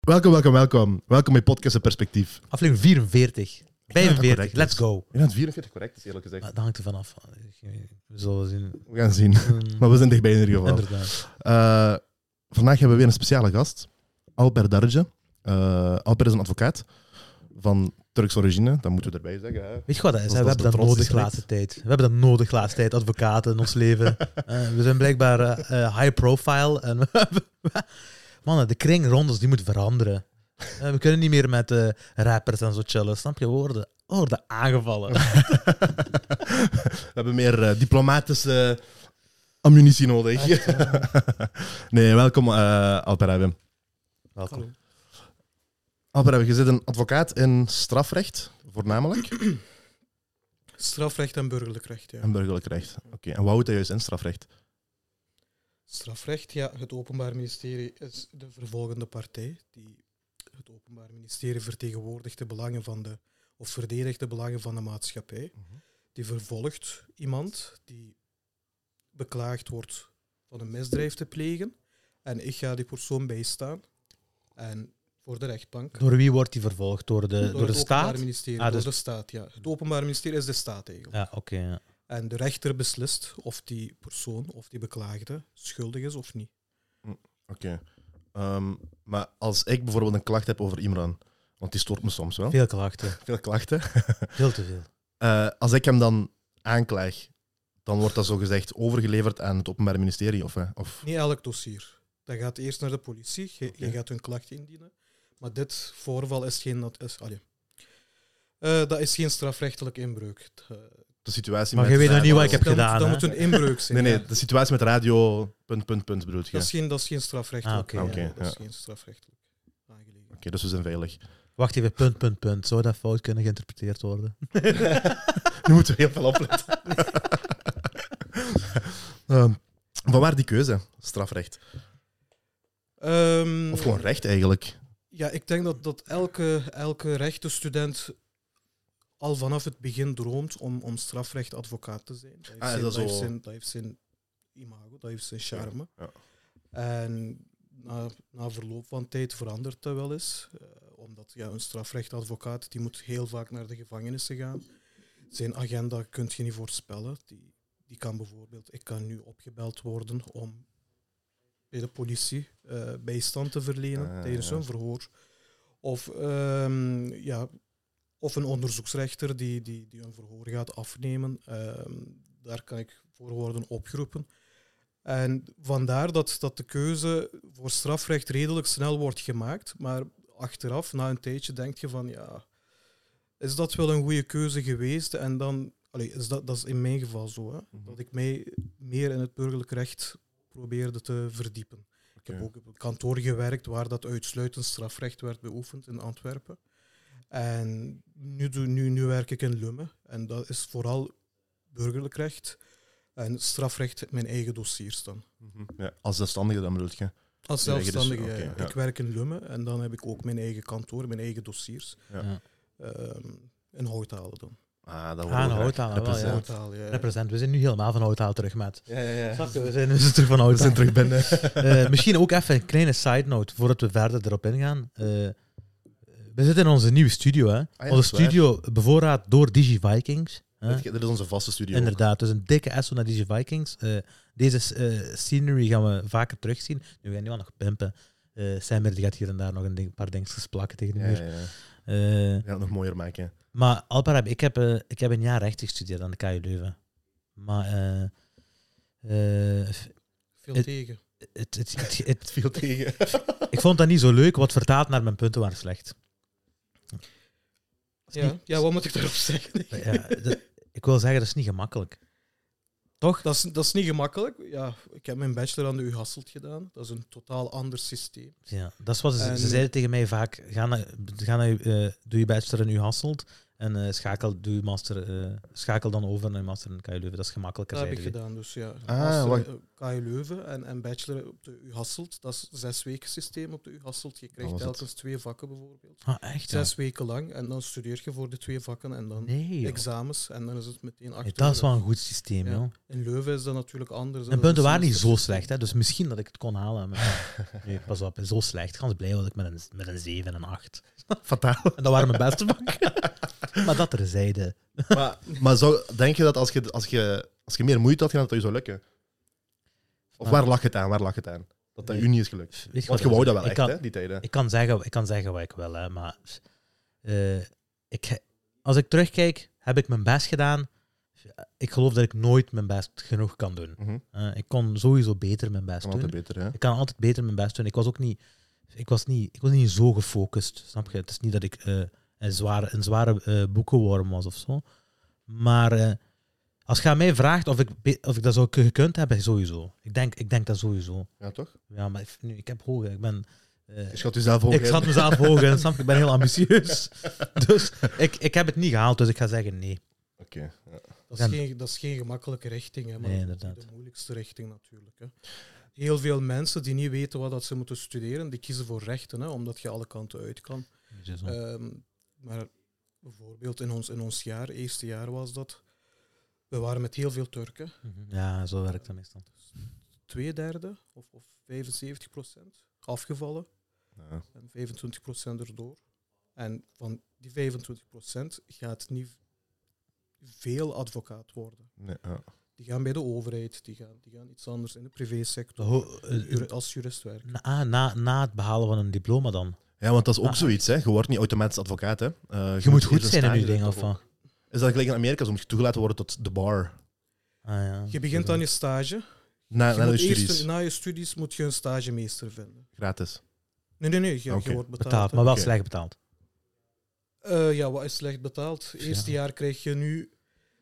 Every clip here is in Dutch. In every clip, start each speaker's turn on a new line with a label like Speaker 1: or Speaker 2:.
Speaker 1: Welkom, welkom, welkom. Welkom bij Podcast en Perspectief.
Speaker 2: Aflevering 44.
Speaker 1: correct
Speaker 2: 45,
Speaker 1: is.
Speaker 2: let's go.
Speaker 1: Ik denk dat 44 correct is, eerlijk gezegd.
Speaker 2: Maar dat hangt er vanaf. We zullen zien. Ehm,
Speaker 1: We gaan zien. Maar we zijn dichtbij in ieder geval.
Speaker 2: Inderdaad.
Speaker 1: Eh, vandaag hebben we weer een speciale gast. Albert Darje. Eh, Albert is een advocaat van Turks origine. Dat moeten we erbij zeggen. Hè.
Speaker 2: Weet je wat dat is?
Speaker 1: Dat
Speaker 2: hè?
Speaker 1: is
Speaker 2: we
Speaker 1: de
Speaker 2: hebben dat
Speaker 1: trots
Speaker 2: nodig de
Speaker 1: die
Speaker 2: laatste tijd. We hebben dat nodig de laatste tijd, advocaten in ons leven. Eh, we zijn blijkbaar eh, eh, high profile. En we hebben- Mannen, de kring rond ons die moet veranderen. Eh, we kunnen niet meer met eh, rappers en zo chillen. Snap je? We worden, we worden aangevallen.
Speaker 1: We hebben meer eh, diplomatische ammunitie nodig. nee, welkom eh Albert Abbe.
Speaker 2: Welkom.
Speaker 1: Albert Abbe, je zit een advocaat in strafrecht, voornamelijk.
Speaker 3: Strafrecht en burgerlijk recht, ja.
Speaker 1: En burgerlijk recht. Oké, en wat houdt dat juist in strafrecht?
Speaker 3: Strafrecht, ja, het Openbaar Ministerie is de vervolgende partij die het Openbaar Ministerie vertegenwoordigt de belangen van de, of verdedigt de belangen van de maatschappij.
Speaker 1: Mhm.
Speaker 3: Die vervolgt iemand die beklaagd wordt van een misdrijf te plegen. En ik ga die persoon bijstaan en voor de rechtbank.
Speaker 2: Door wie wordt die vervolgd? Door de, door de
Speaker 3: het Openbaar
Speaker 2: staat?
Speaker 3: Ministerie,
Speaker 2: Ah,
Speaker 3: door
Speaker 2: dus-
Speaker 3: de staat, ja. Het Openbaar Ministerie is de staat eigenlijk.
Speaker 2: Ja, oké. ja.
Speaker 3: En de rechter beslist of die persoon of die beklaagde schuldig is of niet.
Speaker 1: Oké. Ehm, maar als ik bijvoorbeeld een klacht heb over Imran, want die stoort me soms wel.
Speaker 2: Veel klachten.
Speaker 1: Veel klachten.
Speaker 2: Veel te veel.
Speaker 1: Eh, als ik hem dan aanklaag, dan wordt dat zogezegd overgeleverd aan het Openbaar Ministerie? Of, hè? of...
Speaker 3: Niet elk dossier. Dat gaat eerst naar de politie, je, je
Speaker 1: Oké.
Speaker 3: gaat hun klacht indienen. Maar dit voorval is geen... Dat is, allee. Eh, dat is geen strafrechtelijk inbreuk. Eh,
Speaker 1: De situatie
Speaker 2: Maar
Speaker 1: met
Speaker 2: je weet nog niet wat ik
Speaker 1: radio-
Speaker 2: heb
Speaker 3: dat
Speaker 2: gedaan,
Speaker 3: Moet, dat
Speaker 2: hè?
Speaker 3: moet een inbreuk zijn.
Speaker 1: Nee,
Speaker 3: ja.
Speaker 1: nee, de situatie met radio... Punt, punt, punt bedoelt je.
Speaker 3: dat,
Speaker 1: Oké,
Speaker 3: is geen, dat is geen strafrechtelijk.
Speaker 2: Ah, oké.
Speaker 3: ja,
Speaker 1: Oké,
Speaker 3: dat is
Speaker 1: ja.
Speaker 3: geen strafrechtelijk aangelegenheid.
Speaker 1: dus we zijn veilig.
Speaker 2: Wacht even, punt, punt, punt. Zou dat fout kunnen geïnterpreteerd worden?
Speaker 1: Nu moeten we heel veel opletten. Ehm van waar die keuze? Strafrecht.
Speaker 3: Ehm,
Speaker 1: Of gewoon recht, eigenlijk.
Speaker 3: Ja, ik denk dat, dat elke, elke rechtenstudent al vanaf het begin droomt om, om strafrechtadvocaat te zijn. Dat heeft,
Speaker 1: Ah, is
Speaker 3: zijn,
Speaker 1: dat
Speaker 3: dat
Speaker 1: zo?
Speaker 3: heeft zijn, dat heeft zijn imago, dat heeft zijn charme.
Speaker 1: Ja,
Speaker 3: En nou, na, na verloop van tijd verandert dat wel eens. Eh, omdat ja, een strafrechtadvocaat die moet heel vaak naar de gevangenissen gaan. Zijn agenda kun je niet voorspellen. Die, die kan bijvoorbeeld, ik kan nu opgebeld worden om bij de politie eh, bijstand te verlenen
Speaker 1: Ah, ja,
Speaker 3: tijdens
Speaker 1: ja.
Speaker 3: een verhoor. Of, ehm, ja, of een onderzoeksrechter die, die, die een verhoor gaat afnemen. Ehm, daar kan ik voor worden opgeroepen. En vandaar dat, dat de keuze voor strafrecht redelijk snel wordt gemaakt. Maar achteraf, na een tijdje, denk je van ja, is dat wel een goede keuze geweest? En dan, allee, is dat, dat is in mijn geval zo, hè,
Speaker 1: Mhm.
Speaker 3: dat ik mij meer in het burgerlijk recht probeerde te verdiepen. Ik heb
Speaker 1: Oké.
Speaker 3: ook op een kantoor gewerkt waar dat uitsluitend strafrecht werd beoefend in Antwerpen. En nu, doe, nu, nu werk ik in Lumme. En dat is vooral burgerlijk recht en strafrecht mijn eigen dossiers dan.
Speaker 1: ja. Als zelfstandige, dan bedoelt je.
Speaker 3: Als
Speaker 1: Je eigen
Speaker 3: zelfstandige,
Speaker 1: dossier,
Speaker 3: ja.
Speaker 1: oké, ja.
Speaker 3: Ik werk in Lumme en dan heb ik ook mijn eigen kantoor, mijn eigen dossiers.
Speaker 1: Ja.
Speaker 2: Ja.
Speaker 3: Ehm, in Houthalen dan.
Speaker 1: Ah, dat
Speaker 2: Ah,
Speaker 1: horen
Speaker 2: een
Speaker 1: we graag.
Speaker 2: houthalen wel, ja.
Speaker 1: Represent.
Speaker 3: Houthalen, ja.
Speaker 2: Represent, we zijn nu helemaal van houthaal terug, met.
Speaker 1: Ja, ja, ja.
Speaker 2: We zijn dus terug van
Speaker 1: We zijn
Speaker 2: houthaal.
Speaker 1: terug binnen.
Speaker 2: Ah, misschien ook even een kleine side note, voordat we verder erop ingaan. Eh, we zitten in onze nieuwe studio, hè.
Speaker 1: Ah dat is
Speaker 2: onze
Speaker 1: waar.
Speaker 2: studio bevoorraad door Digi Vikings. Hè?
Speaker 1: Dit dit is onze vaste studio. ook.
Speaker 2: Inderdaad, dus een dikke SO naar Digi Vikings. Eh, deze eh, scenery gaan we vaker terugzien. Nu gaan we nog pimpen. Eh Samir die gaat hier en daar nog een ding- paar dingetjes plakken tegen de
Speaker 1: Ja,
Speaker 2: muur.
Speaker 1: ja, ja.
Speaker 2: Eh,
Speaker 1: We gaan het nog mooier maken.
Speaker 2: Maar Alparab, ik heb, eh, ik heb een jaar recht gestudeerd aan de KU Leuven. Maar eh, eh,
Speaker 3: Veel
Speaker 2: Het-
Speaker 3: tegen.
Speaker 2: het, het, het, het-
Speaker 1: Veel tegen.
Speaker 2: ik vond dat niet zo leuk, wat vertaald naar mijn punten waren slecht. Dat is
Speaker 3: Ja.
Speaker 2: niet-
Speaker 3: ja, wat moet ik daarop zeggen?
Speaker 2: ja, dat- ik wil zeggen, dat is niet gemakkelijk. Toch?
Speaker 3: Dat is, dat is niet gemakkelijk. Ja, ik heb mijn bachelor aan de U Hasselt gedaan. Dat is een totaal ander systeem.
Speaker 2: Ja, dat is wat ze,
Speaker 3: En-
Speaker 2: ze zeiden tegen mij vaak. Ga naar, ga naar, je- eh, doe je bachelor in U Hasselt En eh, schakel, doe je master, eh, schakel dan over naar je master in KU Leuven. Dat is gemakkelijker.
Speaker 3: Dat heb ik
Speaker 2: zeiden
Speaker 3: gedaan, dus ja.
Speaker 1: Ah, wacht.
Speaker 3: Master eh, KU Leuven en, en bachelor op de U Hasselt. Dat is zes weken systeem op de U Hasselt. Je
Speaker 2: Oh,
Speaker 3: krijgt
Speaker 1: was het.
Speaker 3: telkens twee vakken bijvoorbeeld.
Speaker 2: ze. Ah, echt? ja?
Speaker 3: Zes weken lang en dan studeer je voor de twee vakken en dan
Speaker 2: Nee, joh.
Speaker 3: examens en dan is het meteen achter.
Speaker 2: Nee, dat is wel een goed systeem,
Speaker 3: Ja.
Speaker 2: joh.
Speaker 3: In Leuven is dat natuurlijk anders.
Speaker 2: En
Speaker 3: hè. Dat
Speaker 2: punten
Speaker 3: is
Speaker 2: waren niet zo
Speaker 3: semesters-
Speaker 2: slecht, hè? dus misschien dat ik het kon halen. Maar nee, pas op, zo slecht. Gans blij was ik met een, met een 7 en een 8.
Speaker 1: Fataal.
Speaker 2: En dat waren mijn beste vakken. maar dat terzijde.
Speaker 1: maar maar zou, denk je dat als je, als, je, als je meer moeite had gedaan, dat je zou lukken? Of
Speaker 2: Ah.
Speaker 1: waar lag het aan? Waar lag het aan? Dat dat
Speaker 2: Nee.
Speaker 1: u niet is gelukt.
Speaker 2: Weet
Speaker 1: Want je
Speaker 2: wat
Speaker 1: wou
Speaker 2: het
Speaker 1: dat
Speaker 2: is?
Speaker 1: wel
Speaker 2: ik
Speaker 1: echt,
Speaker 2: kan,
Speaker 1: hè, die tijden.
Speaker 2: Ik kan, zeggen, ik kan zeggen wat ik wil, hè, maar eh, ik, als ik terugkijk, heb ik mijn best gedaan. Ik geloof dat ik nooit mijn best genoeg kan doen.
Speaker 1: Mhm.
Speaker 2: Eh, ik kon sowieso beter mijn best
Speaker 1: Kan
Speaker 2: doen.
Speaker 1: altijd beter, hè?
Speaker 2: Ik kan altijd beter mijn best doen. Ik was ook niet, ik was niet, ik was niet zo gefocust, snap je? Het is niet dat ik eh, een zware, een zware eh, boekenworm was of zo. Maar eh, als je aan mij vraagt of ik, be- of ik dat zou k- gekund hebben, sowieso. Ik denk, ik denk dat sowieso.
Speaker 1: Ja, toch?
Speaker 2: Ja, maar ik- nu, ik heb hoog, hè. ik ben... eh,
Speaker 1: Je schat jezelf ook
Speaker 2: ik
Speaker 1: in.
Speaker 2: schat mezelf hoog en snap je? ik ben heel ambitieus. Dus ik, ik heb het niet gehaald, dus ik ga zeggen nee.
Speaker 1: Oké. ja.
Speaker 3: Dat
Speaker 2: Ja.
Speaker 3: is, geen, dat is geen gemakkelijke richting, hè, maar
Speaker 2: Nee,
Speaker 3: dat is
Speaker 2: inderdaad.
Speaker 3: de moeilijkste richting natuurlijk. Hè. Heel veel mensen die niet weten wat dat ze moeten studeren, die kiezen voor rechten, hè, omdat je alle kanten uit kan. Ehm, maar bijvoorbeeld in ons, in ons jaar, eerste jaar was dat, we waren met heel veel Turken,
Speaker 2: Ja, zo werkt dat meestal.
Speaker 3: twee derde of, of 75 procent afgevallen
Speaker 1: Ja.
Speaker 3: en 25 procent erdoor. En van die 25 procent gaat niet veel advocaat worden.
Speaker 1: Nee, ja.
Speaker 3: Die gaan bij de overheid, die gaan, die gaan iets anders in de privésector,
Speaker 2: Ho- eh,
Speaker 3: jur- als jurist werken.
Speaker 2: na, na, na het behalen van een diploma dan.
Speaker 1: ja, want dat is ook
Speaker 2: Ah.
Speaker 1: zoiets, hè? Je wordt niet automatisch advocaat, hè? Eh,
Speaker 2: Je moet goed
Speaker 1: eerst een
Speaker 2: zijn in
Speaker 1: stage
Speaker 2: je ding,
Speaker 1: doen,
Speaker 2: of
Speaker 1: toch
Speaker 2: wat?
Speaker 1: ook? Is dat gelijk in Amerika, zo moet je toegelaten worden tot de bar?
Speaker 2: Ah, ja.
Speaker 3: Je begint aan je stage.
Speaker 1: Na,
Speaker 3: Je
Speaker 1: na de
Speaker 3: moet eerst
Speaker 1: studies,
Speaker 3: een- na je studies moet je een stagemeester vinden.
Speaker 1: gratis.
Speaker 3: Nee, nee, nee, je, je
Speaker 1: Oké.
Speaker 3: wordt betaald.
Speaker 2: betaald,
Speaker 3: hè.
Speaker 2: maar wel
Speaker 1: Oké.
Speaker 2: slecht betaald.
Speaker 3: Eh, ja, wat is slecht betaald?
Speaker 2: Ja.
Speaker 3: Eerste jaar krijg je nu,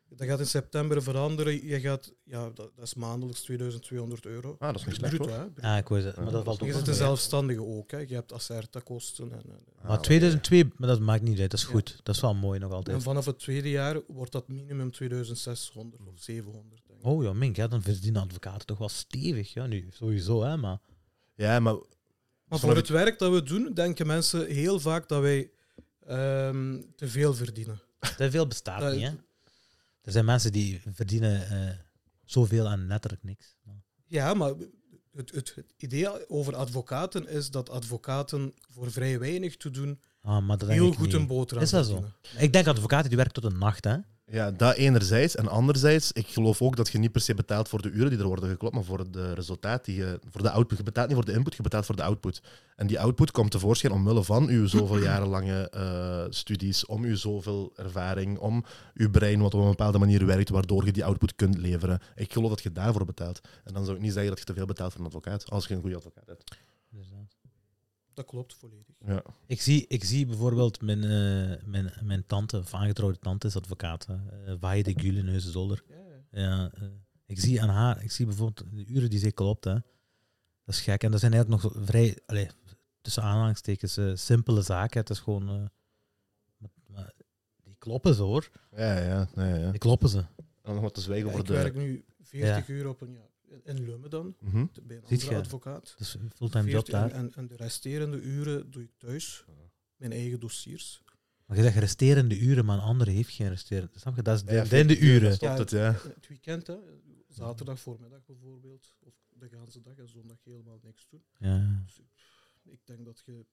Speaker 3: dat gaat in september veranderen. Je gaat, ja, dat, dat is maandelijks 2200 euro.
Speaker 1: Ah, dat is niet slecht,
Speaker 3: Bruto,
Speaker 1: hoor.
Speaker 3: hè?
Speaker 2: Ja, ik weet het, maar dat valt
Speaker 1: Ja.
Speaker 3: Je
Speaker 2: ook
Speaker 3: zit
Speaker 2: wel
Speaker 3: een
Speaker 2: mee.
Speaker 3: zelfstandige ook, hè? Je hebt Acerta-kosten. En, en-
Speaker 1: Ah,
Speaker 2: Maar
Speaker 1: oké.
Speaker 2: 2002, maar dat maakt niet uit, dat is
Speaker 3: Ja.
Speaker 2: goed. Dat is wel mooi nog
Speaker 3: en
Speaker 2: altijd.
Speaker 3: vanaf het tweede jaar wordt dat minimum 2600 of 700. Denk ik.
Speaker 2: Oh ja, Mink, ja, dan verdienen advocaten toch wel stevig. Ja, nu, sowieso, hè, maar...
Speaker 1: Ja, maar
Speaker 3: Maar
Speaker 1: Vanaf
Speaker 3: voor het werk dat we doen, denken mensen heel vaak dat wij ehm, te veel verdienen.
Speaker 2: Te veel bestaat
Speaker 3: Dat-
Speaker 2: niet, hè? Er zijn mensen die verdienen eh, zoveel aan letterlijk niks. Maar-
Speaker 3: Ja, maar het, het, het idee over advocaten is dat advocaten voor vrij weinig te doen
Speaker 2: Ah, maar dat denk
Speaker 3: heel
Speaker 2: ik
Speaker 3: goed
Speaker 2: niet.
Speaker 3: een boterham
Speaker 2: Is dat zo?
Speaker 3: verdienen.
Speaker 2: Ik denk advocaten die werken tot een nacht, hè?
Speaker 1: Ja, dat enerzijds. En anderzijds, ik geloof ook dat je niet per se betaalt voor de uren die er worden geklopt, maar voor de resultaat die je, voor de output. Je betaalt niet voor de input, je betaalt voor de output. En die output komt tevoorschijn omwille van uw zoveel jarenlange eh, studies, om uw zoveel ervaring, om uw brein wat op een bepaalde manier werkt, waardoor je die output kunt leveren. Ik geloof dat je daarvoor betaalt. En dan zou ik niet zeggen dat je te veel betaalt voor een advocaat, als je een goede advocaat hebt.
Speaker 2: Dus, eh.
Speaker 3: Dat klopt volledig.
Speaker 1: Ja.
Speaker 2: Ik zie, ik zie bijvoorbeeld mijn, eh, mijn, mijn tante, of aangetrouwde tante, is advocaat. hè. Eh Waaie de Gule in Heusden-Zolder.
Speaker 3: Ja, ja.
Speaker 2: Ja, eh, ik zie aan haar, ik zie bijvoorbeeld de uren die ze klopt, hè. Dat is gek. En dat zijn eigenlijk nog vrij, allee, tussen aanhalingstekens, eh, simpele zaken. Het is gewoon... eh, maar- maar die kloppen ze, hoor.
Speaker 1: Ja, ja, ja. ja.
Speaker 2: Die kloppen ze.
Speaker 1: En dan nog wat te zwijgen
Speaker 3: Ja,
Speaker 1: over
Speaker 3: ik
Speaker 1: de...
Speaker 3: werk nu 40 uur op een jaar in- in Lummen dan,
Speaker 1: Mhm.
Speaker 3: bij een
Speaker 2: Ziet
Speaker 3: andere
Speaker 2: je?
Speaker 3: advocaat.
Speaker 2: Dus een fulltime job
Speaker 3: 40
Speaker 2: daar.
Speaker 3: en, en, en de resterende uren doe ik thuis, mijn eigen dossiers.
Speaker 2: Maar je zegt resterende uren, maar een ander heeft geen resterende. Snap je? Dat is de,
Speaker 1: Ja,
Speaker 2: de, de uren.
Speaker 1: Stopt het, ja.
Speaker 3: Het weekend, hè, zaterdag voormiddag bijvoorbeeld, of de ganse dag en zondag helemaal niks doen.
Speaker 2: Ja.
Speaker 3: Ik denk dat, je,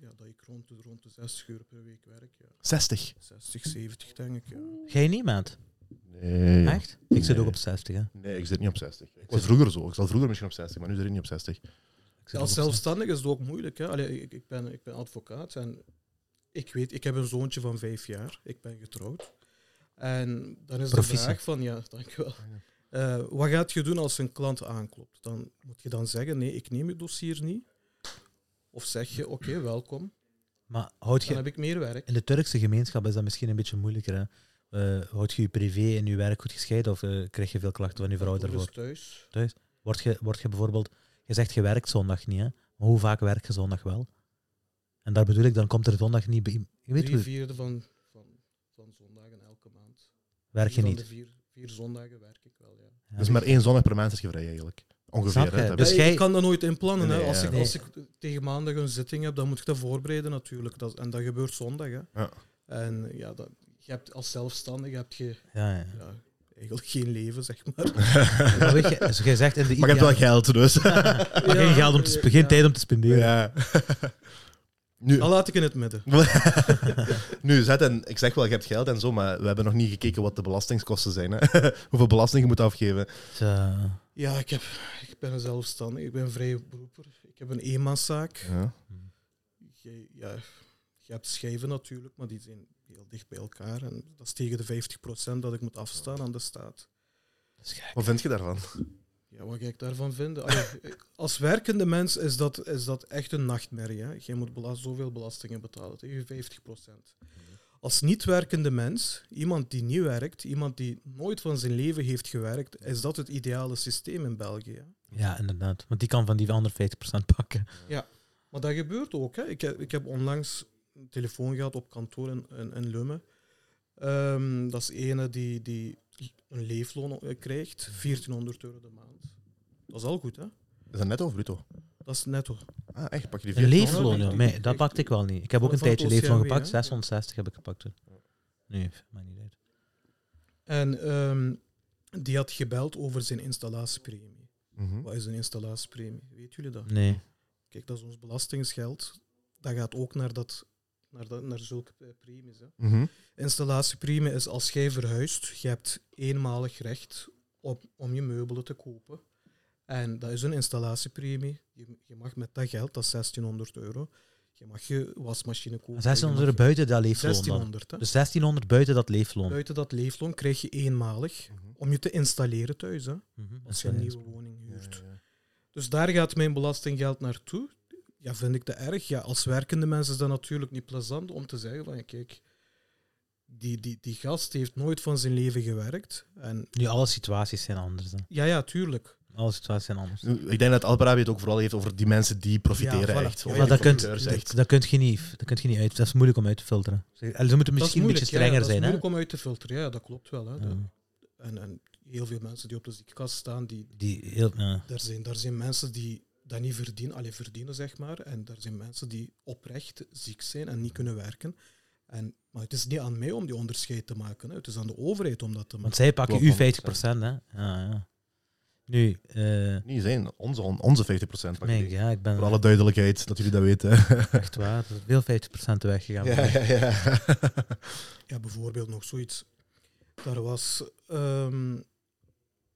Speaker 3: ja, dat ik rond de, rond de 60 uur per week werk. Ja.
Speaker 1: 60.
Speaker 3: 60, 70 denk ik. Ja.
Speaker 2: Jij niemand?
Speaker 1: Nee. joh.
Speaker 2: Echt? Ik zit
Speaker 1: Nee.
Speaker 2: ook op 60, hè.
Speaker 1: Nee, ik zit niet op 60. Ik
Speaker 2: zit-
Speaker 1: was vroeger zo. Ik zat vroeger misschien op 60, maar nu zit ik niet op 60.
Speaker 2: Ik zit ook op
Speaker 3: Als
Speaker 2: 60.
Speaker 3: zelfstandig is het ook moeilijk. Hè. Allee, ik, ik, ben, ik ben advocaat en ik weet, ik heb een zoontje van vijf jaar. Ik ben getrouwd. En dan is
Speaker 2: Proficiat.
Speaker 3: de vraag van, ja, dankjewel. Eh wat gaat je doen als een klant aanklopt? Dan moet je dan zeggen, nee, ik neem je dossier niet. Of zeg je, oké, welkom,
Speaker 2: Maar houd
Speaker 3: dan
Speaker 2: je,
Speaker 3: heb ik meer werk.
Speaker 2: in de Turkse gemeenschap is dat misschien een beetje moeilijker, hè. Eh, houd je je privé en je werk goed gescheiden of eh, krijg je veel klachten van je vrouw
Speaker 3: Moeder is
Speaker 2: daarvoor?
Speaker 3: dus thuis.
Speaker 2: Word je, word je bijvoorbeeld... Je zegt, je werkt zondag niet, hè. Maar hoe vaak werk je zondag wel? En daar bedoel ik, dan komt er zondag niet bij... Je weet
Speaker 3: Drie
Speaker 2: hoe...
Speaker 3: vierde van, van
Speaker 2: Werk je
Speaker 3: van
Speaker 2: niet.
Speaker 3: de vier, vier zondagen werk ik wel, ja.
Speaker 2: Ja,
Speaker 1: Dus maar één zondag per maand is je vrij eigenlijk.
Speaker 2: Snap
Speaker 1: Ongeveer.
Speaker 2: je?
Speaker 1: Hè, dat
Speaker 2: Dus
Speaker 1: heb
Speaker 3: Ja,
Speaker 2: jij-
Speaker 3: Ik kan dat nooit inplannen.
Speaker 1: Nee,
Speaker 3: hè. Als,
Speaker 1: ja.
Speaker 3: ik, als ik tegen maandag een zitting heb, dan moet ik dat voorbereiden natuurlijk. Dat, en dat gebeurt zondag. Hè.
Speaker 1: Ja.
Speaker 3: En ja, dat, je hebt als zelfstandige heb je
Speaker 2: ja, ja.
Speaker 3: ja, eigenlijk geen leven, zeg maar.
Speaker 2: Maar weet je, als jij zegt in de
Speaker 1: ik. Maar je hebt wel geld, dus.
Speaker 2: ideale- maar geen, geld om te sp- geen
Speaker 3: Ja.
Speaker 2: tijd om te spenderen.
Speaker 1: ja. Nu,
Speaker 2: Oh.
Speaker 3: Dat laat ik in het midden.
Speaker 1: nu zet en ik zeg wel, je hebt geld en zo, maar we hebben nog niet gekeken wat de belastingskosten zijn. Hè. Hoeveel belasting je moet afgeven.
Speaker 2: Dus, eh,
Speaker 3: Ja, ik, heb, ik ben een zelfstandige. Ik ben een vrije beroeper. Ik heb een eenmanszaak.
Speaker 1: Ja.
Speaker 3: Je, ja, je hebt schijven natuurlijk, maar die zijn heel dicht bij elkaar. En dat is tegen de 50% dat ik moet afstaan aan de staat.
Speaker 2: dat is gek.
Speaker 1: Wat vind je daarvan?
Speaker 3: Ja, wat ga ik daarvan vinden? Ah, ja, als werkende mens is dat, is dat echt een nachtmerrie. Hè? Je moet bela- zoveel belastingen betalen, tegen 50 Als niet-werkende mens, iemand die niet werkt, iemand die nooit van zijn leven heeft gewerkt, is dat het ideale systeem in België. hè.
Speaker 2: Ja, inderdaad. Want die kan van die andere 50% pakken.
Speaker 3: Maar dat gebeurt ook. Hè? Ik, heb, ik heb onlangs een telefoon gehad op kantoor in, in, in Lummen. Ehm, dat is ene die, die een leefloon eh, krijgt, 1400 euro de maand. Dat is al goed, hè?
Speaker 1: Is dat netto of bruto?
Speaker 3: Dat is netto.
Speaker 1: Ah, echt? Pak je die 1400?
Speaker 2: Een leefloon,
Speaker 3: ja.
Speaker 2: joh. Nee, dat pakte ik wel niet. Ik heb ook een
Speaker 3: Van het
Speaker 2: tijdje leefloon
Speaker 3: OCMW,
Speaker 2: gepakt.
Speaker 3: hè?
Speaker 2: 660 heb ik gepakt toen. Nee, maar niet uit.
Speaker 3: En ehm, die had gebeld over zijn installatiepremie.
Speaker 1: Mhm.
Speaker 3: Wat is een installatiepremie? Weet jullie dat?
Speaker 2: Nee.
Speaker 3: Kijk, dat is ons belastingsgeld. Dat gaat ook naar, dat, naar, dat, naar zulke eh, premies. Hè.
Speaker 1: Mhm.
Speaker 3: Installatiepremie is als jij verhuist, je hebt eenmalig recht op, om je meubelen te kopen. En dat is een installatiepremie. Je, je mag met dat geld, dat is 1600 euro, je mag je wasmachine kopen. je
Speaker 2: 1600 euro
Speaker 3: mag-
Speaker 2: buiten dat leefloon dan.
Speaker 3: 1600, hè.
Speaker 2: Dus 1600 buiten dat leefloon.
Speaker 3: Buiten dat leefloon krijg je eenmalig
Speaker 1: Mhm.
Speaker 3: om je te installeren thuis. Hè.
Speaker 2: Mhm.
Speaker 3: als je een nieuwe woning
Speaker 1: Ja,
Speaker 3: huurt.
Speaker 1: ja, ja.
Speaker 3: Dus daar gaat mijn belastinggeld naartoe. Ja, vind ik dat erg? Ja, als werkende mensen is dat natuurlijk niet plezant om te zeggen van, ja, kijk, die, die, die gast heeft nooit van zijn leven gewerkt. En
Speaker 2: Nu, alle situaties zijn anders. Hè.
Speaker 3: ja, ja, tuurlijk.
Speaker 2: Alle situaties zijn anders.
Speaker 1: Nu, Ik denk dat Albarabi het ook vooral heeft over die mensen die profiteren
Speaker 3: Ja, voilà.
Speaker 1: echt.
Speaker 3: Ja,
Speaker 1: Of
Speaker 2: Maar
Speaker 1: die
Speaker 2: dat, kunt,
Speaker 1: profiteurs
Speaker 2: dat,
Speaker 1: echt.
Speaker 2: dat kunt je niet, dat kunt je niet uit. Dat is moeilijk om uit te filteren. Ze ze moeten
Speaker 3: dat is
Speaker 2: misschien een
Speaker 3: moeilijk,
Speaker 2: beetje
Speaker 3: ja,
Speaker 2: strenger
Speaker 3: dat
Speaker 2: zijn.
Speaker 3: is
Speaker 2: Hè?
Speaker 3: moeilijk om uit te filteren, ja, dat klopt wel. Hè.
Speaker 2: Ja.
Speaker 3: En, en heel veel mensen die op de ziekenkast staan, die,
Speaker 2: Die heel, ja.
Speaker 3: daar, zijn, daar zijn mensen die dat niet verdienen, alleen verdienen zeg maar. En daar zijn mensen die oprecht ziek zijn en niet kunnen werken. En, maar het is niet aan mij om die onderscheid te maken. Hè. Het is aan de overheid om dat te maken.
Speaker 2: Want zij pakken
Speaker 1: Klopt,
Speaker 2: u 50%. Hè? Ja, ja. Nu, eh
Speaker 1: Niet zijn, onze, onze 50 procent.
Speaker 2: mijn, ja, ik ben
Speaker 1: Voor alle duidelijkheid, dat jullie dat weten.
Speaker 2: echt waar. er is Veel 50% weggegaan.
Speaker 1: ja, ja, ja.
Speaker 3: Ja, bijvoorbeeld nog zoiets. Daar was ehm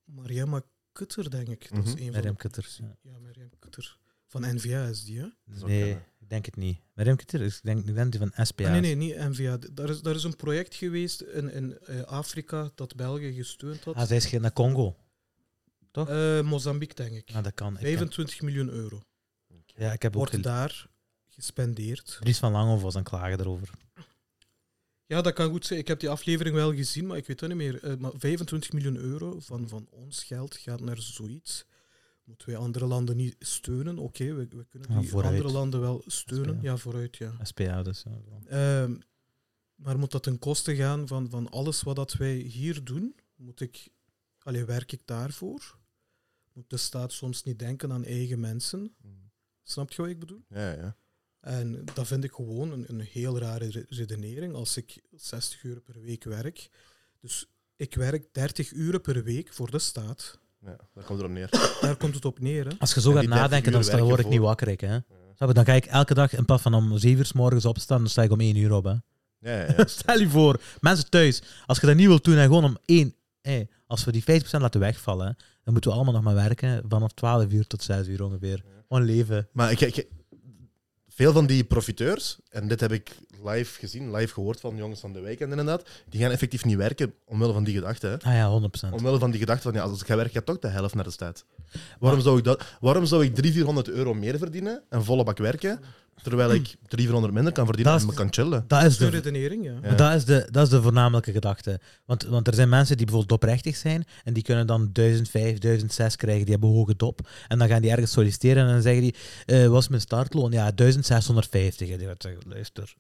Speaker 3: Mariama Kutter, denk ik. Dat is
Speaker 1: Mhm.
Speaker 3: een van
Speaker 2: Mariam
Speaker 3: de,
Speaker 2: Kutters. Ja.
Speaker 3: ja, Mariam Kutter. Van NVA is die, hè?
Speaker 1: is ook
Speaker 2: Nee,
Speaker 1: jammer.
Speaker 2: ik denk het niet. Mariam Kutter is, ik denk, ik denk die van SPA.
Speaker 3: Ah, nee, nee, niet NVA. D- Daar is, daar is een project geweest in, in eh, Afrika dat België gesteund had.
Speaker 2: Ah, zij is gegaan naar Congo. toch?
Speaker 3: Eh, Mozambique, denk ik.
Speaker 2: Ah, dat kan. Ik kan-
Speaker 3: 25 miljoen euro
Speaker 2: ja, ik heb ook
Speaker 3: wordt
Speaker 2: gelezen.
Speaker 3: daar gespendeerd.
Speaker 2: Dries van Langhoff was aan het klagen daarover.
Speaker 3: Ja, dat kan goed zijn. Ik heb die aflevering wel gezien, maar ik weet dat niet meer. Eh, maar 25 miljoen euro van, van ons geld gaat naar zoiets. Moeten wij andere landen niet steunen? Oké, we, we kunnen
Speaker 2: Ja,
Speaker 3: die
Speaker 2: vooruit.
Speaker 3: andere landen wel steunen.
Speaker 2: SPA.
Speaker 3: Ja, vooruit, ja.
Speaker 2: SPA dus. Ja, wel.
Speaker 3: Ehm, maar moet dat ten koste gaan van, van alles wat dat wij hier doen? Moet ik, allee, werk ik daarvoor? Moet de staat soms niet denken aan eigen mensen? Snap je wat ik bedoel?
Speaker 1: ja, ja.
Speaker 3: En dat vind ik gewoon een, een heel rare re- redenering als ik 60 uur per week werk. Dus ik werk 30 uren per week voor de staat.
Speaker 1: Ja, daar komt het op neer.
Speaker 3: Daar komt het op neer. Hè.
Speaker 2: Als je zo
Speaker 1: En
Speaker 2: gaat
Speaker 1: die 30
Speaker 2: nadenken, dan
Speaker 1: uur
Speaker 2: sta- word ik
Speaker 1: werken
Speaker 2: niet wakker. ik, Hè? Snap je? Dan ga ik elke dag in plaats van om 7 uur s morgens opstaan, dan sta ik om 1 uur op. Hè?
Speaker 1: Ja, ja, ja.
Speaker 2: Stel je voor, mensen thuis, als je dat niet wilt doen en gewoon om 1. hé, als we die 50% laten wegvallen, hè, dan moeten we allemaal nog maar werken vanaf 12 uur tot 6 uur ongeveer. Gewoon leven.
Speaker 1: Maar ik, ik- veel van die profiteurs, en dit heb ik live gezien, live gehoord van de jongens van de weekend inderdaad, die gaan effectief niet werken omwille van die gedachte. Hè.
Speaker 2: Ah ja, 100%.
Speaker 1: Omwille van die gedachte van, ja, als ik ga werken, gaat toch de helft naar de staat. Waarom zou ik, dat, waarom zou ik 300, 400 euro meer verdienen en volle bak werken, terwijl ik 300 minder kan verdienen
Speaker 2: Dat
Speaker 1: en
Speaker 2: is-
Speaker 1: me kan chillen?
Speaker 2: Dat is
Speaker 3: Zo'n
Speaker 2: de
Speaker 3: redenering, ja.
Speaker 1: Ja.
Speaker 2: Maar Dat, is de, dat is de voornamelijke gedachte. Want, want er zijn mensen die bijvoorbeeld doprechtig zijn en die kunnen dan 1005, 1006 krijgen, die hebben hoge dop. En dan gaan die ergens solliciteren en dan zeggen die, eh, wat is mijn startloon? Ja, 1650. En die gaat zeggen, luister,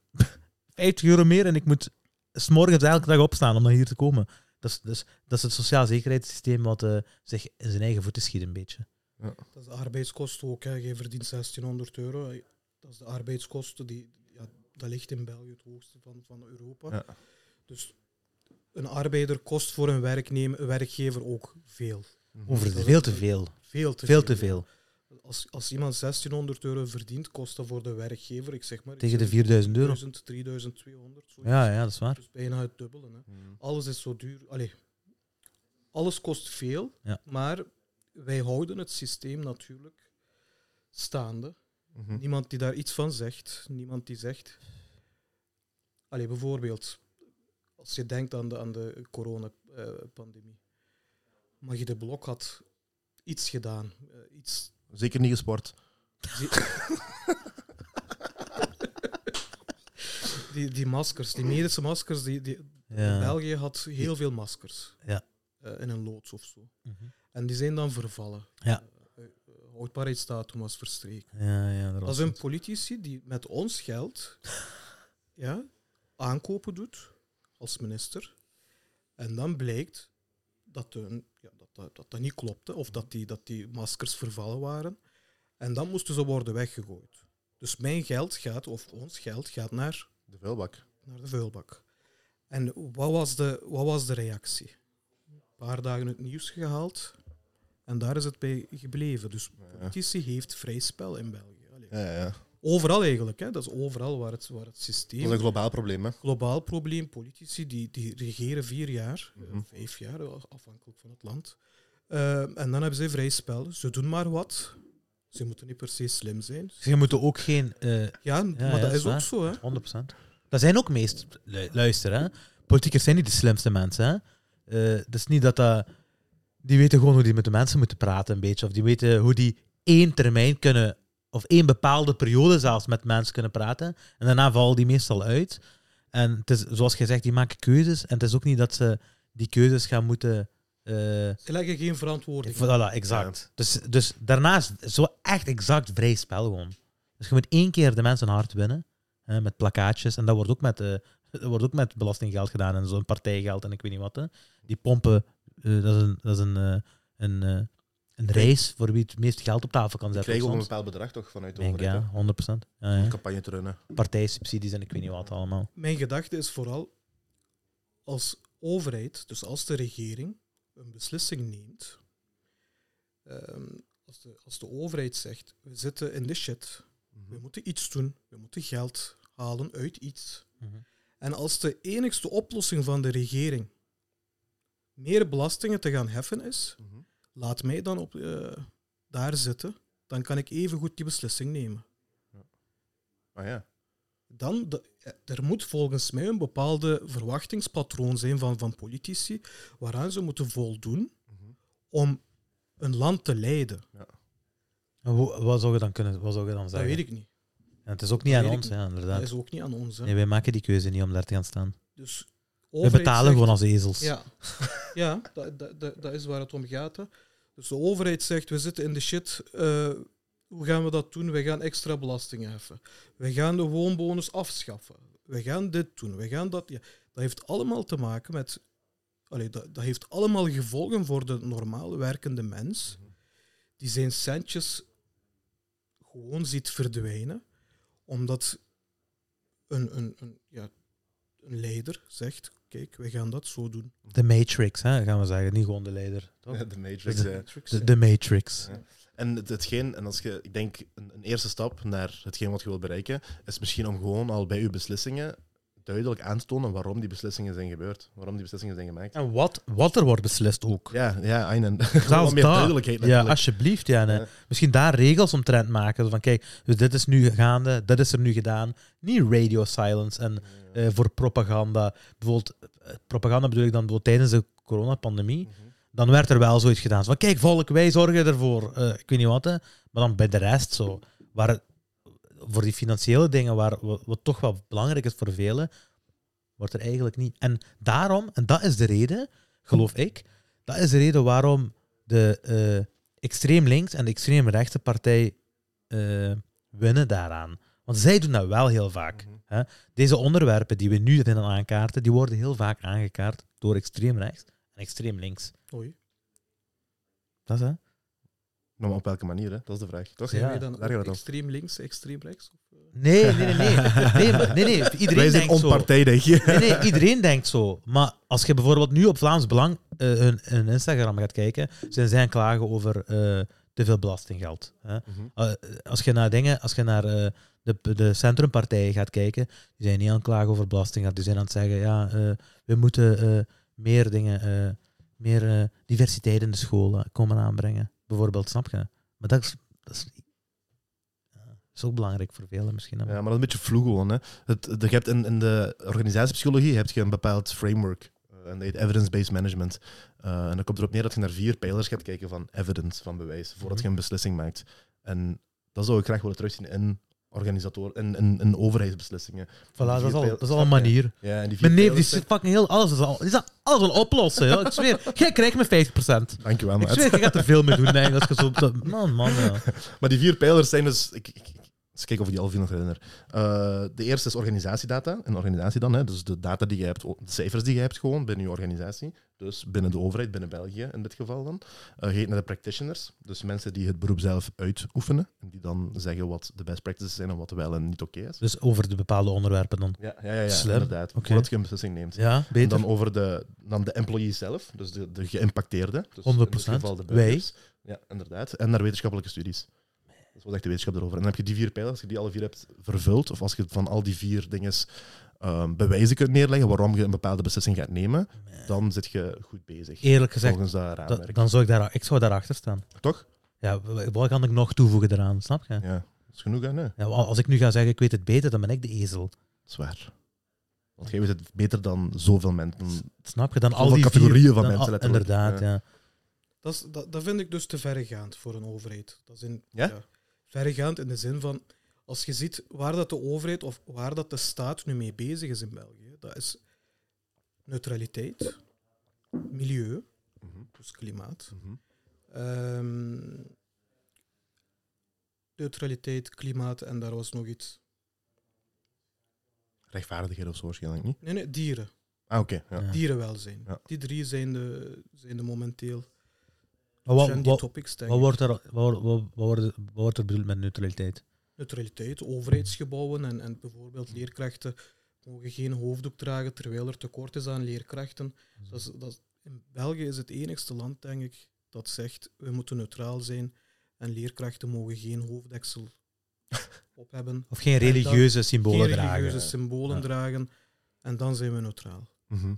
Speaker 2: 50 euro meer en ik moet s'morgens elke dag opstaan om dan hier te komen. Dat is, dat is, dat is het sociaal zekerheidssysteem wat eh, zich in zijn eigen voeten schiet een beetje.
Speaker 3: Dat is de arbeidskosten ook. Hè. Je verdient 1600 euro. Dat is de arbeidskosten. Die, ja, dat ligt in België het hoogste van, van Europa.
Speaker 1: Ja.
Speaker 3: Dus een arbeider kost voor een werknemer, werkgever ook veel.
Speaker 2: Over veel te veel.
Speaker 3: Veel te
Speaker 2: Veel te veel.
Speaker 3: Als, als iemand 1600 euro verdient, kost dat voor de werkgever, ik zeg maar... ik
Speaker 2: Tegen de
Speaker 3: zeg
Speaker 2: 4000 euro.
Speaker 3: 1000, 3200. zoiets.
Speaker 2: Ja, ja, dat is waar.
Speaker 3: Dus bijna het dubbele. Hè. Alles is zo duur. Allee, alles kost veel,
Speaker 2: Ja.
Speaker 3: maar wij houden het systeem natuurlijk staande.
Speaker 1: Mhm.
Speaker 3: Niemand die daar iets van zegt. Niemand die zegt. Allee, bijvoorbeeld, als je denkt aan de, aan de coronapandemie. Mag je de blok had iets gedaan. eh, iets.
Speaker 1: Zeker niet gesport.
Speaker 3: Die, die maskers, die medische maskers, die, die,
Speaker 2: Ja.
Speaker 3: België had heel veel maskers.
Speaker 2: Ja.
Speaker 3: Eh, in een loods of zo.
Speaker 2: Mhm.
Speaker 3: En die zijn dan vervallen.
Speaker 2: Ja.
Speaker 3: Eh, eh, Houdbaarheidsdatum was verstreken.
Speaker 2: Ja, ja, dat
Speaker 3: Dat
Speaker 2: was
Speaker 3: zijn
Speaker 2: het.
Speaker 3: politici die met ons geld ja, aankopen doet als minister. En dan blijkt dat de, ja, dat, dat, dat dat niet klopte of dat die, dat die maskers vervallen waren. En dan moesten ze worden weggegooid. Dus mijn geld gaat, of ons geld, gaat naar
Speaker 1: De vuilbak.
Speaker 3: naar de vuilbak. En wat was de, wat was de reactie? Een paar dagen het nieuws gehaald en daar is het bij gebleven. Dus
Speaker 1: Ja,
Speaker 3: politici heeft vrij spel in België. Allee,
Speaker 1: ja, ja.
Speaker 3: Overal eigenlijk, hè. dat is overal waar het, waar het
Speaker 1: Dat is een
Speaker 3: systeem.
Speaker 1: globaal probleem, hè?
Speaker 3: Globaal probleem, politici die, die regeren vier jaar, eh,
Speaker 1: Mhm.
Speaker 3: vijf jaar, eh, afhankelijk van het land. Eh, en dan hebben ze vrij spel. Ze doen maar wat. Ze moeten niet per se slim zijn.
Speaker 2: Ze moeten Dus ook geen eh,
Speaker 3: Ja, maar
Speaker 2: ja,
Speaker 3: dat
Speaker 2: is
Speaker 3: is ook
Speaker 2: waar.
Speaker 3: zo. Hè.
Speaker 2: 100%. Dat zijn ook meest... lu- Luister, hè. Politiekers zijn niet de slimste mensen, hè. Eh dat is niet dat dat... Die weten gewoon hoe die met de mensen moeten praten, een beetje. Of die weten hoe die één termijn kunnen... Of één bepaalde periode zelfs met mensen kunnen praten. En daarna vallen die meestal uit. En het is, zoals je zegt, die maken keuzes. En het is ook niet dat ze die keuzes gaan moeten... eh,
Speaker 3: Ze leggen geen verantwoording.
Speaker 2: Voilà, exact. Dus, dus daarnaast zo echt exact vrij spel gewoon. Dus je moet één keer de mensen hard winnen. Hè, met plakkaatjes. En dat wordt ook met, eh, dat wordt ook met belastinggeld gedaan. En zo'n partijgeld en ik weet niet wat. Hè. Die pompen, eh, dat is een, dat is een, eh, een, eh, een race voor wie het meest geld op tafel kan
Speaker 1: Je
Speaker 2: zetten.
Speaker 1: krijgt ook een
Speaker 2: soms.
Speaker 1: bepaald bedrag toch vanuit de
Speaker 2: Denk,
Speaker 1: overheid.
Speaker 2: ja, 100%. Ja,
Speaker 1: hè,
Speaker 2: ja.
Speaker 1: om campagne te runnen.
Speaker 2: Partijsubsidies en ik weet niet wat allemaal.
Speaker 3: Mijn gedachte is vooral als overheid, dus als de regering een beslissing neemt, ehm, als, de, als de overheid zegt, we zitten in de shit,
Speaker 1: Mhm.
Speaker 3: we moeten iets doen, we moeten geld halen uit iets.
Speaker 2: Mhm.
Speaker 3: En als de enigste oplossing van de regering meer belastingen te gaan heffen is,
Speaker 1: Mhm.
Speaker 3: laat mij dan op, eh, daar zitten, dan kan ik even goed die beslissing nemen.
Speaker 1: Ah ja.
Speaker 3: dan de- eh, er moet volgens mij een bepaalde verwachtingspatroon zijn van, van politici waaraan ze moeten voldoen
Speaker 1: Mhm.
Speaker 3: om een land te leiden.
Speaker 2: En hoe- wat zou je dan kunnen wat zou je dan
Speaker 3: Dat
Speaker 2: zeggen?
Speaker 3: weet ik niet.
Speaker 2: En het is ook niet
Speaker 3: dat
Speaker 2: aan
Speaker 3: weet ik
Speaker 2: ons, ja,
Speaker 3: Dat
Speaker 2: inderdaad.
Speaker 3: is ook niet aan ons. Hè.
Speaker 2: Nee, wij maken die keuze niet om daar te gaan staan.
Speaker 3: Dus
Speaker 2: We
Speaker 3: overheid
Speaker 2: betalen
Speaker 3: zegt-
Speaker 2: gewoon als ezels.
Speaker 3: Ja, ja dat, dat, dat, dat is waar het om gaat. Hè. Dus de overheid zegt, we zitten in de shit. eh, hoe gaan we dat doen? We gaan extra belastingen heffen. We gaan de woonbonus afschaffen. We gaan dit doen. We gaan dat. Ja, dat heeft allemaal te maken met... Allee, dat, dat heeft allemaal gevolgen voor de normale werkende mens. Die zijn centjes gewoon ziet verdwijnen. Omdat een, een, een, ja, een leider zegt... Kijk, we gaan dat zo doen.
Speaker 2: De Matrix, hè, gaan we zeggen. Niet gewoon de leider. toch?
Speaker 1: Ja, dus- De
Speaker 2: Dus
Speaker 1: Matrix.
Speaker 3: eh,
Speaker 1: ja.
Speaker 2: De, de Matrix.
Speaker 1: Ja. En het- hetgeen, en als je, ik denk, een, een eerste stap naar hetgeen wat je wilt bereiken, is misschien om gewoon al bij je beslissingen duidelijk aan te tonen waarom die beslissingen zijn gebeurd, waarom die beslissingen zijn gemaakt.
Speaker 2: En wat, wat er wordt beslist ook.
Speaker 1: Ja, ja, einen. Gewoon meer
Speaker 2: daar.
Speaker 1: duidelijkheid.
Speaker 2: Ja,
Speaker 1: natuurlijk.
Speaker 2: alsjeblieft. Ja, nee.
Speaker 1: Ja.
Speaker 2: Misschien daar regels omtrent maken. Zo Van kijk, dus dit is nu gaande, dit is er nu gedaan. Niet radio silence en eh, voor propaganda. Bijvoorbeeld, eh, propaganda bedoel ik dan bijvoorbeeld tijdens de coronapandemie.
Speaker 1: Mhm.
Speaker 2: Dan werd er wel zoiets gedaan. Zo van kijk, volk, wij zorgen ervoor. Eh, ik weet niet wat, hè. Maar dan bij de rest zo. Waar, het- voor die financiële dingen, waar, wat, wat toch wel belangrijk is voor velen, wordt er eigenlijk niet. En daarom, en dat is de reden, geloof ik, dat is de reden waarom de eh, extreem links en de extreem rechtse partij eh, winnen daaraan. Want zij doen dat wel heel vaak.
Speaker 1: Mhm.
Speaker 2: Hè? Deze onderwerpen die we nu erin aankaarten, die worden heel vaak aangekaart door extreem rechts en extreem links.
Speaker 3: Oei.
Speaker 2: Dat is hè?
Speaker 1: Nou, maar op welke manier, hè? dat is de vraag. Toch?
Speaker 2: Ja,
Speaker 3: Zijn wij dan
Speaker 1: daar gaat
Speaker 3: ook
Speaker 1: het om.
Speaker 3: extreem links, extreem rechts?
Speaker 2: Nee, nee, nee. Nee, nee, maar- nee, nee. Iedereen
Speaker 1: Wij zijn
Speaker 2: denkt zo.
Speaker 1: onpartijdig.
Speaker 2: Nee, nee, iedereen denkt zo. Maar als je bijvoorbeeld nu op Vlaams Belang eh, hun, hun Instagram gaat kijken, zijn zij aan het klagen over eh, te veel belastinggeld. Hè?
Speaker 1: Mhm.
Speaker 2: Eh, als je naar dingen, als je naar eh, de, de centrumpartijen gaat kijken, die zijn niet aan het klagen over belastinggeld. Die zijn aan het zeggen, ja, eh, we moeten eh, meer dingen, eh, meer eh, diversiteit in de scholen komen aanbrengen. Bijvoorbeeld, snap je? Maar dat is, dat is, ja, is ook belangrijk voor velen misschien. hè.
Speaker 1: Ja, maar dat is een beetje vloe gewoon. Hè. Het, de, je hebt in, in de organisatiepsychologie heb je een bepaald framework. eh, En dat heet evidence-based management. Eh, en dan komt erop neer dat je naar vier pijlers gaat kijken van evidence, van bewijs, voordat je een beslissing maakt. En dat zou ik graag willen terugzien in organisatoren, in, in, in overheidsbeslissingen.
Speaker 2: Voilà, dat is al, dat is al een
Speaker 1: Snap je?
Speaker 2: manier.
Speaker 1: Ja, en die vier
Speaker 2: Mijn neef die
Speaker 1: pijlers
Speaker 2: zit fucking heel alles. Is al, is al- alles al oplossen. joh. Ik zweer, jij krijgt me 50%.
Speaker 1: zijn- Dankjewel,
Speaker 2: Ik
Speaker 1: maat.
Speaker 2: zweer, je gaat er veel mee doen. Denk, ik, als je zo, op de- man, man. Ja.
Speaker 1: Maar die vier pijlers zijn dus. Ik, ik, ik- eens kijken of ik die al veel nog herinner. Eh, de eerste is organisatiedata. En organisatie dan, hè, dus de data die je hebt, o- de cijfers die je hebt gewoon binnen je organisatie. Dus binnen de overheid, binnen België in dit geval dan. Eh je gaat naar de practitioners, dus mensen die het beroep zelf uitoefenen. En die dan zeggen wat de best practices zijn en wat wel en niet oké is.
Speaker 2: Dus over de bepaalde onderwerpen dan.
Speaker 1: Ja, ja, ja, ja
Speaker 2: Slim.
Speaker 1: inderdaad.
Speaker 2: Oké.
Speaker 1: Voordat je een beslissing neemt.
Speaker 2: Ja,
Speaker 1: En
Speaker 2: beter.
Speaker 1: dan over de, dan de employee zelf, dus de, de geïmpacteerden. Dus In dit
Speaker 2: 100%,
Speaker 1: geval de burgers. Ja, inderdaad. En naar wetenschappelijke studies. Dat is wat echt de wetenschap erover. En dan heb je die vier pijlers, als je die alle vier hebt vervuld, of als je van al die vier dingen ehm, bewijzen kunt neerleggen waarom je een bepaalde beslissing gaat nemen, dan zit je goed bezig.
Speaker 2: Eerlijk gezegd,
Speaker 1: volgens dat
Speaker 2: da-
Speaker 1: raamwerk.
Speaker 2: dan zou ik, daar, ik zou daarachter staan.
Speaker 1: Toch?
Speaker 2: Ja, w- wat kan ik nog toevoegen eraan, snap je?
Speaker 1: Ja. Dat is genoeg, hè? Nee, dat
Speaker 2: Ja, als ik nu ga zeggen, ik weet het beter, dan ben ik de ezel.
Speaker 1: is waar. Want jij weet het beter dan zoveel mensen.
Speaker 2: Snap je? Dan
Speaker 1: Zoveel
Speaker 2: al die vier-
Speaker 1: categorieën van
Speaker 2: dan
Speaker 1: mensen,
Speaker 2: al-
Speaker 1: letterlijk.
Speaker 2: Inderdaad, ja.
Speaker 3: Dat, is, dat, dat vind ik dus te verregaand voor een overheid. Dat is in,
Speaker 1: Ja?
Speaker 3: verregaand in de zin van, als je ziet waar dat de overheid of waar dat de staat nu mee bezig is in België, dat is neutraliteit, milieu,
Speaker 1: Mhm.
Speaker 3: dus klimaat,
Speaker 1: Mhm.
Speaker 3: Ehm, neutraliteit, klimaat en daar was nog iets.
Speaker 1: Rechtvaardigheid of zo waarschijnlijk niet.
Speaker 3: Nee, nee, dieren.
Speaker 1: Ah, oké. ja.
Speaker 2: Ja.
Speaker 3: Dierenwelzijn.
Speaker 1: Ja.
Speaker 3: Die drie zijn de, zijn de momenteel.
Speaker 2: Maar wat,
Speaker 3: zijn die
Speaker 2: wat,
Speaker 3: topics, denk
Speaker 2: wat
Speaker 3: ik.
Speaker 2: wordt er, wat, wordt- wat, wordt, wat wordt er bedoeld met neutraliteit?
Speaker 3: Neutraliteit, overheidsgebouwen en, en bijvoorbeeld leerkrachten mogen geen hoofddoek dragen terwijl er tekort is aan leerkrachten.
Speaker 2: Mm.
Speaker 3: Dat is, dat is- in België is het enigste land, denk ik, dat zegt we moeten neutraal zijn en leerkrachten mogen geen hoofddeksel op hebben.
Speaker 2: Of geen
Speaker 3: dan-
Speaker 2: religieuze symbolen
Speaker 3: geen
Speaker 2: dragen?
Speaker 3: religieuze symbolen
Speaker 2: Ja.
Speaker 3: dragen. En dan zijn we neutraal.
Speaker 1: Mhm.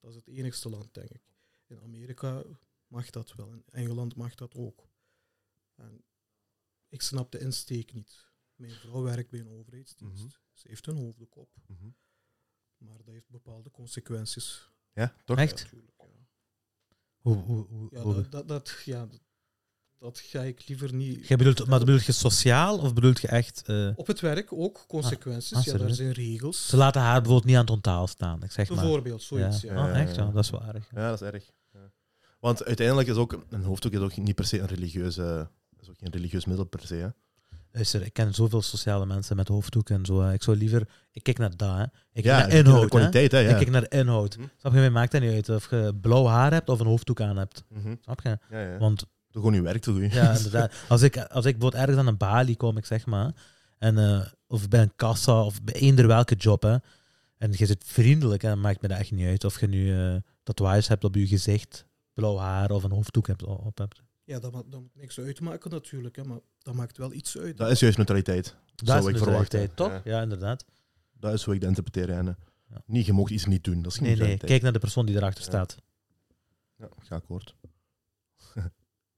Speaker 3: Dat is het enigste land, denk ik. In Amerika mag dat wel. In Engeland mag dat ook. En ik snap de insteek niet. Mijn vrouw werkt bij een overheidsdienst.
Speaker 1: Mhm.
Speaker 3: Ze heeft een hoofddoek op.
Speaker 1: Mhm.
Speaker 3: Maar dat heeft bepaalde consequenties.
Speaker 1: Ja, toch?
Speaker 2: Echt?
Speaker 3: Natuurlijk, ja.
Speaker 2: Hoe, hoe, hoe,
Speaker 3: Ja,
Speaker 2: hoe-
Speaker 3: dat, dat, dat, ja, dat, dat ga ik liever niet...
Speaker 2: Jij bedoelt, maar bedoelt je sociaal of bedoelt je echt... eh,
Speaker 3: Op het werk ook consequenties.
Speaker 2: Ah, ah,
Speaker 3: ja, daar
Speaker 2: serieus?
Speaker 3: zijn regels.
Speaker 2: ze laten haar bijvoorbeeld niet aan het onthaal staan, ik zeg maar.
Speaker 3: Bijvoorbeeld, zoiets.
Speaker 2: ja.
Speaker 3: Ja.
Speaker 1: ja.
Speaker 2: Ah, echt? Ja, dat is waar.
Speaker 1: Ja, dat is erg. Ja. Want uiteindelijk is ook een hoofddoek is ook niet per se een religieuze. Is ook geen religieus middel per se. Hè?
Speaker 2: Luister, ik ken zoveel sociale mensen met hoofddoeken en zo. hè. Ik zou liever... Ik kijk naar dat, hè. Ik kijk
Speaker 1: Ja,
Speaker 2: naar
Speaker 1: de
Speaker 2: inhoud, hè.
Speaker 1: kwaliteit, hè?
Speaker 2: Ik
Speaker 1: Ja.
Speaker 2: kijk naar de inhoud.
Speaker 1: Hm.
Speaker 2: Snap je, mij maakt dat niet uit of je blauw haar hebt of een hoofddoek aan hebt.
Speaker 1: Mhm.
Speaker 2: Snap je?
Speaker 1: ja, ja.
Speaker 2: Want
Speaker 1: Doe gewoon je werk, doe je.
Speaker 2: ja, inderdaad. Als ik, als ik bijvoorbeeld ergens aan een balie kom, ik zeg maar, en, eh, of bij een kassa of bij eender welke job, hè, en je zit vriendelijk, hè, dan maakt me dat echt niet uit of je nu eh tatoeages hebt op je gezicht, blauw haar of een hoofddoek hebt, op hebt.
Speaker 3: Ja, dat, ma- dat moet niks uitmaken natuurlijk, hè, maar dat maakt wel iets uit.
Speaker 1: Dat is juist neutraliteit.
Speaker 2: Dat
Speaker 1: Zou
Speaker 2: is
Speaker 1: ik
Speaker 2: neutraliteit,
Speaker 1: verwachten,
Speaker 2: toch? Ja, inderdaets.
Speaker 1: Dat is hoe ik dat interpreteer. Hè.
Speaker 2: Ja.
Speaker 1: Niet, je mag iets niet doen. Dat is geen
Speaker 2: Nee, nee,
Speaker 1: neutraliteit.
Speaker 2: kijk naar de persoon die erachter
Speaker 1: Ja.
Speaker 2: staat.
Speaker 1: Ja, ga akkoord.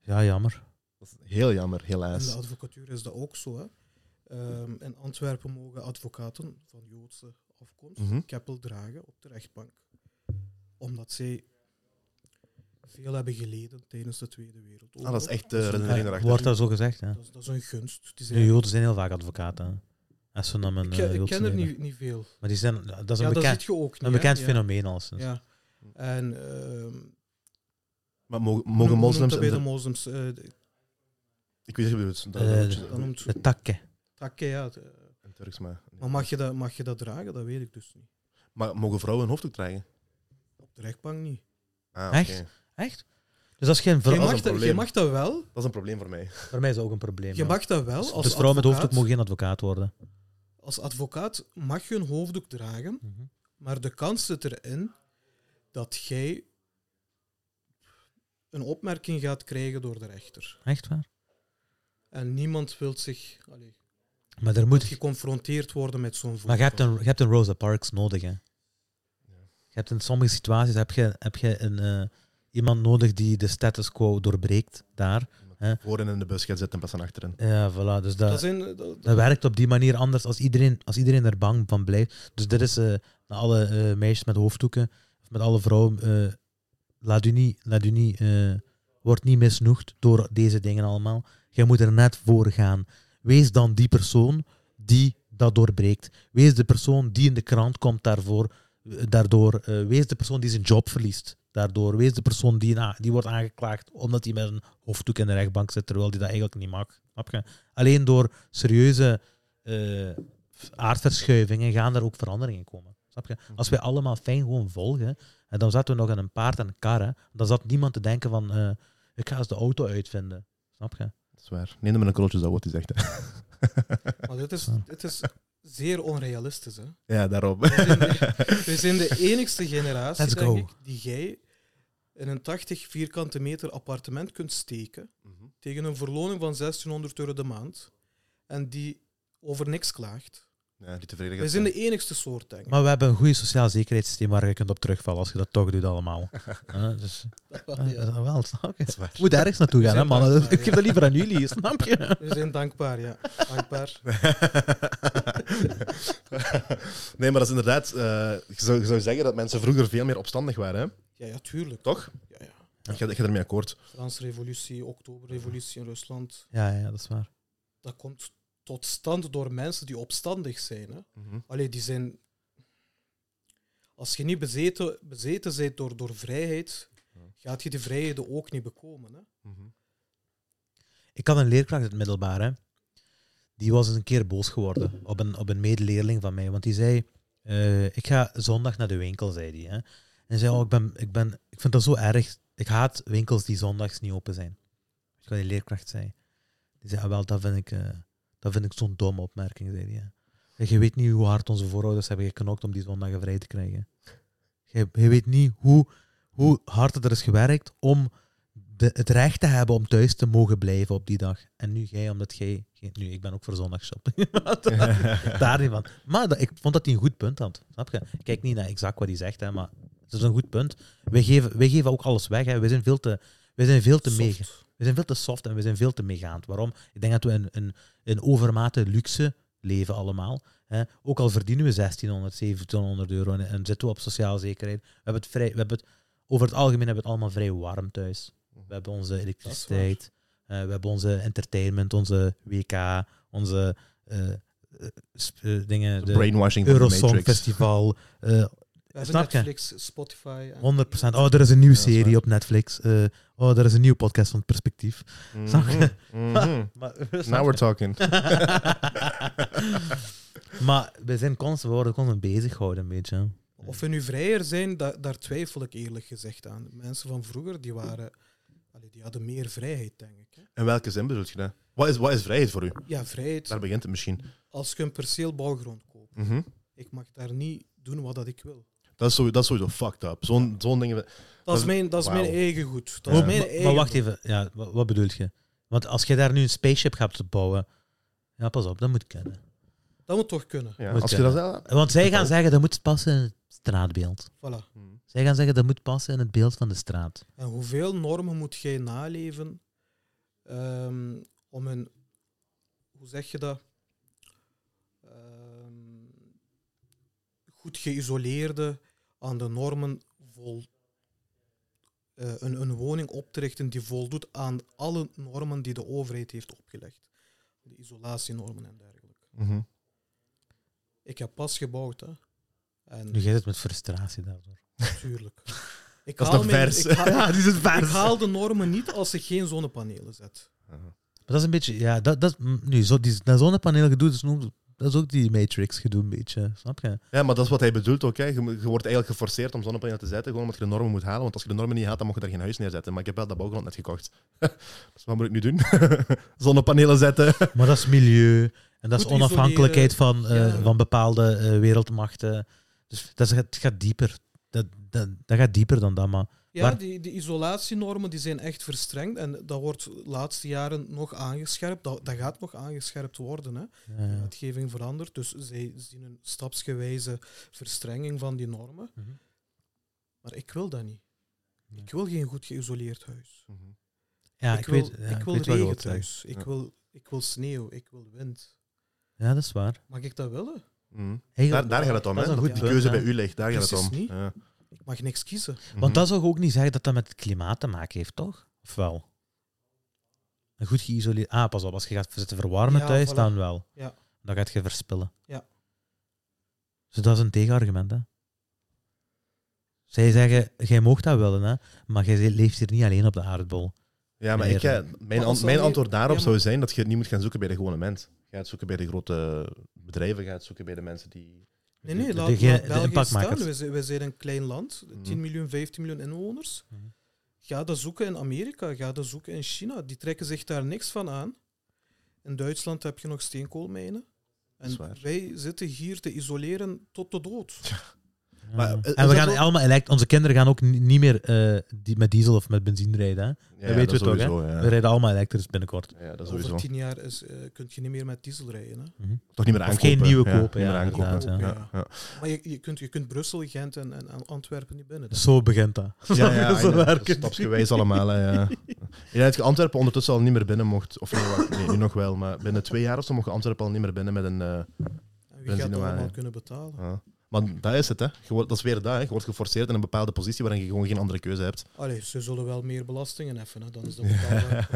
Speaker 2: Ja, jammer.
Speaker 1: Dat is heel jammer,
Speaker 3: In de
Speaker 1: helaas.
Speaker 3: advocatuur is dat ook zo. Hè. Ehm, in Antwerpen mogen advocaten van Joodse afkomst
Speaker 1: Mhm.
Speaker 3: keppel dragen op de rechtbank. Omdat zij veel hebben geleden tijdens de Tweede Wereldoorlog.
Speaker 1: Ah, dat is echt
Speaker 3: Dat
Speaker 1: de
Speaker 3: is een-
Speaker 1: redenering erachter.
Speaker 2: Wordt dat zo gezegd, hè?
Speaker 3: dat, is, dat is een gunst. Die
Speaker 2: De
Speaker 3: zijn,
Speaker 2: Joden zijn heel vaak advocaten. hè. Als ze naar mijn
Speaker 3: ik,
Speaker 2: eh,
Speaker 3: ken- ik
Speaker 2: Joodse
Speaker 3: ken er
Speaker 2: nemen.
Speaker 3: niet, niet veel.
Speaker 2: Maar die zijn, dat is een
Speaker 3: ja, dat
Speaker 2: bekend,
Speaker 3: zit je ook niet.
Speaker 2: een bekend
Speaker 3: hè.
Speaker 2: fenomeen al sinds.
Speaker 3: Ja. ja. En ehm,
Speaker 1: Maar mogen,
Speaker 3: hoe
Speaker 1: mogen
Speaker 3: noemt
Speaker 1: moslims...
Speaker 3: dat bij de
Speaker 1: inter-
Speaker 3: moslims? Eh, de-
Speaker 1: Ik weet niet wat je bedoelt. Dat-
Speaker 2: Eh,
Speaker 1: dat-
Speaker 3: dan noemt ze
Speaker 2: De takken.
Speaker 3: takke, ja, de-
Speaker 1: Turks, maar...
Speaker 3: Maar mag je, dat, mag je dat dragen? Dat weet ik dus niet.
Speaker 1: Maar mogen vrouwen een hoofddoek dragen?
Speaker 3: Op de rechtbank niet.
Speaker 1: Ah, oké.
Speaker 2: Echt? Echt? Dus als geen
Speaker 3: Je
Speaker 1: is
Speaker 2: vrouw...
Speaker 1: een
Speaker 3: mag, dat, je
Speaker 1: probleem.
Speaker 3: mag dat wel.
Speaker 1: Dat is een probleem voor mij.
Speaker 2: Voor mij is dat ook een probleem.
Speaker 3: Je
Speaker 2: ja.
Speaker 3: mag dat wel.
Speaker 2: dus
Speaker 3: Als
Speaker 2: dus vrouwen met hoofddoek
Speaker 3: advocaat.
Speaker 2: mogen geen advocaat worden.
Speaker 3: Als advocaat mag je een hoofddoek dragen,
Speaker 2: Mhm.
Speaker 3: maar de kans zit erin dat jij een opmerking gaat krijgen door de rechter.
Speaker 2: Echt waar?
Speaker 3: En niemand wil zich allee,
Speaker 2: Maar, er moet,
Speaker 3: geconfronteerd worden met zo'n
Speaker 2: maar
Speaker 3: voorval.
Speaker 2: je, hebt een, je hebt een Rosa Parks nodig, hè. Je hebt in sommige situaties heb je, heb je een, eh, iemand nodig die de status quo doorbreekt daar.
Speaker 1: Voorin in de bus gaat zitten en pas aan achterin.
Speaker 2: Ja, voilà. Dus dat,
Speaker 3: Dat zijn, dat- dat-
Speaker 2: dat werkt op die manier anders als iedereen, als iedereen er bang van blijft. Dus dit is eh, naar alle eh, meisjes met hoofddoeken, of met alle vrouwen, eh, laat u niet, laat u niet eh, wordt niet misnoegd door deze dingen allemaal. Jij moet er net voor gaan. Wees dan die persoon die dat doorbreekt. Wees de persoon die in de krant komt daarvoor, eh, daardoor. Eh, wees de persoon die zijn job verliest daardoor. Wees de persoon die, na- die wordt aangeklaagd omdat hij met een hoofddoek in de rechtbank zit, terwijl hij dat eigenlijk niet mag. Snap je? Alleen door serieuze eh, aardverschuivingen gaan er ook veranderingen komen. Snap je? Als wij allemaal fijn gewoon volgen, en dan zaten we nog aan een paard en een kar, hè, dan zat niemand te denken van, eh, ik ga eens de auto uitvinden. Snap je?
Speaker 1: Dat is waar. Neem hem met een kroltje, dat wordt hij zegt. hè.
Speaker 3: maar dit is, dit is zeer onrealistisch. Hè?
Speaker 1: Ja, daarop.
Speaker 3: We zijn de enigste generatie,
Speaker 2: Let's
Speaker 3: denk
Speaker 2: go.
Speaker 3: ik, die jij in een 80 vierkante meter appartement kunt steken
Speaker 1: Mhm.
Speaker 3: tegen een verloning van 1600 euro de maand en die over niks klaagt.
Speaker 1: Ja, die tevreden
Speaker 3: We
Speaker 1: gaat
Speaker 3: zijn
Speaker 1: zijn.
Speaker 3: de enigste soort, denk ik.
Speaker 2: Maar we hebben een goed sociaal zekerheidssysteem waar je kunt op terugvallen als je dat toch doet allemaal. Eh, dus, eh,
Speaker 3: Ja.
Speaker 2: dat wel, snap je?
Speaker 1: Dat is waar.
Speaker 2: Ik moet ergens naartoe gaan, hè, mannen. Ik geef dat liever aan jullie, snap je?
Speaker 3: We zijn dankbaar, ja. Dankbaar.
Speaker 1: nee, maar dat is inderdaad... eh, je, zou, je zou zeggen dat mensen vroeger veel meer opstandig waren, hè?
Speaker 3: Ja, ja tuurlijk.
Speaker 1: toch?
Speaker 3: Ja, ja.
Speaker 1: Ik ga, ik ga ermee akkoord.
Speaker 3: Franse revolutie, oktoberrevolutie in Rusland.
Speaker 2: Ja, ja, dat is waar.
Speaker 3: Dat komt tot stand door mensen die opstandig zijn. Hè?
Speaker 1: Mhm,
Speaker 3: Allee, die zijn. Als je niet bezeten, bezeten bent door, door vrijheid, gaat je die vrijheden ook niet bekomen. Hè?
Speaker 1: mhm.
Speaker 2: Ik had een leerkracht in het middelbaar, hè. Die was eens een keer boos geworden op een, op een medeleerling van mij. Want die zei, eh, ik ga zondag naar de winkel, zei die. Hè. En hij zei, oh, ik, ben, ik, ben, ik vind dat zo erg. Ik haat winkels die zondags niet open zijn. Weet je wat die leerkracht zei? Die zei, ah, wel, dat vind ik, eh, dat vind ik zo'n domme opmerking, zei die. hè. Zeg, Je weet niet hoe hard onze voorouders hebben geknokt om die zondagen vrij te krijgen. Je, je weet niet hoe, hoe hard het er is gewerkt om de, het recht te hebben om thuis te mogen blijven op die dag. En nu jij, omdat jij... geen- Nu, ik ben ook voor zondagshopping. Daar niet van. Maar dat- ik vond dat hij een goed punt had. Snap je? Ik kijk niet naar exact wat hij zegt, hè, maar het is een goed punt. Wij geven, wij geven ook alles weg. Hè. Wij zijn veel te... We zijn veel te
Speaker 3: Soft.
Speaker 2: mee, we zijn veel te soft en we zijn veel te meegaand. Waarom? Ik denk dat we in, in, in overmate luxe leven allemaal. Hè. Ook al verdienen we 1600, 1700 euro en, en zitten we op sociaal zekerheid. We hebben het vrij, we hebben het, over het algemeen hebben we het allemaal vrij warm thuis. We hebben onze elektriciteit, eh, we hebben onze entertainment, onze WK, onze eh, eh, sp- eh, dingen, de
Speaker 1: Brainwashing van de
Speaker 2: Eurosong
Speaker 1: Matrix.
Speaker 2: Festival. eh,
Speaker 3: We hebben
Speaker 2: Snap je?
Speaker 3: Netflix, Spotify. En
Speaker 2: 100%. Oh, er is een nieuwe
Speaker 1: Ja, dat is
Speaker 2: serie
Speaker 1: waar.
Speaker 2: op Netflix. Eh, oh, er is een nieuwe podcast van het perspectief. Snap je?
Speaker 1: Mhm, mhm.
Speaker 2: Maar,
Speaker 1: Now we're talking.
Speaker 2: maar we zijn constant, we worden constant bezig gehouden, een beetje. hè.
Speaker 3: Of we nu vrijer zijn, da- daar twijfel ik eerlijk gezegd aan. Mensen van vroeger die waren, allee, die hadden meer vrijheid, denk ik. Hè?
Speaker 1: In welke zin bedoel je dat? Wat is, wat is vrijheid voor u?
Speaker 3: Ja, vrijheid.
Speaker 1: Daar begint het misschien.
Speaker 3: Als je een perceel bouwgrond koopt,
Speaker 1: Mhm.
Speaker 3: ik mag daar niet doen wat dat ik wil.
Speaker 1: dat, is sowieso, dat is sowieso fucked up. Zo'n zo'n ding.
Speaker 3: Dat is
Speaker 1: is-
Speaker 3: mijn, dat is
Speaker 1: wauw.
Speaker 3: mijn eigen goed. Dat
Speaker 1: Ja.
Speaker 3: is
Speaker 2: Maar-
Speaker 3: mijn
Speaker 2: maar,
Speaker 3: eigen
Speaker 2: maar wacht even, ja, wa- wat, bedoel je? Want als je daar nu een spaceship gaat bouwen, ja, pas op, dat moet kunnen.
Speaker 3: Dat moet toch kunnen.
Speaker 1: Ja,
Speaker 2: Moet
Speaker 1: als je
Speaker 2: kunnen.
Speaker 1: dat zelf.
Speaker 2: Want zij gaan
Speaker 1: Oh.
Speaker 2: zeggen dat moet passen in het straatbeeld.
Speaker 3: Voilà.
Speaker 1: Mhm.
Speaker 2: Zij gaan zeggen dat moet passen in het beeld van de straat.
Speaker 3: En hoeveel normen moet jij naleven ehm, om een, hoe zeg je dat, Ehm, goed geïsoleerde aan de normen vol, eh, een, een woning op te richten die voldoet aan alle normen die de overheid heeft opgelegd. De isolatienormen en dergelijke.
Speaker 1: Mhm.
Speaker 3: Ik heb pas gebouwd, hè. En
Speaker 2: Nu gaat het met frustratie daardoor.
Speaker 3: natuurlijk. Ik
Speaker 1: Dat is
Speaker 3: haal
Speaker 1: nog
Speaker 3: mijn-
Speaker 1: vers.
Speaker 3: ik haal-
Speaker 2: die is
Speaker 3: Ik haal de normen niet als ik geen zonnepanelen zet.
Speaker 2: Maar dat is een beetje, ja, dat, dat, mm, nu, zo, die, dat zonnepaneel gedoe is nu Dat is ook die Matrix-gedoe een beetje, snap je?
Speaker 1: Ja, maar dat is wat hij bedoelt ook. Hè. Je, moet- je wordt eigenlijk geforceerd om zonnepanelen te zetten, gewoon omdat je de normen moet halen. Want als je de normen niet haalt, dan mag je daar geen huis neerzetten. Maar ik heb wel dat bouwgrond net gekocht. dus wat moet ik nu doen? zonnepanelen zetten.
Speaker 2: Maar dat is milieu en dat is
Speaker 3: Goed
Speaker 2: onafhankelijkheid van, eh,
Speaker 3: ja.
Speaker 2: van bepaalde eh, wereldmachten. Dus dat is, het gaat dieper. Dat, dat, dat gaat dieper dan dat, maar...
Speaker 3: Ja,
Speaker 2: Waar-
Speaker 3: die, die isolatienormen die zijn echt verstrengd en dat wordt de laatste jaren nog aangescherpt. Dat, dat gaat nog aangescherpt worden. Hè.
Speaker 2: eh,
Speaker 3: De wetgeving verandert, dus zij zien een stapsgewijze verstrenging van die normen.
Speaker 2: Mhm.
Speaker 3: Maar ik wil dat niet.
Speaker 2: Nee.
Speaker 3: Ik wil geen goed geïsoleerd huis.
Speaker 2: ja, ik,
Speaker 3: ik, wil,
Speaker 2: weet, ja,
Speaker 3: ik wil
Speaker 2: weet wat je
Speaker 3: regen
Speaker 2: wilt zeggen.
Speaker 3: thuis. Ik,
Speaker 1: Ja.
Speaker 3: wil, ik wil sneeuw, ik wil wind.
Speaker 2: Ja, dat is waar.
Speaker 3: Mag ik dat willen?
Speaker 1: Mhm. Daar,
Speaker 2: Eigenlijk-
Speaker 1: daar gaat het om,
Speaker 2: Dat
Speaker 1: hè?
Speaker 2: is een
Speaker 1: Dat
Speaker 2: goed
Speaker 1: die
Speaker 2: punt,
Speaker 1: keuze
Speaker 2: ja.
Speaker 1: bij u ligt. Daar gaat het
Speaker 3: Precies
Speaker 1: om.
Speaker 3: niet.
Speaker 1: Ja.
Speaker 3: Ik mag niks kiezen.
Speaker 1: Mhm.
Speaker 2: Want dat zou je ook niet zeggen dat dat met het klimaat te maken heeft, toch? Of wel? Een goed geïsoleerd... Ah, pas op, als je gaat zitten verwarmen
Speaker 3: Ja,
Speaker 2: thuis,
Speaker 3: voilà.
Speaker 2: dan wel.
Speaker 3: Ja.
Speaker 2: Dan gaat je verspillen.
Speaker 3: Ja.
Speaker 2: Dus dat is een tegenargument, hè? Zij zeggen, jij mag dat willen, hè? Maar jij leeft hier niet alleen op de aardbol.
Speaker 1: Ja, maar ik,
Speaker 2: Leren.
Speaker 1: eh, mijn,
Speaker 3: Maar
Speaker 1: an-
Speaker 3: als
Speaker 1: mijn
Speaker 3: dan-
Speaker 1: antwoord daarop
Speaker 3: ja, maar-
Speaker 1: zou zijn dat je het niet moet gaan zoeken bij de gewone mens. Je gaat zoeken bij de grote bedrijven, je gaat zoeken bij de mensen die...
Speaker 3: Nee, nee,
Speaker 2: De-
Speaker 3: laat,
Speaker 2: de-
Speaker 3: laat
Speaker 2: de- de
Speaker 3: België
Speaker 2: impactmakers.
Speaker 3: staan. We zijn, we zijn een klein land,
Speaker 1: Mhm.
Speaker 3: 10 miljoen, 15 miljoen inwoners.
Speaker 2: Mhm.
Speaker 3: Ga dat zoeken in Amerika, ga dat zoeken in China. Die trekken zich daar niks van aan. In Duitsland heb je nog steenkoolmijnen.
Speaker 1: is
Speaker 3: En
Speaker 1: waar.
Speaker 3: wij zitten hier te isoleren tot de dood.
Speaker 1: Maar,
Speaker 2: Ja.
Speaker 1: eh, is
Speaker 2: en we
Speaker 1: dat
Speaker 2: gaan
Speaker 1: ook-
Speaker 2: allemaal elect- Onze kinderen gaan ook ni- niet meer eh, die, met diesel of met benzine rijden, hè?
Speaker 1: Ja,
Speaker 2: weten
Speaker 1: dat
Speaker 2: we toch, hè?
Speaker 1: sowieso, ja.
Speaker 2: We rijden allemaal elektrisch binnenkort.
Speaker 1: Ja, dat
Speaker 3: Over
Speaker 1: sowieso.
Speaker 3: 10 jaar is, eh, kun je niet meer met diesel rijden. Hè?
Speaker 1: Toch niet meer
Speaker 2: Of
Speaker 1: aankopen.
Speaker 2: geen nieuwe
Speaker 1: Ja,
Speaker 2: kopen,
Speaker 1: niet meer
Speaker 2: ja,
Speaker 1: aankopen.
Speaker 2: inderdaad,
Speaker 1: Ja, ja.
Speaker 3: Maar je, je, kunt, je kunt Brussel, Gent en, en Antwerpen niet binnen.
Speaker 2: Zo begint dat.
Speaker 1: Ja, ja,
Speaker 2: Zo
Speaker 1: ja,
Speaker 2: werkt het.
Speaker 1: stapsgewijs allemaal. Hè, ja. Je had Antwerpen ondertussen al niet meer binnen mocht. Of nee, wacht, nee, nu nog wel. Maar binnen twee jaar of zo mocht je Antwerpen al niet meer binnen met een... eh,
Speaker 3: En wie gaat dat
Speaker 1: Benzine
Speaker 3: allemaal
Speaker 1: waar,
Speaker 3: kunnen betalen?
Speaker 1: ja. Maar dat is het, hè. Je wordt, dat is weer dat, hè. Je wordt geforceerd in een bepaalde positie waarin je gewoon geen andere keuze hebt.
Speaker 3: Allee, ze zullen wel meer belastingen heffen. Hè? Dan is dat betaalbaar,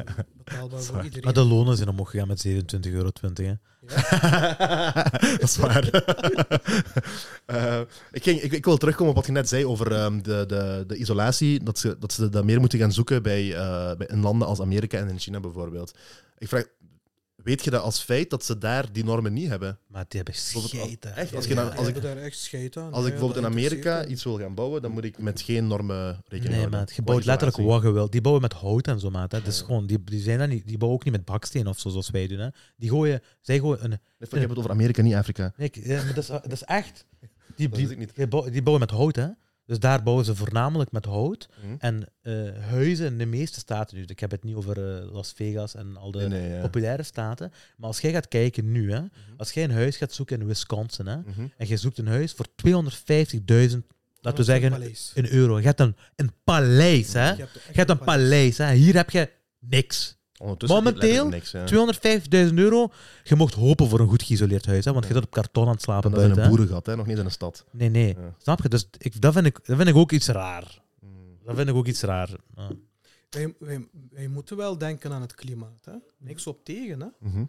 Speaker 3: betaalbaar
Speaker 1: is
Speaker 3: voor
Speaker 1: waar.
Speaker 2: Maar
Speaker 3: iedereen.
Speaker 2: de lonen zijn omhoog gegaan met 27,20 euro. hè.
Speaker 1: dat is waar. Eh, ik, ging, ik, ik wil terugkomen op wat je net zei over ehm, de, de, de isolatie. Dat ze, dat ze dat meer moeten gaan zoeken bij, eh, bij, in landen als Amerika en in China bijvoorbeeld. Ik vraag, weet je dat als feit dat ze daar die normen niet hebben?
Speaker 2: Maar die hebben
Speaker 1: Bijvoorbeeld,
Speaker 2: scheten.
Speaker 1: Echt? Als,
Speaker 3: Ja,
Speaker 1: je
Speaker 3: ja,
Speaker 1: dan,
Speaker 3: die
Speaker 1: als, ik,
Speaker 3: hebben daar echt scheid aan.
Speaker 1: als
Speaker 3: Ja,
Speaker 1: ik bijvoorbeeld
Speaker 3: dat
Speaker 1: in Amerika
Speaker 3: interesseert
Speaker 1: iets wil gaan bouwen, dan moet ik met geen normen rekening
Speaker 2: Nee,
Speaker 1: houden.
Speaker 2: maat. Je
Speaker 1: Qua
Speaker 2: bouwt letterlijk
Speaker 1: isolatie.
Speaker 2: wat je wilt. Die bouwen met hout en zo, maat. Hè. Dus
Speaker 1: Ja.
Speaker 2: gewoon, die, die, zijn dan niet, die bouwen ook niet met baksteen of zo, zoals wij doen. Hè. Die gooien... Zij gooien een...
Speaker 1: Ik heb het over Amerika, niet Afrika.
Speaker 2: Nee, ik- ja, maar dat, is, dat is echt... Die,
Speaker 1: Dat wist
Speaker 2: die,
Speaker 1: ik niet.
Speaker 2: die bouwen, die bouwen met hout, hè. Dus daar bouwen ze voornamelijk met hout.
Speaker 1: Hm?
Speaker 2: En eh, huizen in de meeste staten nu. Ik heb het niet over eh, Las Vegas en al de...
Speaker 1: Nee, nee, ja.
Speaker 2: populaire staten. Maar als jij gaat kijken nu, hè, als jij een huis gaat zoeken in Wisconsin, hè,
Speaker 1: Mhm.
Speaker 2: en je zoekt een huis voor 250.000, laten we
Speaker 3: Een
Speaker 2: zeggen,
Speaker 3: paleis.
Speaker 2: een euro. Je hebt een, een paleis, hè?
Speaker 3: Je
Speaker 2: Je
Speaker 3: echt
Speaker 2: hebt een paleis, hè? Hier heb je niks.
Speaker 1: Ondertussen
Speaker 2: Momenteel,
Speaker 1: letterlijk niks, ja.
Speaker 2: 250.000 euro. Je mocht hopen voor een goed geïsoleerd huis, hè? Want je
Speaker 1: Ja.
Speaker 2: zit op karton aan het slapen
Speaker 1: Dat is in
Speaker 2: buiten.
Speaker 1: een
Speaker 2: hè.
Speaker 1: boerengat, hè? nog niet in een stad.
Speaker 2: Nee, nee.
Speaker 1: Ja.
Speaker 2: Snap je? Dus ik, dat, vind ik, dat vind ik ook iets raar.
Speaker 1: Mm.
Speaker 2: Dat vind ik ook iets raar. Ja.
Speaker 3: Wij, wij, wij moeten wel denken aan het klimaat. Hè? Niks op tegen. Hè?
Speaker 1: Mhm.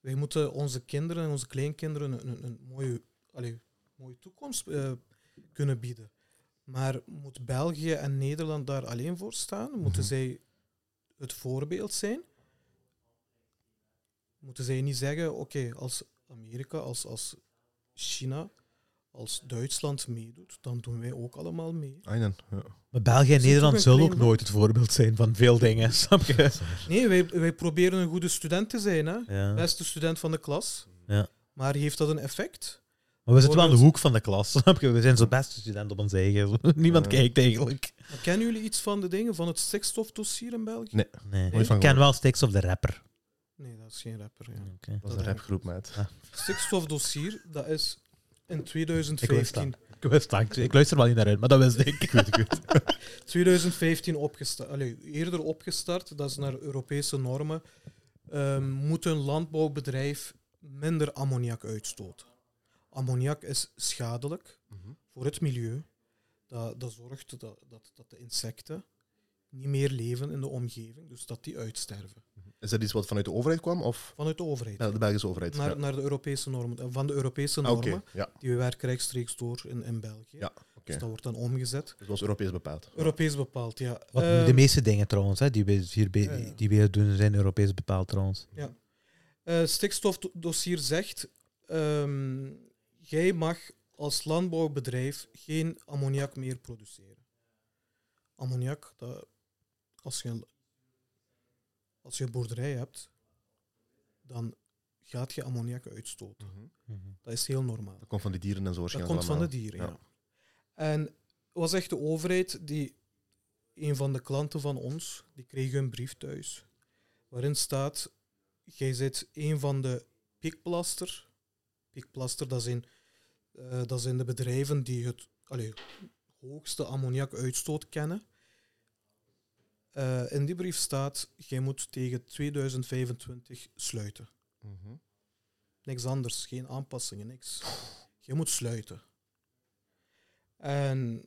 Speaker 3: Wij moeten onze kinderen en onze kleinkinderen een, een, een mooie, allee, mooie toekomst eh, kunnen bieden. Maar moet België en Nederland daar alleen voor staan? Moeten
Speaker 1: Mhm.
Speaker 3: zij het voorbeeld zijn? Moeten zij niet zeggen, oké, als Amerika, als, als China, als Duitsland meedoet, dan doen wij ook allemaal mee.
Speaker 1: Einen, Ah, ja.
Speaker 2: Maar België en
Speaker 3: Is het ook
Speaker 2: Nederland
Speaker 3: een
Speaker 2: zullen
Speaker 3: klein
Speaker 2: ook
Speaker 3: land?
Speaker 2: nooit het voorbeeld zijn van veel dingen. Snap je?
Speaker 3: Nee, wij, wij proberen een goede student te zijn, hè?
Speaker 2: Ja.
Speaker 3: beste student van de klas.
Speaker 2: Ja.
Speaker 3: Maar heeft dat een effect?
Speaker 2: Maar we zitten wel aan de
Speaker 3: Bijvoorbeeld-
Speaker 2: hoek van de klas, snap je? We zijn zo beste student op ons eigen. Niemand
Speaker 1: Ja.
Speaker 2: kijkt eigenlijk.
Speaker 3: Maar kennen jullie iets van de dingen van het stikstofdossier in België?
Speaker 1: Nooit
Speaker 2: Nee.
Speaker 1: van
Speaker 2: Ik ken
Speaker 1: gehoord.
Speaker 2: wel Sticks of de Rapper.
Speaker 3: Nee, dat is geen rapper. Ja.
Speaker 1: Dat is een rapgroep, maat.
Speaker 3: Stikstofdossier, dat is in
Speaker 2: Ik wist dat.
Speaker 3: 2015,
Speaker 2: Ik, wist dat. Ik- ik luister wel niet naar uit, maar dat wist ik. ik, weet, ik
Speaker 3: 2015 opgestart. Allee, eerder opgestart, dat is naar Europese normen. Ehm, moet een landbouwbedrijf minder ammoniak uitstoten? Ammoniak is schadelijk. voor het milieu. Dat, dat zorgt dat, dat, dat de insecten niet meer leven in de omgeving, dus dat die uitsterven.
Speaker 1: Is dat iets wat vanuit de overheid kwam? Of
Speaker 3: Vanuit de overheid.
Speaker 1: ja, de Belgische overheid?
Speaker 3: naar,
Speaker 1: ja.
Speaker 3: naar de Europese normen. Eh, Van de Europese
Speaker 1: Ah,
Speaker 3: normen,
Speaker 1: Oké, ja.
Speaker 3: die werken rechtstreeks door in, in België.
Speaker 1: Ja,
Speaker 3: Dus dat wordt dan omgezet.
Speaker 1: Dus dat was Europees bepaald.
Speaker 3: Europees bepaald, ja.
Speaker 2: Wat nu
Speaker 3: Ehm,
Speaker 2: de meeste dingen trouwens, hè, die we hier be-
Speaker 3: Ja, ja.
Speaker 2: die we hier doen, zijn Europees bepaald trouwens.
Speaker 3: eh, stikstofdossier zegt, ehm, jij mag als landbouwbedrijf geen ammoniak meer produceren. Ammoniak, dat, als, je een, als je een boerderij hebt, dan gaat je ammoniak uitstoten.
Speaker 1: Mhm.
Speaker 2: Mhm.
Speaker 3: Dat is heel normaal.
Speaker 1: Dat komt van die dieren en zo
Speaker 3: Dat
Speaker 1: waarschijnlijk
Speaker 3: komt van de
Speaker 1: allemaal.
Speaker 3: dieren, ja.
Speaker 1: Ja.
Speaker 3: En het was echt de overheid die, een van de klanten van ons, die kreeg een brief thuis. Waarin staat, jij bent een van de pikplaster. Pikplaster, dat zijn, eh, dat zijn de bedrijven die het allee, hoogste ammoniakuitstoot kennen. Eh, in die brief staat, jij moet tegen 2025 sluiten.
Speaker 1: Mhm.
Speaker 3: Niks anders, geen aanpassingen, niks. Je moet sluiten. En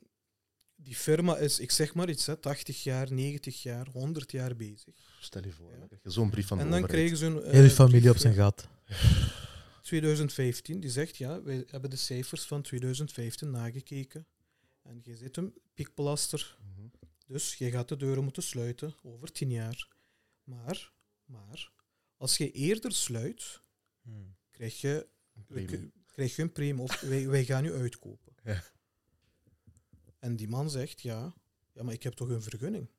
Speaker 3: die firma is, ik zeg maar iets, hè, 80 jaar, 90 jaar, 100 jaar bezig.
Speaker 1: Stel je voor,
Speaker 3: Ja.
Speaker 1: dan krijg je zo'n brief van de
Speaker 3: en dan
Speaker 1: overheid.
Speaker 3: kregen ze een... eh,
Speaker 2: Hele familie op
Speaker 3: brief
Speaker 2: zijn gat.
Speaker 3: in 2015, die zegt, ja, we hebben de cijfers van 2015 nagekeken. En je zit hem, piekbelaster,
Speaker 1: Mhm.
Speaker 3: dus je gaat de deuren moeten sluiten over 10 jaar. Maar, maar, als je eerder sluit,
Speaker 2: Mhm.
Speaker 3: krijg je we
Speaker 1: Premie.
Speaker 3: k- krijg je een premie of wij, wij gaan u uitkopen.
Speaker 1: Ja.
Speaker 3: En die man zegt, ja, ja, maar ik heb toch een vergunning.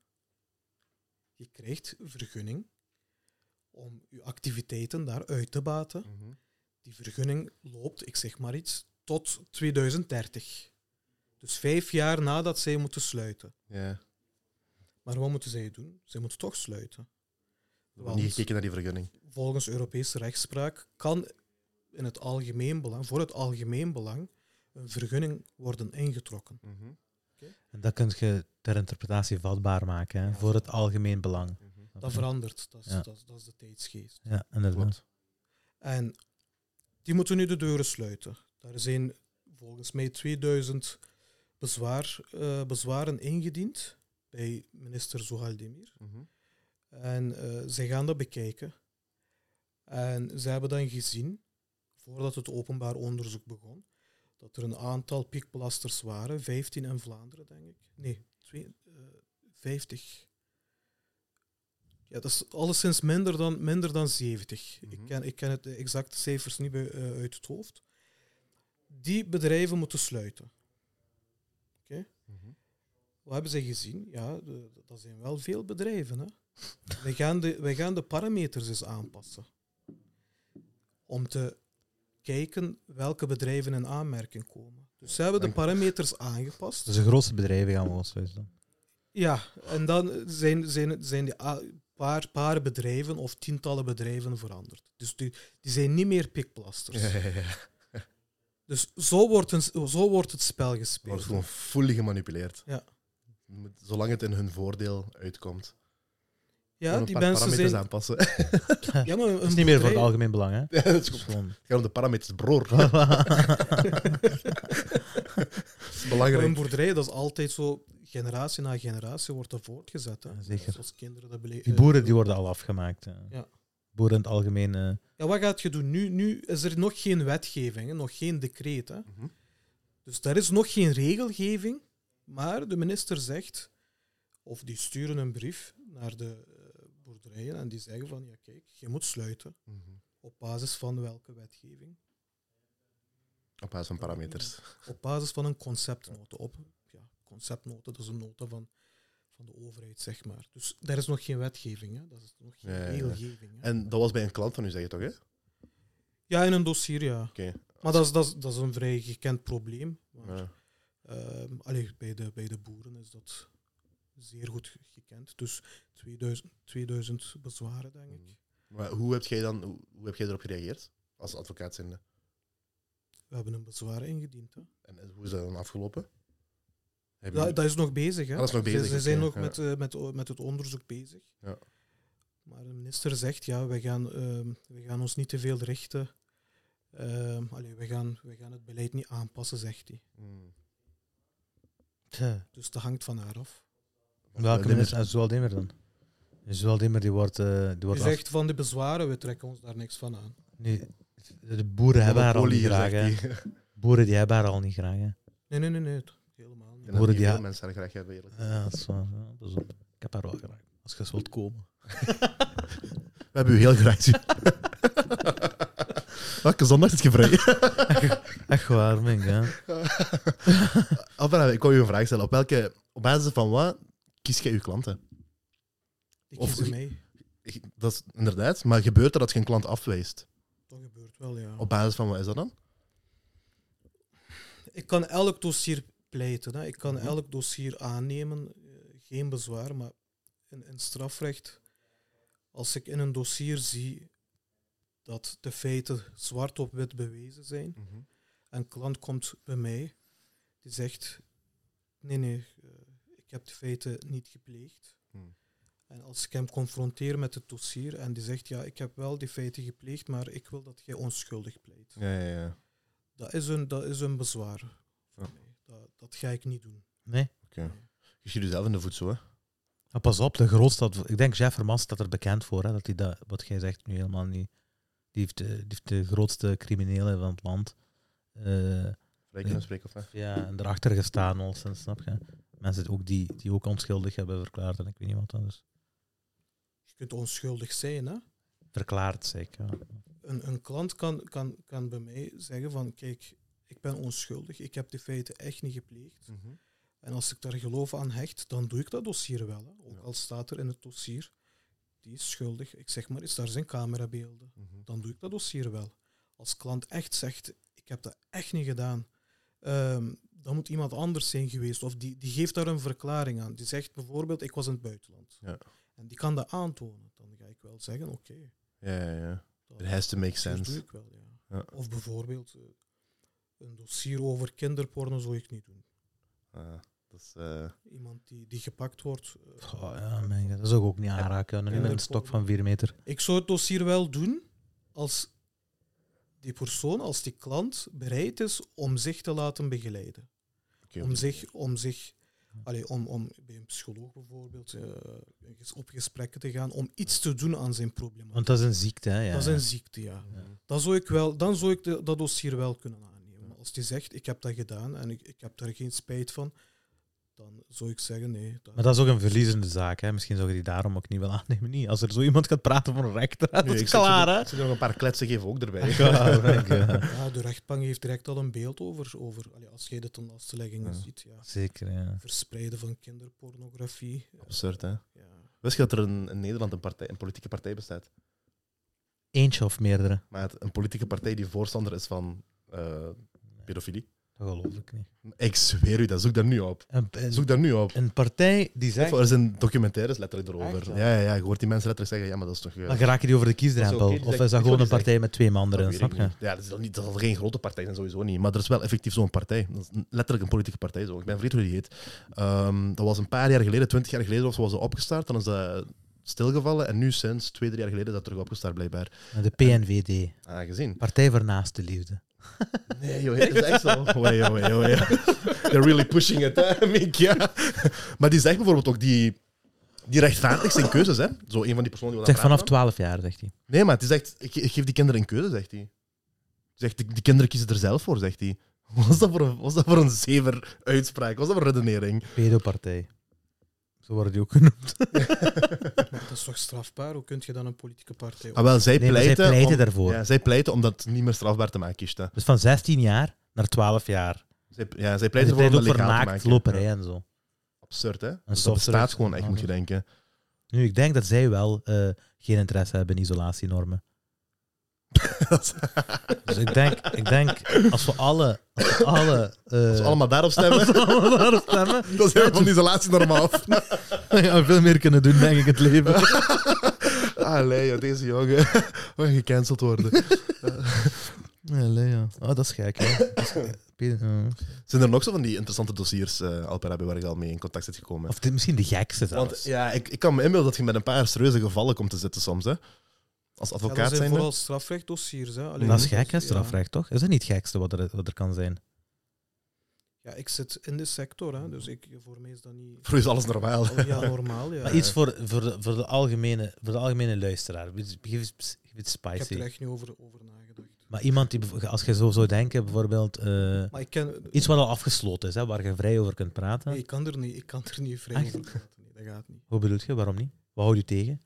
Speaker 3: Je krijgt vergunning om je activiteiten daar uit te baten.
Speaker 1: Mhm.
Speaker 3: Die vergunning loopt, ik zeg maar iets, tot 2030. Dus vijf jaar nadat zij moeten sluiten.
Speaker 1: Ja.
Speaker 3: Maar wat moeten zij doen? Zij moeten toch sluiten.
Speaker 1: We hebben niet gekeken naar die vergunning.
Speaker 3: volgens Europese rechtspraak kan in het algemeen belang, voor het algemeen belang een vergunning worden ingetrokken.
Speaker 1: Mhm.
Speaker 2: En dat kun je ter interpretatie vatbaar maken, hè,
Speaker 3: Ja.
Speaker 2: voor het algemeen belang.
Speaker 1: Mhm.
Speaker 3: Dat verandert, dat is,
Speaker 2: Ja.
Speaker 3: dat, is- dat is de tijdsgeest.
Speaker 2: Ja, inderdaad.
Speaker 1: Klopt.
Speaker 3: En die moeten nu de deuren sluiten. Daar zijn volgens mij 2000 bezwaar, eh, bezwaren ingediend bij minister Zohaldemir.
Speaker 1: Mhm.
Speaker 3: En eh zij gaan dat bekijken. En ze hebben dan gezien, voordat het openbaar onderzoek begon, dat er een aantal piekbelasters waren, 15 in Vlaanderen, denk ik. Nee, twee, eh, 50. Ja, dat is alleszins minder dan, minder dan 70.
Speaker 1: Mhm.
Speaker 3: ik, ken, ik ken het de exacte cijfers niet bij- eh, uit het hoofd. Die bedrijven moeten sluiten.
Speaker 1: Mhm.
Speaker 3: Wat hebben ze gezien? Ja, de- dat zijn wel veel bedrijven. Hè? Wij, gaan de, wij gaan de parameters eens aanpassen. Om te kijken welke bedrijven in aanmerking komen. Dus ze hebben de
Speaker 1: Dank.
Speaker 3: parameters aangepast.
Speaker 2: Dus de grootste bedrijven gaan we ons sluiten.
Speaker 3: Ja, en dan zijn, zijn, zijn die a- paar, paar bedrijven of tientallen bedrijven veranderd. Dus die, die zijn niet meer pikplasters.
Speaker 1: Ja, ja, ja.
Speaker 3: Dus zo wordt, een, zo wordt het spel
Speaker 1: Je wordt
Speaker 3: gespeeld.
Speaker 1: gewoon fully gemanipuleerd.
Speaker 3: Ja.
Speaker 1: Je moet- Zolang het in hun voordeel uitkomt. Gewoon
Speaker 3: Ja,
Speaker 1: een
Speaker 3: die
Speaker 1: paar
Speaker 3: mensen
Speaker 1: parameters
Speaker 3: zijn...
Speaker 1: aanpassen.
Speaker 3: Ja, maar een
Speaker 2: Het is niet meer voor het
Speaker 3: bedrijf-
Speaker 2: algemeen belang, hè?
Speaker 1: Ja, dat is
Speaker 2: Het is
Speaker 1: goed.
Speaker 2: gewoon-
Speaker 1: Het gaat om de parameters, broer. Dat is
Speaker 3: Maar een
Speaker 1: belangrijk.
Speaker 3: boerderij, dat is altijd zo, generatie na generatie wordt dat voortgezet. Hè?
Speaker 2: Ja, zeker.
Speaker 3: Zoals kinderen dat bele-
Speaker 2: Die
Speaker 3: eh,
Speaker 2: boeren die worden al afgemaakt. hè.
Speaker 3: Ja.
Speaker 2: Boeren in het algemeen. eh,
Speaker 3: Ja, wat gaat je doen? Nu, nu is er nog geen wetgeving, hè, nog geen decreet. Hè?
Speaker 1: Mhm.
Speaker 3: Dus daar is nog geen regelgeving, maar de minister zegt, of die sturen een brief naar de eh, boerderijen en die zeggen van, ja kijk, je moet sluiten
Speaker 1: Mhm.
Speaker 3: op basis van welke wetgeving?
Speaker 1: Op basis van parameters.
Speaker 3: Op basis van een conceptnota. Op, ja, conceptnota, dat is een nota van, van de overheid, zeg maar. Dus daar is nog geen wetgeving, hè? dat is nog geen
Speaker 1: Ja, ja, ja.
Speaker 3: regelgeving. Hè?
Speaker 1: En dat was bij een klant van u, zeg je toch? Hè?
Speaker 3: Ja, in een dossier, ja.
Speaker 1: Oké.
Speaker 3: Maar dat is, dat, is, dat is een vrij gekend probleem. Maar,
Speaker 1: Ja.
Speaker 3: ehm, allee, bij, de, bij de boeren is dat zeer goed gekend. Dus 2000, 2000 bezwaren, denk ik.
Speaker 1: Mhm. Maar hoe heb jij dan hoe, hoe heb jij erop gereageerd? Als advocaat zijnde?
Speaker 3: We hebben een bezwaar ingediend. Hè.
Speaker 1: En hoe is dat dan afgelopen? Heb je-
Speaker 3: Dat, dat is nog bezig. Hè.
Speaker 1: Ah, dat is nog
Speaker 3: Ze-
Speaker 1: bezig,
Speaker 3: Ze zijn
Speaker 1: oké,
Speaker 3: nog
Speaker 1: ja.
Speaker 3: met, eh, met, o- met het onderzoek bezig.
Speaker 1: Ja.
Speaker 3: Maar de minister zegt, ja, wij gaan, ehm, wij gaan ons niet te veel richten. Ehm allee, wij, gaan, wij gaan het beleid niet aanpassen, zegt hij.
Speaker 1: Hmm.
Speaker 2: tja,
Speaker 3: Dus dat hangt van haar af.
Speaker 2: welke
Speaker 1: Demmer-
Speaker 2: minister? Zoal Demer dan? Zoal Demer die wordt. eh, die
Speaker 3: Hij
Speaker 2: wordt af-
Speaker 3: zegt van de bezwaren, we trekken ons daar niks van aan.
Speaker 2: Nee, de boeren hebben haar al
Speaker 1: Monopolie
Speaker 2: niet
Speaker 1: hier,
Speaker 2: graag.
Speaker 1: zegt
Speaker 2: hè.
Speaker 1: hij.
Speaker 2: Boeren die hebben haar al niet graag. Hè.
Speaker 3: Nee, nee, nee, nee, het- helemaal niet.
Speaker 1: En dat
Speaker 2: Horen
Speaker 1: niet
Speaker 2: die
Speaker 1: veel
Speaker 2: ha-
Speaker 1: mensen haar graag hebben, eerlijk.
Speaker 2: Ja, dat is waar. Ja, dat is waar. ik heb haar wel graag. Als je eens wilt komen.
Speaker 1: We hebben u heel graag. Elke zondag is je vrij.
Speaker 2: Echt waar, Mink, hè.
Speaker 1: Enfin, ik wou je een vraag stellen. Op, welke, op basis van wat kies jij je klanten?
Speaker 3: Ik
Speaker 1: Of-
Speaker 3: kies ze mee.
Speaker 1: Ik- Dat is inderdaad, maar gebeurt er dat je een klant afwijst?
Speaker 3: Dat gebeurt wel, ja.
Speaker 1: Op basis van wat is dat dan?
Speaker 3: Ik kan elk dossier pleiten. Hè. Ik kan
Speaker 1: Mhm.
Speaker 3: elk dossier aannemen. eh, Geen bezwaar, maar in, in strafrecht, als ik in een dossier zie dat de feiten zwart op wit bewezen zijn, en een klant komt bij mij, die zegt, nee, nee, eh, ik heb de feiten niet gepleegd.
Speaker 1: Hmm.
Speaker 3: En als ik hem confronteer met het dossier en die zegt, ja, ik heb wel die feiten gepleegd, maar ik wil dat jij onschuldig pleit.
Speaker 1: Ja, ja, ja.
Speaker 3: Dat is een, dat is een bezwaar. voor
Speaker 1: Ja.
Speaker 3: mij. Dat, dat ga ik niet doen.
Speaker 2: Nee.
Speaker 1: Je schiet jezelf in de voet zo, hè?
Speaker 2: Maar pas op, de grootstad... Ik denk, Jeff Hermans staat er bekend voor, hè. Dat hij dat, wat jij zegt, nu helemaal niet... Die heeft, eh, die heeft de grootste criminelen van het land. eh,
Speaker 1: Vrij kunnen spreken of niet?
Speaker 2: ja, en erachter gestaan al sinds, snap je? Mensen ook die, die ook onschuldig hebben verklaard en ik weet niet wat dat is.
Speaker 3: Je kunt onschuldig zijn. Hè?
Speaker 2: Verklaard, zeker.
Speaker 3: Een, een klant kan, kan, kan bij mij zeggen van, kijk, ik ben onschuldig, ik heb die feiten echt niet gepleegd.
Speaker 1: Mhm,
Speaker 3: En als ik daar geloof aan hecht, dan doe ik dat dossier wel. Hè. Ook
Speaker 1: Ja.
Speaker 3: al staat er in het dossier, die is schuldig, ik zeg maar, is daar zijn camerabeelden.
Speaker 1: mhm.
Speaker 3: Dan doe ik dat dossier wel. Als klant echt zegt, ik heb dat echt niet gedaan, ehm, dan moet iemand anders zijn geweest. Of die, die geeft daar een verklaring aan. Die zegt bijvoorbeeld, ik was in het buitenland.
Speaker 1: Ja.
Speaker 3: En die kan dat aantonen. Dan ga ik wel zeggen, oké.
Speaker 1: Ja, ja, ja.
Speaker 3: dat-
Speaker 1: It has to make
Speaker 3: dat doe
Speaker 1: sense.
Speaker 3: ik wel, ja.
Speaker 1: Ja.
Speaker 3: Of bijvoorbeeld, eh, een dossier over kinderporno zou ik niet doen.
Speaker 1: Ah, dat is, eh,
Speaker 3: Iemand die, die gepakt wordt... eh,
Speaker 2: Goh, ja, mijn god, dat zou ik ook niet aanraken. Nu met een stok van 4 meter.
Speaker 3: Ik zou het dossier wel doen als die persoon, als die klant bereid is om zich te laten begeleiden.
Speaker 1: oké,
Speaker 3: Om zich, om zich allee, om, om bij een psycholoog bijvoorbeeld eh, in ges- op gesprekken te gaan, om iets te doen aan zijn problemen.
Speaker 2: Want dat is een ziekte, hè? Ja.
Speaker 3: dat is een ziekte, ja. Dan zou ik, wel, dan zou ik de- dat dossier wel kunnen aannemen. Maar Als die zegt, ik heb dat gedaan en ik, ik heb daar geen spijt van, dan zou ik zeggen, nee. dat-
Speaker 2: Maar dat is ook een verliezende zaak, hè? Misschien zou je die daarom ook niet willen aannemen. Niet. Als er zo iemand gaat praten voor een rechter, dat
Speaker 1: Nu,
Speaker 2: is
Speaker 1: ik
Speaker 2: klaar, hè?
Speaker 1: zit er nog een paar kletsen geven ook erbij.
Speaker 2: Ja, dank je.
Speaker 3: ja, de rechtbank heeft direct al een beeld over. over allee, als jij de tenlasteleggingen
Speaker 1: Ja.
Speaker 3: ziet, ja.
Speaker 2: Zeker, ja.
Speaker 3: verspreiden van kinderpornografie. eh,
Speaker 1: Absurd, hè?
Speaker 3: ja.
Speaker 1: Wist je dat er in, in Nederland een, partij, een politieke partij bestaat?
Speaker 2: Eentje of meerdere.
Speaker 1: Maar het- een politieke partij die voorstander is van eh, pedofilie?
Speaker 2: Dat geloof ik niet.
Speaker 1: Ik zweer u, dat zoek daar nu op.
Speaker 2: Een, een,
Speaker 1: Zoek daar nu op.
Speaker 2: een partij die zegt...
Speaker 1: Er zijn documentaires letterlijk
Speaker 2: Echt,
Speaker 1: erover.
Speaker 2: ja?
Speaker 1: Ja, ja, ja, je hoort die mensen letterlijk zeggen, ja, maar dat is toch... eh,
Speaker 2: Dan raak je die over de kiesdrempel.
Speaker 1: Dat is oké, die
Speaker 2: of is dat
Speaker 1: zegt-
Speaker 2: gewoon een
Speaker 1: die
Speaker 2: partij met twee
Speaker 1: dat
Speaker 2: manderen,
Speaker 1: weet ik
Speaker 2: snap je?
Speaker 1: niet. Ja, dat is, dan niet, dat zal geen grote partij zijn, sowieso niet. Maar er is wel effectief zo'n partij. Dat is een- letterlijk een politieke partij zo. Ik ben vergeten hoe die heet. Ehm, dat was een paar jaar geleden, twintig jaar geleden of zo, was ze opgestart. Dan is dat stilgevallen. En nu sinds twee, drie jaar geleden is dat terug opgestart, blijkbaar.
Speaker 2: De PNVD.
Speaker 1: Aangezien.
Speaker 2: Partij voor Naaste Liefde.
Speaker 1: Nee, joh, dat is echt zo. Oei, oei, oei. They're really pushing it, hè, Mick, ja. Maar die zegt bijvoorbeeld ook, die, die rechtvaardigt zijn keuzes, hè. Zo een van die personen die we
Speaker 2: Zeg
Speaker 1: aan het praten
Speaker 2: vanaf 12 jaar, zegt hij.
Speaker 1: waren. Nee, maar het is echt, ik, ik geef die kinderen een keuze, zegt hij. Zegt, die, die kinderen kiezen er zelf voor, zegt hij. Wat is dat voor een, wat is dat voor een zever uitspraak? Wat is dat voor een redenering?
Speaker 2: Pedopartij. Zo worden die ook genoemd.
Speaker 3: Maar dat is toch strafbaar? Hoe kun je dan een politieke partij
Speaker 1: Ah, wel, zij
Speaker 2: Nee, maar zij
Speaker 1: pleiten...
Speaker 2: pleiten
Speaker 1: om,
Speaker 2: daarvoor.
Speaker 1: Ja, zij pleiten om dat niet meer strafbaar te maken, Kishta.
Speaker 2: Dus van 16 jaar naar 12 jaar.
Speaker 1: Zij, ja, zij
Speaker 2: En
Speaker 1: pleiten ervoor om dat
Speaker 2: ook voor
Speaker 1: legaal te maken.
Speaker 2: naaktloperij
Speaker 1: Ja,
Speaker 2: en zo.
Speaker 1: absurd, hè? Dus dat
Speaker 2: software-
Speaker 1: bestaat gewoon echt, moet je denken.
Speaker 2: Nu, ik denk dat zij wel eh, geen interesse hebben in isolatienormen. Dus ik denk, ik denk als we alle... Als we alle, eh,
Speaker 1: Als we allemaal daarop stemmen,
Speaker 2: als we allemaal daarop stemmen...
Speaker 1: dan zijn we van die isolatie normaal af.
Speaker 2: gaan we veel meer kunnen doen, denk ik, het leven.
Speaker 1: Allee, joh, deze jongen. We gaan gecanceld worden.
Speaker 2: Allee, ja. Oh, dat is gek, hè. Dat is- Pedo- ja.
Speaker 1: Zijn er nog zo van die interessante dossiers, eh Alperabi, waar je al mee in contact zit gekomen?
Speaker 2: Of dit- misschien de gekste zelfs.
Speaker 1: Want ja, ik, ik kan me inbeelden dat je met een paar serieuze gevallen komt te zitten soms, hè? Als
Speaker 3: Ja,
Speaker 1: advocaat
Speaker 3: dat zijn
Speaker 1: zijn.
Speaker 3: vooral strafrechtdossiers. Hè. Allee,
Speaker 2: dat is gek, hè,
Speaker 3: ja.
Speaker 2: strafrecht, toch? Is dat niet het gekste wat er, wat er kan zijn?
Speaker 3: Ja, ik zit in de sector, hè, dus ik, voor mij is dat niet
Speaker 1: Voor u is alles normaal.
Speaker 3: al- Oh, ja, normaal. Ja.
Speaker 2: Maar iets voor, voor, de, voor, de, algemene, voor de algemene luisteraar. Geef het- geef het
Speaker 3: ik heb er
Speaker 2: spicy.
Speaker 3: echt niet over, over nagedacht.
Speaker 2: Maar iemand die, bijvo- als je zo zou denken, bijvoorbeeld... eh,
Speaker 3: Maar ik, ken,
Speaker 2: iets wat al afgesloten is, hè, waar je vrij over kunt praten.
Speaker 3: nee, ik, kan, er niet, ik kan er niet vrij
Speaker 2: Echt?
Speaker 3: over praten. Nee, dat gaat niet.
Speaker 2: Hoe bedoel je? Waarom niet? Wat houdt je tegen?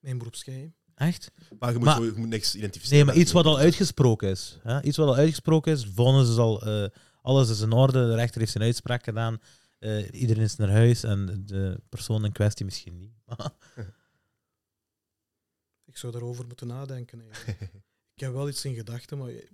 Speaker 3: Mijn beroepsgeheim.
Speaker 2: Echt?
Speaker 1: Maar je moet,
Speaker 2: Maar-
Speaker 1: zo- je moet niks identificeren.
Speaker 2: Nee, maar iets wat al uitgesproken is. Hè? Iets wat al uitgesproken is. Vonnis is al... eh, alles is in orde. De rechter heeft zijn uitspraak gedaan. Eh, iedereen is naar huis. En de persoon in kwestie misschien niet.
Speaker 3: Ik zou daarover moeten nadenken. eigenlijk. ik heb wel iets in gedachten, maar ik,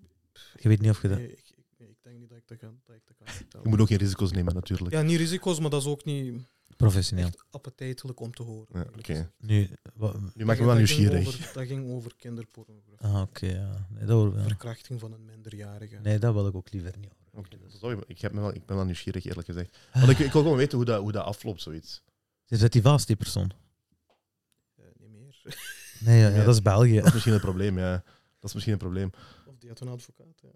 Speaker 2: je weet niet of je dat...
Speaker 3: nee, ik, ik- nee, ik denk niet dat ik dat kan, dat ik dat kan
Speaker 1: Je
Speaker 3: vertellen.
Speaker 1: moet ook geen risico's nemen, natuurlijk.
Speaker 3: Ja, niet risico's, maar dat is ook niet
Speaker 2: Professioneel.
Speaker 3: echt appetijtelijk om te horen.
Speaker 1: Ja,
Speaker 3: eigenlijk.
Speaker 1: oké.
Speaker 2: Nu... wa-
Speaker 1: Nu maak je me wel
Speaker 3: Dat ging- dat ging
Speaker 1: nieuwsgierig.
Speaker 3: over- dat ging over kinderpornografie.
Speaker 2: Ah, oké, ja. Nee, dat, wil- ja.
Speaker 3: Verkrachting van een minderjarige.
Speaker 2: nee, dat wil ik ook liever niet. horen.
Speaker 1: Oké, dat is wel- ik, heb me wel, ik ben wel nieuwsgierig, eerlijk gezegd. Want ik, ik wil gewoon weten hoe dat, hoe dat afloopt, zoiets.
Speaker 2: Zit die vast, die persoon?
Speaker 3: Eh, niet meer.
Speaker 2: Nee, ja, ja,
Speaker 1: Nee.
Speaker 2: dat is België.
Speaker 1: Dat is misschien een probleem, ja. Dat is misschien een probleem.
Speaker 3: Of die had een advocaat. Ja,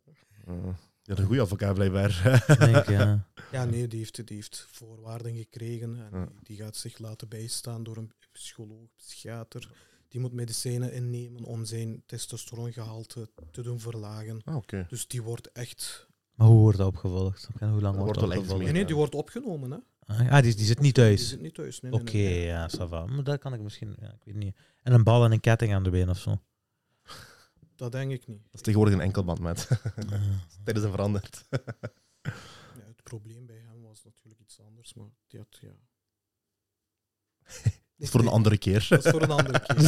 Speaker 1: Eh, je had een goede advocaat, blijkbaar.
Speaker 2: Denk, ik, ja.
Speaker 3: ja nee, die heeft, die heeft voorwaarden gekregen. En
Speaker 1: Ja.
Speaker 3: die, die gaat zich laten bijstaan door een psycholoog, psychiater. Die moet medicijnen innemen om zijn testosterongehalte te doen verlagen.
Speaker 1: Ah, oké.
Speaker 3: Dus die wordt echt...
Speaker 2: Maar hoe wordt dat opgevolgd? Ik weet niet Hoe lang
Speaker 1: Er
Speaker 2: wordt
Speaker 1: wordt
Speaker 2: dat
Speaker 1: wel echt
Speaker 2: opgevolgd?
Speaker 3: Nee, nee, die wordt opgenomen. Hè.
Speaker 2: Ah, ja, die, die zit niet
Speaker 3: Die
Speaker 2: thuis.
Speaker 3: zit niet thuis. Nee, nee,
Speaker 2: Oké,
Speaker 3: nee, nee.
Speaker 2: ja, ça va. Maar dat kan ik misschien... Ja, ik weet niet. En een bal en een ketting aan de been of zo.
Speaker 3: Dat denk ik niet.
Speaker 1: Dat is tegenwoordig een enkelband, met.
Speaker 2: Eh,
Speaker 1: Tijdens een veranderd.
Speaker 3: Ja, het probleem bij hem was natuurlijk iets anders, maar die had... Ja.
Speaker 1: Dat is voor een andere keer.
Speaker 3: Dat is voor een andere keer.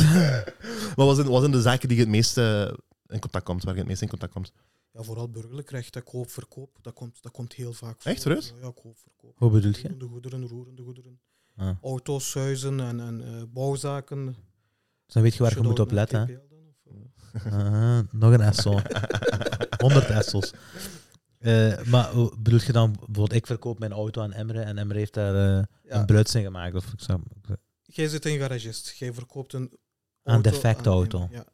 Speaker 1: Maar wat zijn, wat zijn de zaken die je het meest eh, in contact komt, waar je het meest in contact komt?
Speaker 3: Ja, vooral burgerlijk recht, dat koop-verkoop, dat komt, dat komt heel vaak voor.
Speaker 1: Echt, serieus?
Speaker 3: Ja, ja, koop-verkoop.
Speaker 2: Hoe bedoel je?
Speaker 3: Roerende goederen, roerende goederen.
Speaker 2: Ah.
Speaker 3: Auto's, huizen en, en eh, bouwzaken.
Speaker 2: Dus dan weet je
Speaker 3: Als
Speaker 2: waar je moet
Speaker 3: daar
Speaker 2: op
Speaker 3: een
Speaker 2: letten. hè.
Speaker 3: TPL dan, of, eh,
Speaker 2: Ah, nog een Esso. 100 Essos. Eh, maar hoe- bedoel je dan, bijvoorbeeld ik verkoop mijn auto aan Emre en Emre heeft daar eh, een
Speaker 3: ja.
Speaker 2: blutsing gemaakt. Of ik zou,
Speaker 3: Jij zit een garagist, jij verkoopt een
Speaker 2: Aan defecte
Speaker 3: aan
Speaker 2: auto.
Speaker 3: iemand, Ja.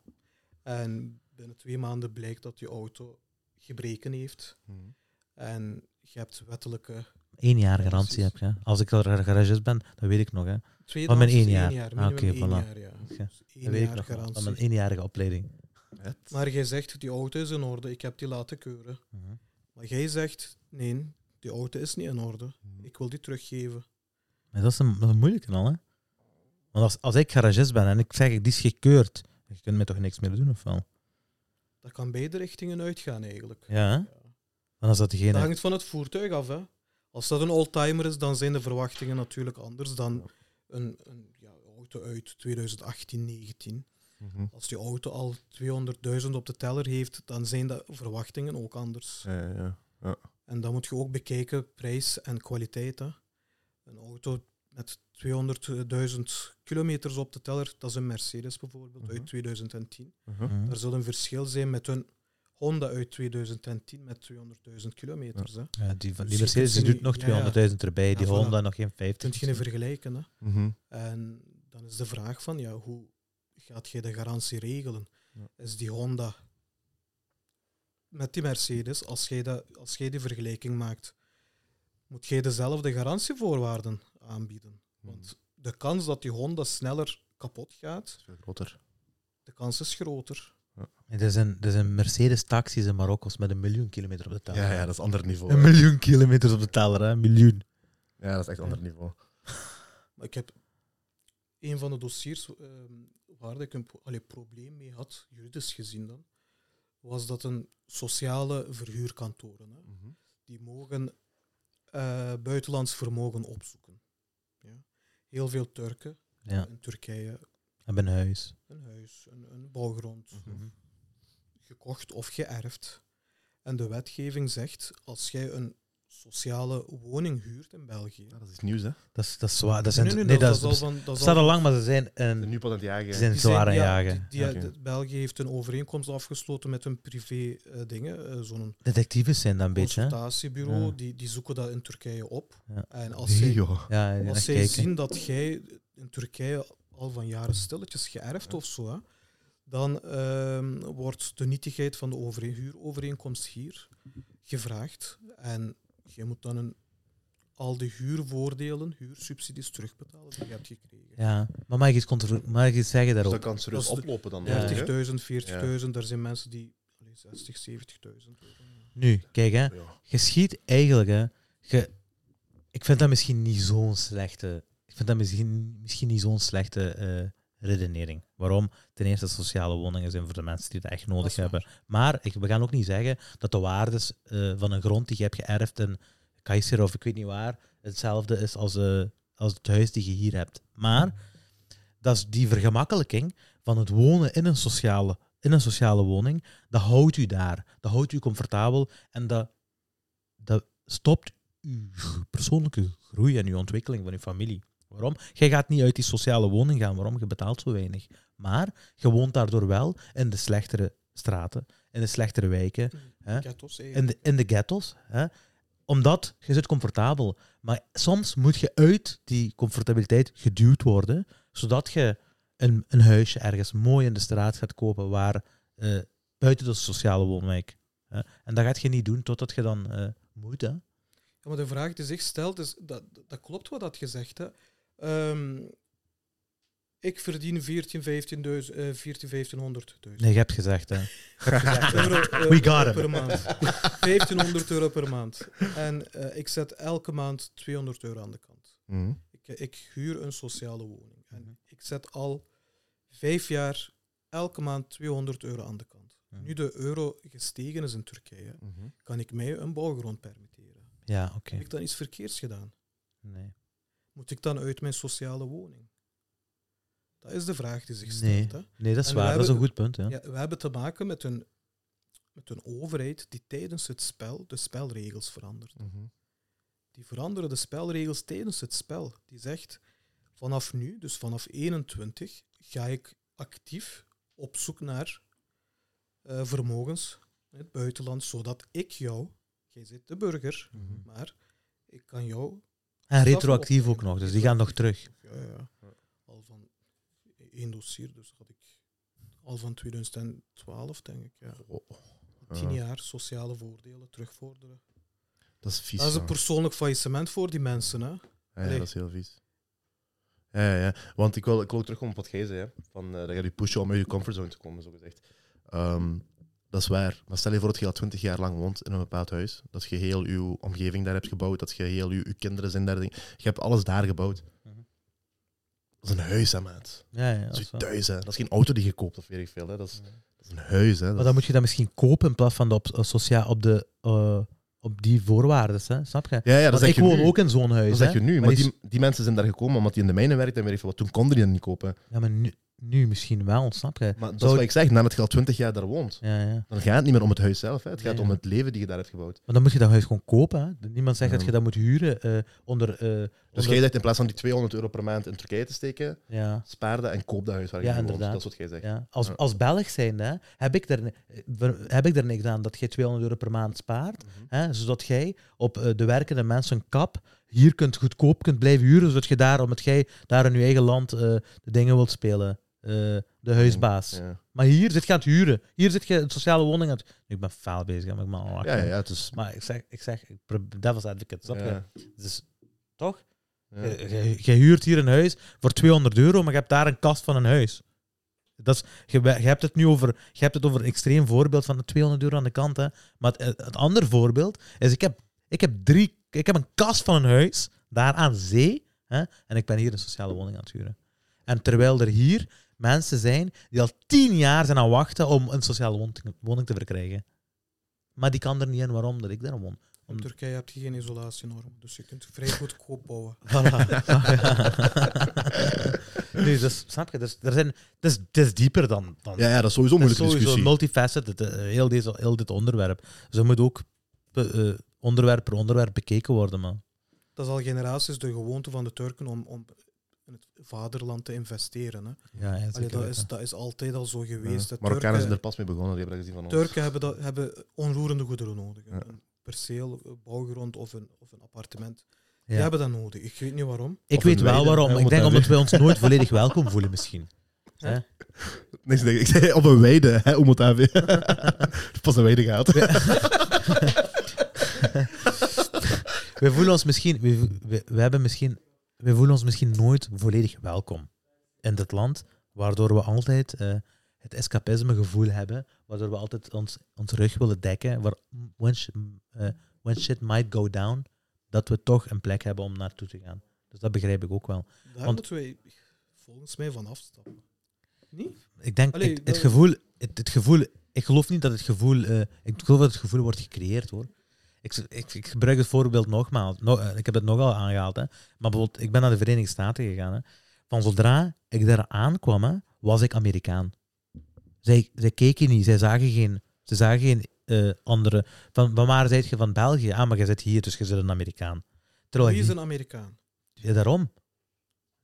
Speaker 3: En binnen twee maanden blijkt dat die auto gebreken heeft.
Speaker 1: Hmm.
Speaker 3: En je hebt wettelijke...
Speaker 2: één jaar
Speaker 3: Ja,
Speaker 2: garantie heb
Speaker 3: precies.
Speaker 2: je. hè. Als ik al een garagist ben, dat weet ik nog. Hè.
Speaker 3: Twee
Speaker 2: Van mijn
Speaker 3: dames,
Speaker 2: één jaar.
Speaker 3: jaar
Speaker 2: Ah,
Speaker 3: minimum
Speaker 2: oké,
Speaker 3: één
Speaker 2: voilà.
Speaker 3: jaar, ja.
Speaker 2: Oké,
Speaker 3: Dus
Speaker 2: Dat
Speaker 3: één
Speaker 2: weet ik
Speaker 3: jaar
Speaker 2: nog. wel, Van
Speaker 3: garantie.
Speaker 2: mijn eenjarige opleiding.
Speaker 3: Maar jij zegt, die auto is in orde, ik heb die laten keuren.
Speaker 2: Mhm.
Speaker 3: Maar jij zegt, nee, die auto is niet in orde.
Speaker 2: Mhm.
Speaker 3: Ik wil die teruggeven.
Speaker 2: Maar dat is een, dat is een moeilijke al, hè? Want als, als ik garagist ben en ik zeg, die is gekeurd, je kunt mij toch niks meer doen, of wel?
Speaker 3: Dat kan beide richtingen uitgaan eigenlijk.
Speaker 2: Ja, hè? Dan is dat
Speaker 3: Dat
Speaker 2: degene...
Speaker 3: hangt van het voertuig af. Hè. Als dat een oldtimer is, dan zijn de verwachtingen natuurlijk anders dan een, een ja, auto uit 2018, 19.
Speaker 1: Mhm.
Speaker 3: Als die auto al 200.000 op de teller heeft, dan zijn de verwachtingen ook anders.
Speaker 1: Ja, ja, ja.
Speaker 3: En dan moet je ook bekijken prijs en kwaliteit. Hè. Een auto met 200.000 kilometers op de teller, dat is een Mercedes bijvoorbeeld
Speaker 1: Mhm.
Speaker 3: uit 2010.
Speaker 1: Mhm.
Speaker 2: Mhm.
Speaker 3: Er zal een verschil zijn met een Honda uit 2010 met 200.000 kilometers. Hè.
Speaker 2: Ja, die, van, die
Speaker 3: Dus je
Speaker 2: Mercedes die
Speaker 3: kunt
Speaker 2: doet
Speaker 3: ze
Speaker 2: nog
Speaker 3: niet- ja, ja.
Speaker 2: 200.000 erbij, die
Speaker 3: Ja, voilà.
Speaker 2: Honda nog geen
Speaker 3: Je kunt
Speaker 2: 50.
Speaker 3: je niet vergelijken. Hè.
Speaker 1: Mhm.
Speaker 3: En dan is de vraag van, ja, hoe gaat je de garantie regelen?
Speaker 1: Ja.
Speaker 3: Is die Honda met die Mercedes, als jij, dat, als jij die vergelijking maakt, moet jij dezelfde garantievoorwaarden aanbieden?
Speaker 1: Hmm.
Speaker 3: Want de kans dat die Honda sneller kapot gaat,
Speaker 1: is veel groter.
Speaker 3: de kans is groter.
Speaker 2: Er zijn, er zijn Mercedes-taxis in Marokko's met een miljoen kilometer op de teller.
Speaker 1: Ja, ja, dat is een ander niveau.
Speaker 2: Een
Speaker 1: hè.
Speaker 2: miljoen kilometers op de teller, hè? Een miljoen.
Speaker 1: Ja, dat is echt een ander niveau.
Speaker 3: Maar ik heb een van de dossiers ehm, waar ik een pro- allee, probleem mee had, juridisch gezien dan, was dat een sociale verhuurkantoren. Hè.
Speaker 1: Mhm.
Speaker 3: die mogen eh, buitenlands vermogen opzoeken. Ja. Heel veel Turken
Speaker 2: Ja,
Speaker 3: in Turkije
Speaker 2: hebben een huis.
Speaker 3: een huis, een, een bouwgrond
Speaker 1: Mhm.
Speaker 3: gekocht of geërfd. En de wetgeving zegt, als jij een sociale woning huurt in België...
Speaker 1: Ja, dat is iets nieuws, hè?
Speaker 2: Dat is, dat is zwaar. Dat zijn, nee, dat, is,
Speaker 3: al
Speaker 2: dat
Speaker 3: van... dat is
Speaker 2: staat
Speaker 3: al
Speaker 2: al lang,
Speaker 3: van-
Speaker 2: maar ze zijn, een,
Speaker 1: De nu pas aan het jagen.
Speaker 2: ze
Speaker 1: hè.
Speaker 2: zijn
Speaker 3: die
Speaker 2: zwaar aan
Speaker 3: zijn- ja,
Speaker 2: jagen.
Speaker 3: die- die-
Speaker 1: Oké.
Speaker 3: de- België heeft een overeenkomst afgesloten met een privé eh, dingen, eh, zo'n
Speaker 2: Detectives zijn dat een beetje, hè?
Speaker 3: consultatiebureau,
Speaker 2: Ja.
Speaker 3: die, die zoeken dat in Turkije op.
Speaker 2: Ja.
Speaker 3: En als
Speaker 1: Nee,
Speaker 3: zij
Speaker 1: joh.
Speaker 2: Ja, die gaan
Speaker 3: Als zij
Speaker 2: kijken.
Speaker 3: zien dat jij in Turkije al van jaren stilletjes geërfd of zo, hè, dan ehm, wordt de nietigheid van de overeen- huurovereenkomst hier gevraagd. En jij moet dan een, al die huurvoordelen, huursubsidies terugbetalen die je hebt gekregen.
Speaker 2: Ja, maar mag ik iets, contro- mag ik iets zeggen
Speaker 1: Dus
Speaker 2: daarop?
Speaker 1: dat kan serieus
Speaker 3: Dat is de-
Speaker 1: oplopen dan.
Speaker 2: Ja.
Speaker 1: denk ik, hè?
Speaker 3: 30.000, 40.000, daar zijn mensen die allee, 60, 70.000.
Speaker 2: Nu, kijk, hè.
Speaker 1: Ja.
Speaker 2: geschiet eigenlijk, hè. ge- ik vind dat misschien niet zo'n slechte. Ik vind dat misschien, misschien niet zo'n slechte eh, redenering. Waarom? Ten eerste sociale woningen zijn voor de mensen die het echt
Speaker 3: Dat
Speaker 2: nodig
Speaker 3: is waar.
Speaker 2: hebben. Maar ik, we gaan ook niet zeggen dat de waardes eh, van een grond die je hebt geërfd in Kaiser of ik weet niet waar, hetzelfde is als, eh, als het huis die je hier hebt. Maar dat is die vergemakkelijking van het wonen in een sociale, in een sociale woning, dat houdt u daar. Dat houdt u comfortabel en dat, dat stopt uw persoonlijke groei en uw ontwikkeling van uw familie. Waarom? Jij gaat niet uit die sociale woning gaan. Waarom? Je betaalt zo weinig. Maar je woont daardoor wel in de slechtere straten, in de slechtere wijken, Hè?
Speaker 3: Ghettos, eh.
Speaker 2: in de, in de ghettos. Hè? Omdat je zit comfortabel. Maar soms moet je uit die comfortabiliteit geduwd worden, zodat je een, een huisje ergens mooi in de straat gaat kopen waar eh, buiten de sociale woonwijk. hè. En dat gaat je niet doen totdat je dan eh, moet. Hè?
Speaker 3: Ja, maar de vraag die zich stelt is, dat, dat klopt wat dat je zegt. Hè. Ehm, ik verdien 14, 15, duiz- eh, 14 1500 duizend.
Speaker 2: Nee, je hebt gezegd. Hè.
Speaker 3: euro eh,
Speaker 2: We got him.
Speaker 3: per maand. 1500 euro per maand. En eh, ik zet elke maand 200 euro aan de kant.
Speaker 1: Mhm.
Speaker 3: Ik, eh, ik huur een sociale woning.
Speaker 2: Mhm.
Speaker 3: En ik zet al vijf jaar elke maand 200 euro aan de kant.
Speaker 2: Mhm.
Speaker 3: Nu dus- de euro gestegen is in Turkije,
Speaker 1: Mhm.
Speaker 3: kan ik mij een bouwgrond permitteren.
Speaker 2: Ja, oké.
Speaker 3: Heb ik dan iets verkeerds gedaan?
Speaker 2: Nee.
Speaker 3: Moet ik dan uit mijn sociale woning? Dat is de vraag die zich
Speaker 2: Nee.
Speaker 3: stelt. Hè?
Speaker 2: nee, dat is
Speaker 3: En we
Speaker 2: waar. Dat is een
Speaker 3: hebben-
Speaker 2: goed punt. Ja.
Speaker 3: Ja, we hebben te maken met een, met een overheid die tijdens het spel de spelregels verandert.
Speaker 1: Mhm.
Speaker 3: Die veranderen de spelregels tijdens het spel. Die zegt, vanaf nu, dus vanaf 21, ga ik actief op zoek naar eh, vermogens in het buitenland, zodat ik jou, jij zit de burger,
Speaker 1: Mhm.
Speaker 3: maar ik kan jou
Speaker 2: En
Speaker 3: Straf
Speaker 2: retroactief ook
Speaker 3: opnemen.
Speaker 2: nog, dus die gaan nog terug.
Speaker 3: Ja, ja. Al van één dossier, dus had ik al van 2012, denk ik. Ja.
Speaker 1: Oh, oh.
Speaker 3: Tien
Speaker 1: Ja.
Speaker 3: jaar sociale voordelen terugvorderen.
Speaker 1: Dat is vies.
Speaker 3: Dat is een
Speaker 1: man.
Speaker 3: persoonlijk faillissement voor die mensen. Hè?
Speaker 1: Ja, ja,
Speaker 3: Allee.
Speaker 1: dat is heel vies. Ja, ja, ja. Want ik wil, ik wil ook terugkomen op wat jij zei. Hè. Van, eh, dat je je pushen om uit je comfortzone te komen, zo gezegd. Ehm, dat is waar. Maar stel je voor dat je al twintig jaar lang woont in een bepaald huis. Dat je heel je omgeving daar hebt gebouwd. Dat je heel je, je kinderen zijn daar. ding- Je hebt alles daar gebouwd.
Speaker 2: Mhm.
Speaker 1: Dat is een huis, hè, maat.
Speaker 2: Ja, ja,
Speaker 1: Dat
Speaker 2: dat
Speaker 1: is
Speaker 2: is
Speaker 1: je
Speaker 2: wel-
Speaker 1: thuis, hè. Dat is geen auto die je koopt, of weet ik veel. Hè. Dat, is,
Speaker 2: Ja.
Speaker 1: dat is een huis, hè. Dat
Speaker 2: Maar
Speaker 1: is-
Speaker 2: dan moet je dat misschien kopen in plaats van de op, socia- op, de, eh, op die voorwaarden, hè? snap je?
Speaker 1: Ja, ja, dat
Speaker 2: Want
Speaker 1: zeg
Speaker 2: ik
Speaker 1: je
Speaker 2: woon
Speaker 1: nu.
Speaker 2: ook in zo'n huis.
Speaker 1: Dat zeg
Speaker 2: hè.
Speaker 1: je nu. Maar,
Speaker 2: Maar die
Speaker 1: die, die mensen zijn daar gekomen omdat die in de mijnen werkt en weet ik veel wat. Toen konden die dat niet kopen.
Speaker 2: Ja, maar nu, nu misschien wel, snap je?
Speaker 1: Maar dat
Speaker 2: Zou-
Speaker 1: is wat ik zeg. Nadat je al twintig jaar daar woont.
Speaker 2: Ja, ja.
Speaker 1: Dan gaat het niet meer om het huis zelf. Hè. Het
Speaker 2: Nee,
Speaker 1: gaat
Speaker 2: ja.
Speaker 1: om het leven die je daar hebt gebouwd. Dus
Speaker 2: Maar dan moet je dat huis gewoon kopen. Hè? Niemand zegt dat
Speaker 1: Ja.
Speaker 2: je dat moet huren eh, onder... eh,
Speaker 1: Dus
Speaker 2: onder-
Speaker 1: jij zegt in plaats van die 200 euro per maand in Turkije te steken,
Speaker 2: Ja.
Speaker 1: spaar dat en koop dat huis waar je
Speaker 2: Ja,
Speaker 1: nu woont.
Speaker 2: inderdaad.
Speaker 1: Dat is wat jij zegt.
Speaker 2: Ja, als,
Speaker 1: Ja.
Speaker 2: als Belg zijnde hè, heb, ik er, eh, ver- heb ik er niks aan dat jij 200 euro per maand spaart,
Speaker 1: Mhm.
Speaker 2: hè, zodat jij op eh, de werkende mensen een kap hier kunt goedkoop kunt blijven huren, zodat je daar, omdat jij daar in je eigen land eh, de dingen wilt spelen, eh, de huisbaas.
Speaker 1: Mhm. Ja.
Speaker 2: Maar hier zit je aan het huren. Hier zit je een sociale woning aan het... Ik ben faal bezig, hè, maar ik ben al
Speaker 1: Ja, ja, het is...
Speaker 2: Maar ik zeg, ik zeg, ik pro- devil's advocate, snap je? Eh,
Speaker 1: Ja,
Speaker 2: Dus, toch?
Speaker 1: ja.
Speaker 2: Je- Je je huurt hier een huis voor 200 euro, maar je hebt daar een kast van een huis. Dat is, je, we- je hebt het nu over, je hebt het over een extreem voorbeeld van de 200 euro aan de kant. Hè. Maar het, het andere voorbeeld is, ik heb, ik, heb drie, ik heb een kast van een huis, daar aan zee, hè, en ik ben hier een sociale woning aan het huren. En terwijl er hier mensen zijn die al tien jaar zijn aan het wachten om een sociale woning, woning te verkrijgen. Maar die kan er niet in, waarom? Dat ik daar woon.
Speaker 3: In
Speaker 2: Om-
Speaker 3: Turkije heb je geen isolatienorm, dus je kunt vrij goedkoop bouwen.
Speaker 2: Voilà. nu, dus, snap je? Dus, er zijn, dus, het is dieper dan. dan
Speaker 1: ja, ja, dat is sowieso een
Speaker 2: het is
Speaker 1: moeilijke
Speaker 2: sowieso
Speaker 1: discussie.
Speaker 2: multifaceted, eh, heel, deze, heel dit onderwerp. Zo moet ook be- eh, onderwerp per onderwerp bekeken worden, man.
Speaker 3: Dat is al generaties de gewoonte van de Turken om, om in het vaderland te investeren. Hè.
Speaker 2: Ja, ja,
Speaker 3: Allee,
Speaker 2: zeker
Speaker 3: dat, is,
Speaker 2: weten.
Speaker 3: dat is altijd al zo
Speaker 1: Ja.
Speaker 3: geweest. hè.
Speaker 1: Marokkanen
Speaker 3: Turken-
Speaker 1: zijn er pas mee begonnen, die hebben dat gezien van ons.
Speaker 3: Turken hebben, dat, hebben onroerende goederen nodig. Een-
Speaker 1: Ja.
Speaker 3: Een perceel, een bouwgrond of een, of een appartement.
Speaker 2: Ja.
Speaker 3: Die hebben dat nodig. Ik weet niet waarom.
Speaker 2: Ik
Speaker 1: Of
Speaker 2: weet
Speaker 1: een
Speaker 2: wel
Speaker 1: weide,
Speaker 2: waarom.
Speaker 1: hè,
Speaker 2: ik
Speaker 1: moet
Speaker 2: denk
Speaker 1: dat
Speaker 2: omdat wij ons nooit volledig welkom voelen, misschien. Hè?
Speaker 1: Nee, ze denken- ik zei op een weide, hè, Omotavi. pas een weide gaat.
Speaker 2: We voelen ons misschien, we, vo- we, we hebben misschien, we voelen ons misschien nooit volledig welkom in dit land, waardoor we altijd eh, het escapisme gevoel hebben, waardoor we altijd ons, ons rug willen dekken, waar when, sh- eh, when shit might go down, dat we toch een plek hebben om naartoe te gaan. Dus dat begrijp ik ook wel.
Speaker 3: Daar
Speaker 2: Want-
Speaker 3: moeten wij volgens mij van afstappen. Niet?
Speaker 2: Ik denk,
Speaker 3: Allee,
Speaker 2: het, het
Speaker 3: dat-
Speaker 2: gevoel, het, het gevoel, ik geloof niet dat het gevoel, eh, ik geloof dat het gevoel wordt gecreëerd hoor. Ik, ik, ik gebruik het voorbeeld nogmaals, no- eh, ik heb het nogal aangehaald, hè. maar bijvoorbeeld, ik ben naar de Verenigde Staten gegaan. Hè. Van zodra ik daar aankwam, hè, was ik Amerikaan. Zij, zij keken niet, zij zagen geen, ze zagen geen eh, andere. Van, van waar zijt je van België? Ah, maar je zit hier, dus je bent een Amerikaan. Terwijl
Speaker 3: Wie
Speaker 2: ik
Speaker 3: is
Speaker 2: niet-
Speaker 3: een Amerikaan?
Speaker 2: ja, daarom.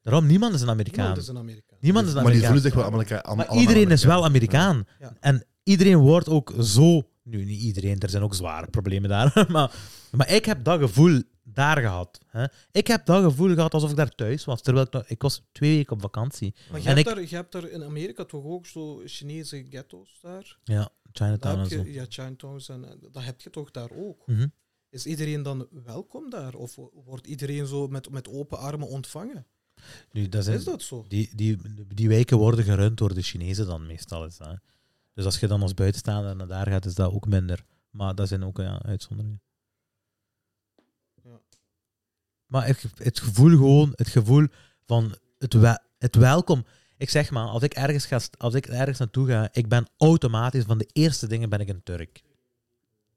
Speaker 2: Daarom, niemand is een Amerikaan.
Speaker 3: Niemand is een Amerikaan.
Speaker 2: Niemand is een
Speaker 1: Maar die
Speaker 2: Amerikaan.
Speaker 1: voelen zich wel Amerika aan.
Speaker 2: Maar
Speaker 1: allemaal
Speaker 2: iedereen is
Speaker 1: Amerikaan.
Speaker 2: wel Amerikaan.
Speaker 3: Ja.
Speaker 2: En iedereen wordt ook zo. Nu, niet iedereen, er zijn ook zware problemen daar. Maar, maar ik heb dat gevoel daar gehad. Hè. Ik heb dat gevoel gehad alsof ik daar thuis was. Terwijl ik, nog- ik was twee weken op vakantie.
Speaker 3: Maar je
Speaker 2: En
Speaker 3: hebt,
Speaker 2: ik-
Speaker 3: daar, je hebt daar in Amerika toch ook zo Chinese ghetto's daar?
Speaker 2: Ja,
Speaker 3: daar
Speaker 2: Chinatown
Speaker 3: heb
Speaker 2: en zo.
Speaker 3: je, ja, Chinatowns en en dat heb je toch daar ook?
Speaker 2: Mhm.
Speaker 3: Is iedereen dan welkom daar? Of wordt iedereen zo met, met open armen ontvangen?
Speaker 2: Nu, dat zijn,
Speaker 3: Is dat zo?
Speaker 2: Die, die, die wijken worden gerund door de Chinezen dan meestal. Is dat, hè. Dus als je dan als buitenstaander naar daar gaat, is dat ook minder. Maar dat zijn ook ja, uitzonderingen.
Speaker 3: Ja.
Speaker 2: Maar ik- het gevoel gewoon, het gevoel van het, we- het welkom. Ik zeg maar, als ik, ergens ga, st- als ik ergens naartoe ga, ik ben automatisch van de eerste dingen ben ik een Turk.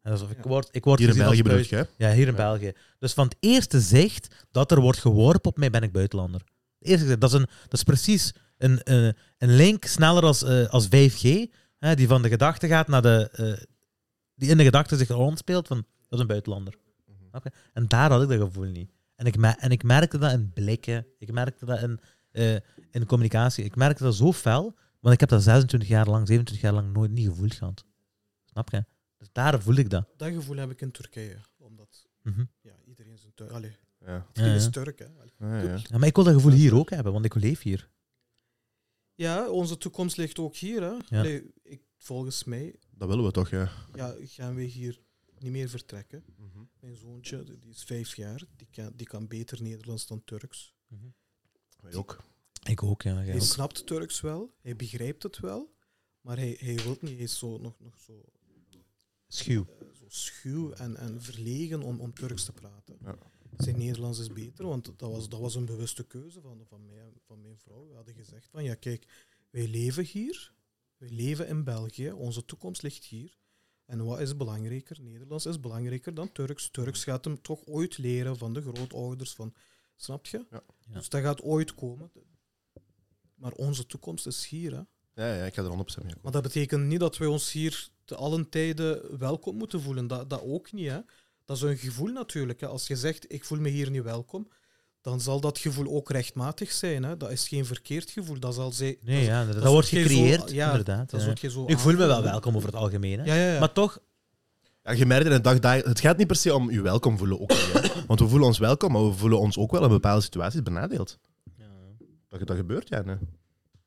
Speaker 2: En alsof ik
Speaker 3: Ja.
Speaker 2: word, ik word
Speaker 1: Hier in
Speaker 2: gezien als
Speaker 1: België bedoel
Speaker 2: buiten-
Speaker 1: je, hè?
Speaker 2: ja, hier in
Speaker 1: Ja.
Speaker 2: België. Dus van het eerste zicht dat er wordt geworpen op mij, ben ik buitenlander. Het eerste gezicht, dat, is een, dat is precies een, eh, een link sneller als, eh, als 5G, hè, die van de gedachte gaat naar de. eh, die in de gedachte zich rondspeelt van dat is een buitenlander. Oké. En daar had ik dat gevoel niet. En ik, me- en ik merkte dat in blikken, ik merkte dat in, eh, in communicatie, ik merkte dat zo fel, want ik heb dat 26 jaar lang, 27 jaar lang nooit niet gevoeld gehad. Snap je? Dus daar voel ik dat.
Speaker 3: Dat gevoel heb ik in Turkije. Omdat
Speaker 2: Mhm.
Speaker 3: ja, iedereen zijn Turk. Allee,
Speaker 1: Ja.
Speaker 3: iedereen
Speaker 2: Ja,
Speaker 3: is
Speaker 2: ja.
Speaker 3: Turk. Hè.
Speaker 1: Ja, ja.
Speaker 2: Ja, maar ik wil dat gevoel hier ook hebben, want ik leef hier.
Speaker 3: Ja, onze toekomst ligt ook hier. Hè.
Speaker 2: Ja.
Speaker 3: Allee, ik, volgens mij
Speaker 1: Dat willen we toch, ja.
Speaker 3: ja, gaan we hier niet meer vertrekken. Mijn zoontje, die is vijf jaar, die kan, die kan beter Nederlands dan Turks.
Speaker 1: Wij ook.
Speaker 2: Ik ook, ja.
Speaker 3: hij snapt Turks wel, hij begrijpt het wel, maar hij, hij wil niet. Hij is zo, nog, nog zo,
Speaker 2: Schuw.
Speaker 3: eh, zo schuw en, en verlegen om, om Turks te praten.
Speaker 1: Ja.
Speaker 3: Zijn Nederlands is beter, want dat was, dat was een bewuste keuze van, van, mij, en van mijn vrouw. We hadden gezegd van, ja kijk, wij leven hier, wij leven in België, onze toekomst ligt hier. En wat is belangrijker? Nederlands is belangrijker dan Turks. Turks gaat hem toch ooit leren van de grootouders, van, snap je?
Speaker 1: Ja.
Speaker 2: Ja.
Speaker 3: Dus dat gaat ooit komen. Maar onze toekomst is hier, hè.
Speaker 1: Ja, ja, ik ga er 100% mee akkoord.
Speaker 3: Maar dat betekent niet dat wij ons hier te allen tijden welkom moeten voelen. Dat, dat ook niet. Hè. Dat is een gevoel natuurlijk. Hè. Als je zegt, ik voel me hier niet welkom, dan zal dat gevoel ook rechtmatig zijn. Hè. Dat is geen verkeerd gevoel. Dat zal zij...
Speaker 2: Nee, ja, dat,
Speaker 3: dat
Speaker 2: dat wordt
Speaker 3: is ook geen
Speaker 2: gecreëerd,
Speaker 3: zo- ja,
Speaker 2: inderdaad.
Speaker 3: dat
Speaker 2: ja.
Speaker 3: is wat je zo
Speaker 2: ik voel me wel
Speaker 3: aanvoelt, hè.
Speaker 2: welkom over het algemeen, hè.
Speaker 3: Ah. Ja, ja, ja.
Speaker 2: Maar toch,
Speaker 1: Ja, je merkt in de dag, daar- het gaat niet per se om je welkom voelen. Ook, niet, hè. Want we voelen ons welkom, maar we voelen ons ook wel in bepaalde situaties benadeeld. Dat, dat gebeurt, ja. nee.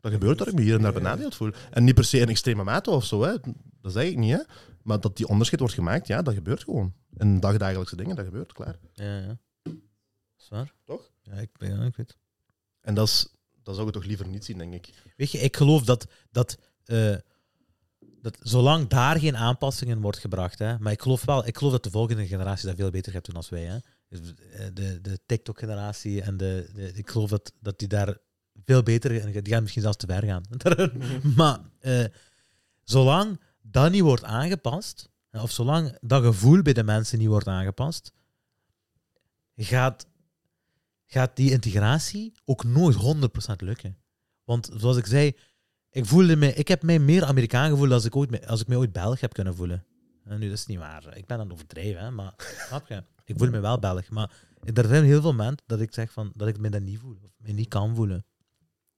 Speaker 1: Dat gebeurt dat ik me hier en daar benadeeld voel. En niet per se in extreme mate of zo, hè. dat zeg ik niet. Hè. Maar dat die onderscheid wordt gemaakt, ja, dat gebeurt gewoon. In dagdagelijkse dingen, dat gebeurt, klaar.
Speaker 2: ja, ja. Is waar?
Speaker 1: Toch?
Speaker 2: Ja, ik, ja, ik weet
Speaker 1: En dat, is, dat zou je toch liever niet zien, denk ik.
Speaker 2: Weet je, ik geloof dat, dat, eh, dat zolang daar geen aanpassingen wordt gebracht, hè, maar ik geloof wel, ik geloof dat de volgende generatie dat veel beter gaat doen dan wij. Hè. Dus, eh, De, de TikTok-generatie en de, de- ik geloof dat, dat die daar veel beter en die gaan misschien zelfs te ver gaan. maar eh, zolang dat niet wordt aangepast, hè, of zolang dat gevoel bij de mensen niet wordt aangepast, gaat, gaat die integratie ook nooit 100% lukken. Want zoals ik zei, ik, voelde me, ik heb mij meer Amerikaan gevoeld als ik, ooit, me- als ik mij ooit Belg heb kunnen voelen. En nu, dat is niet waar. Ik ben aan het overdrijven, hè, maar snap je? Ik voel me wel Belg. Maar er zijn heel veel momenten dat ik zeg van, dat ik me dat niet voel. Of me niet kan voelen.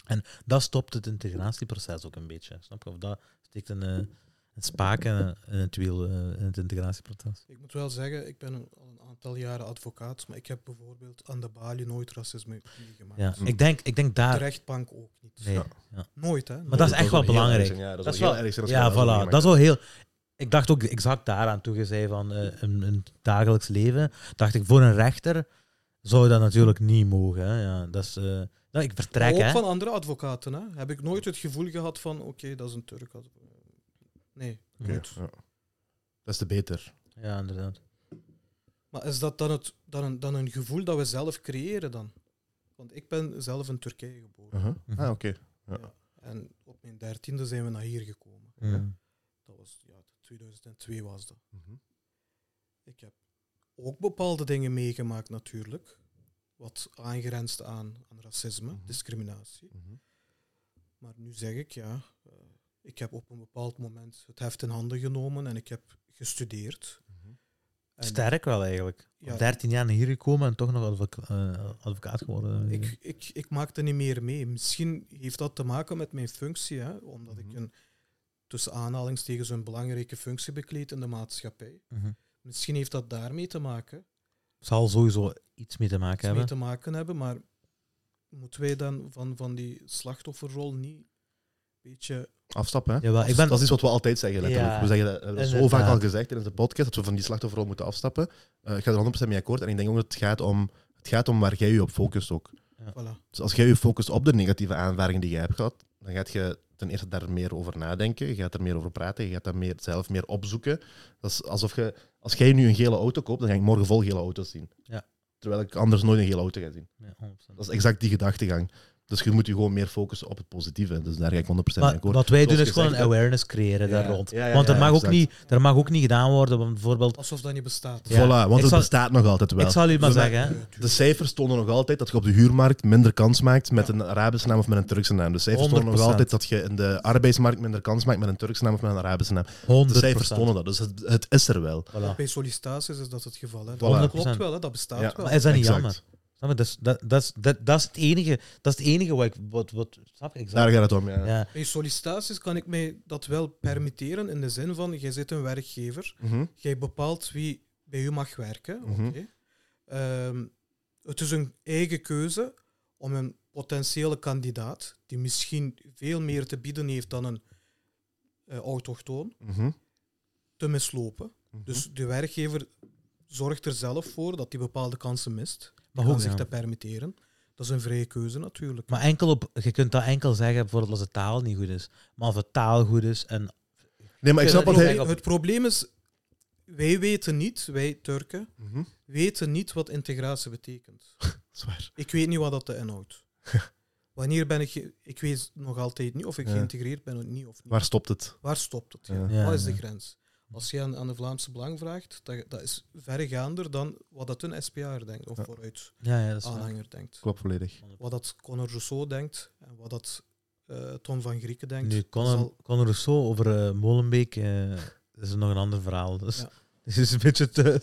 Speaker 2: En dat stopt het integratieproces ook een beetje. Snap je? Of dat steekt een, eh, een spaak in, in het wiel, eh, in het integratieproces.
Speaker 3: Ik moet wel zeggen, ik ben al een aantal jaren advocaat, maar ik heb bijvoorbeeld aan de balie nooit racisme meegemaakt.
Speaker 2: Ja, ik denk, ik denk
Speaker 3: De
Speaker 2: daar...
Speaker 3: rechtbank ook niet.
Speaker 2: Nee,
Speaker 1: Ja.
Speaker 2: ja.
Speaker 3: Nooit, hè.
Speaker 2: Maar dat is echt
Speaker 1: zou
Speaker 2: wel
Speaker 1: heel
Speaker 2: belangrijk.
Speaker 1: erg zijn, Ja, dat,
Speaker 2: Dat is
Speaker 1: zou
Speaker 2: wel-
Speaker 1: heel erg zijn als je
Speaker 2: Ja,
Speaker 1: dat zou
Speaker 2: voilà.
Speaker 1: meemaken.
Speaker 2: Dat is wel heel... Ik dacht ook exact daaraan toen je zei van eh, een, een dagelijks leven. Dacht ik, voor een rechter zou dat natuurlijk niet mogen. Hè. Ja, dat is, eh, nou, ik vertrek,
Speaker 3: ook
Speaker 2: hè.
Speaker 3: van andere advocaten, hè. Heb ik nooit het gevoel gehad van, oké, dat is een Turk. Nee,
Speaker 1: Ja,
Speaker 3: nooit.
Speaker 1: ja. Dat is te beter.
Speaker 2: Ja, inderdaad.
Speaker 3: Maar is dat dan, het, dan, een, dan een gevoel dat we zelf creëren dan? Want Want ik ben zelf in Turkije geboren.
Speaker 1: Uh-huh.
Speaker 2: Mhm.
Speaker 1: Ah, oké.
Speaker 3: En op mijn dertiende zijn we naar hier gekomen.
Speaker 2: Ja.
Speaker 3: Dat was, ja, 2002 was dat.
Speaker 1: Mhm.
Speaker 3: Ik heb ook bepaalde dingen meegemaakt natuurlijk. Wat aangrenst aan, aan racisme,
Speaker 1: Mhm.
Speaker 3: discriminatie. Maar nu zeg ik, ja, eh, ik heb op een bepaald moment het heft in handen genomen en ik heb gestudeerd. En
Speaker 2: Sterk wel eigenlijk.
Speaker 3: Ja.
Speaker 2: 13 jaar naar hier gekomen en toch nog advoca- eh, advocaat geworden.
Speaker 3: Ik, ik, ik maakte niet meer mee. Misschien heeft dat te maken met mijn functie, hè, omdat ik
Speaker 1: Mhm.
Speaker 3: een tussen aanhalingstekens een belangrijke functie bekleed in de maatschappij.
Speaker 2: Mhm.
Speaker 3: Misschien heeft dat daarmee te maken.
Speaker 2: zal sowieso iets mee te maken
Speaker 3: iets mee
Speaker 2: hebben.
Speaker 3: te maken hebben, maar moeten wij dan van, van die slachtofferrol niet een beetje...
Speaker 1: Afstappen, hè?
Speaker 2: Jawel, ik ben,
Speaker 1: Dat is iets wat we altijd zeggen, letterlijk.
Speaker 2: Ja,
Speaker 1: we zeggen dat, we hebben dat zo
Speaker 2: inderdaad.
Speaker 1: vaak al gezegd in onze podcast, dat we van die slachtofferrol moeten afstappen. Eh, ik ga er 100% mee akkoord. En ik denk ook dat het gaat om, het gaat om waar jij je op focust ook.
Speaker 3: Voilà.
Speaker 1: Dus als jij je focust op de negatieve aanvaringen die jij hebt gehad, dan gaat je ten eerste daar meer over nadenken, je gaat er meer over praten, je gaat daar meer, zelf meer opzoeken. Dat is alsof je, als jij nu een gele auto koopt, dan ga ik morgen vol gele auto's zien.
Speaker 2: Ja.
Speaker 1: Terwijl ik anders nooit een gele auto ga zien.
Speaker 2: Ja, 100%.
Speaker 1: Dat is exact die gedachtegang. Dus je moet je gewoon meer focussen op het positieve. Dus daar ga ik 100% mee
Speaker 2: Maar
Speaker 1: akkoord.
Speaker 2: wat wij doen
Speaker 1: Zoals
Speaker 2: is gewoon een
Speaker 1: gezegd, hè.
Speaker 2: awareness creëren
Speaker 1: Ja.
Speaker 2: daar rond.
Speaker 1: Ja, ja,
Speaker 2: want er
Speaker 1: ja,
Speaker 2: mag, ook
Speaker 1: exact.
Speaker 2: niet, er mag ook niet gedaan worden, want bijvoorbeeld...
Speaker 3: Alsof dat niet bestaat.
Speaker 2: Ja.
Speaker 1: Voilà, want
Speaker 2: Ik
Speaker 1: het
Speaker 2: zal-
Speaker 1: bestaat nog altijd wel.
Speaker 2: Ik zal u maar
Speaker 1: Dus dan-
Speaker 2: zeggen, hè.
Speaker 1: De cijfers tonen nog altijd dat je op de huurmarkt minder kans maakt met
Speaker 3: Ja.
Speaker 1: een Arabische naam of met een Turkse naam. De cijfers tonen nog
Speaker 2: 100%.
Speaker 1: altijd dat je in de arbeidsmarkt minder kans maakt met een Turkse naam of met een Arabische naam.
Speaker 2: 100
Speaker 1: De cijfers tonen dat, dus het, het is er wel.
Speaker 3: Ook Bij sollicitaties is dat het geval. Hè. Dat
Speaker 1: Voilà.
Speaker 3: klopt wel, hè. dat bestaat
Speaker 1: Ja.
Speaker 3: wel.
Speaker 2: Maar is dat niet
Speaker 1: Exact.
Speaker 2: jammer? Snap je? Dat, is, dat, dat, is, dat, dat is het enige, dat is het enige wat ik... Wat, wat, snap je?
Speaker 1: Daar
Speaker 2: Exact.
Speaker 1: gaat het om, ja.
Speaker 2: Ja.
Speaker 3: Bij sollicitaties kan ik mij dat wel permitteren in de zin van, jij zit een werkgever,
Speaker 1: Mhm.
Speaker 3: jij bepaalt wie bij u mag werken.
Speaker 1: Mhm.
Speaker 3: oké. Ehm, het is een eigen keuze om een potentiële kandidaat, die misschien veel meer te bieden heeft dan een eh, autochtoon,
Speaker 1: Mhm.
Speaker 3: te mislopen.
Speaker 1: Mhm.
Speaker 3: Dus de werkgever zorgt er zelf voor dat hij bepaalde kansen mist.
Speaker 2: Maar,
Speaker 3: kan
Speaker 2: hoe,
Speaker 3: zich
Speaker 2: ja.
Speaker 3: dat permitteren. Dat is een vrije keuze natuurlijk.
Speaker 2: maar enkel op, je kunt dat enkel zeggen, bijvoorbeeld als de taal niet goed is. Maar als de taal goed is en...
Speaker 1: Nee, maar ik
Speaker 2: Ja,
Speaker 1: snap
Speaker 2: dat
Speaker 1: wat
Speaker 2: is
Speaker 1: hij...
Speaker 2: ook-
Speaker 3: het probleem is, wij weten niet, wij Turken,
Speaker 1: Mhm.
Speaker 3: weten niet wat integratie betekent.
Speaker 1: Zwaar.
Speaker 3: Ik weet niet wat dat inhoudt. Wanneer ben ik... ge- Ik weet nog altijd niet of ik
Speaker 1: Ja.
Speaker 3: geïntegreerd ben of niet. Of niet.
Speaker 1: Waar stopt het?
Speaker 3: Waar stopt het?
Speaker 1: Ja.
Speaker 2: Ja,
Speaker 3: wat is de
Speaker 2: ja.
Speaker 3: grens? Als je aan, aan de Vlaamse Belang vraagt, dat, dat is verregaander dan wat dat een SPA'er denkt, of
Speaker 1: Ja.
Speaker 3: vooruit
Speaker 2: Ja, ja, dat is waar.
Speaker 3: aanhanger denkt.
Speaker 1: Klopt volledig.
Speaker 3: Wat dat Conor Rousseau denkt, en wat dat eh Tom van Grieken denkt.
Speaker 2: Nu,
Speaker 3: dat
Speaker 2: Conor,
Speaker 3: zal-
Speaker 2: Conor Rousseau over eh, Molenbeek eh, is nog een ander verhaal. Dus
Speaker 3: Ja.
Speaker 2: dus is een beetje te...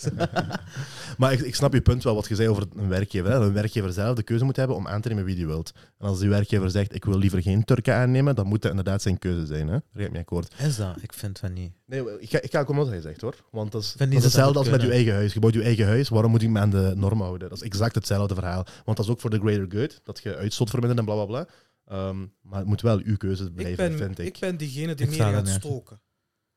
Speaker 1: Maar ik, ik snap je punt wel, wat je zei over een werkgever. hè. Dat Een werkgever zelf de keuze moet hebben om aan te nemen wie die wilt. En als die werkgever zegt, ik wil liever geen Turken aannemen, dan moet dat inderdaad zijn keuze zijn. Hè? Daar ga ik mee akkoord.
Speaker 2: is dat? Ik vind van niet.
Speaker 1: Nee, ik ga, ik ga ook om wat hij zegt hoor. Want dat is,
Speaker 2: Vind
Speaker 1: dat
Speaker 2: je
Speaker 1: is
Speaker 2: dat dat
Speaker 1: hetzelfde
Speaker 2: moet
Speaker 1: als met je
Speaker 2: kunnen?
Speaker 1: eigen huis. Je bouwt je eigen huis, waarom moet ik me aan de norm houden? Dat is exact hetzelfde verhaal. Want dat is ook voor de greater good, dat je uitstoot vermindert en bla bla bla. Ehm, maar het moet wel uw keuze
Speaker 3: ik,
Speaker 1: blijven,
Speaker 3: ben,
Speaker 1: vind ik.
Speaker 3: ik ben diegene die
Speaker 2: Ik
Speaker 3: meer
Speaker 2: sta
Speaker 3: gaat
Speaker 2: daarnaar.
Speaker 3: stoken.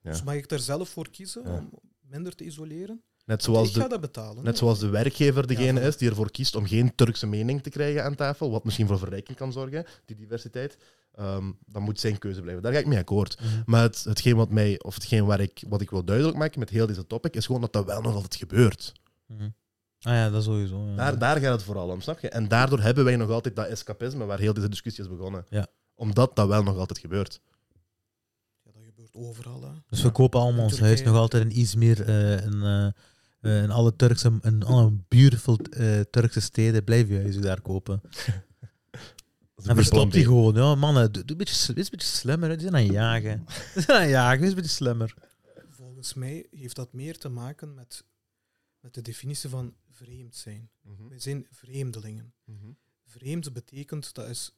Speaker 1: Ja.
Speaker 3: Dus mag ik daar zelf voor kiezen
Speaker 1: Ja.
Speaker 3: om minder te isoleren?
Speaker 1: Net
Speaker 3: Ik
Speaker 1: zoals,
Speaker 3: ga
Speaker 1: de,
Speaker 3: dat betalen.
Speaker 1: net zoals de werkgever degene
Speaker 3: Ja, voilà.
Speaker 1: is die ervoor kiest om geen Turkse mening te krijgen aan tafel, wat misschien voor verrijking kan zorgen, die diversiteit. Ehm, dan moet zijn keuze blijven. Daar ga ik mee akkoord. Maar het, hetgeen wat mij, of hetgeen waar ik, wat ik wil duidelijk maken met heel deze topic, is gewoon dat dat wel nog altijd gebeurt.
Speaker 2: Mhm. Ah ja, dat sowieso. ja.
Speaker 1: Daar, daar gaat het vooral om, snap je? En daardoor hebben wij nog altijd dat escapisme waar heel deze discussie is begonnen.
Speaker 2: Ja.
Speaker 1: Omdat dat wel nog altijd gebeurt.
Speaker 3: Ja, dat gebeurt overal. Hè.
Speaker 2: Dus we kopen allemaal ons
Speaker 3: Turkije.
Speaker 2: huis nog altijd in Izmir, eh, in, eh, eh, in alle Turkse, in alle beautiful eh, Turkse steden. Blijf je huis daar kopen.
Speaker 1: Dat is
Speaker 2: En
Speaker 1: een plan
Speaker 2: verstop die
Speaker 1: B.
Speaker 2: gewoon. Ja, mannen, doe, doe een beetje, s- wees een beetje slimmer. hè. Die zijn aan het
Speaker 1: Mm.
Speaker 2: jagen. Die zijn aan het jagen, wees een beetje slimmer.
Speaker 3: Volgens mij heeft dat meer te maken met, met de definitie van vreemd zijn.
Speaker 1: Mhm,
Speaker 3: Wij zijn vreemdelingen.
Speaker 1: mhm,
Speaker 3: Vreemd betekent dat is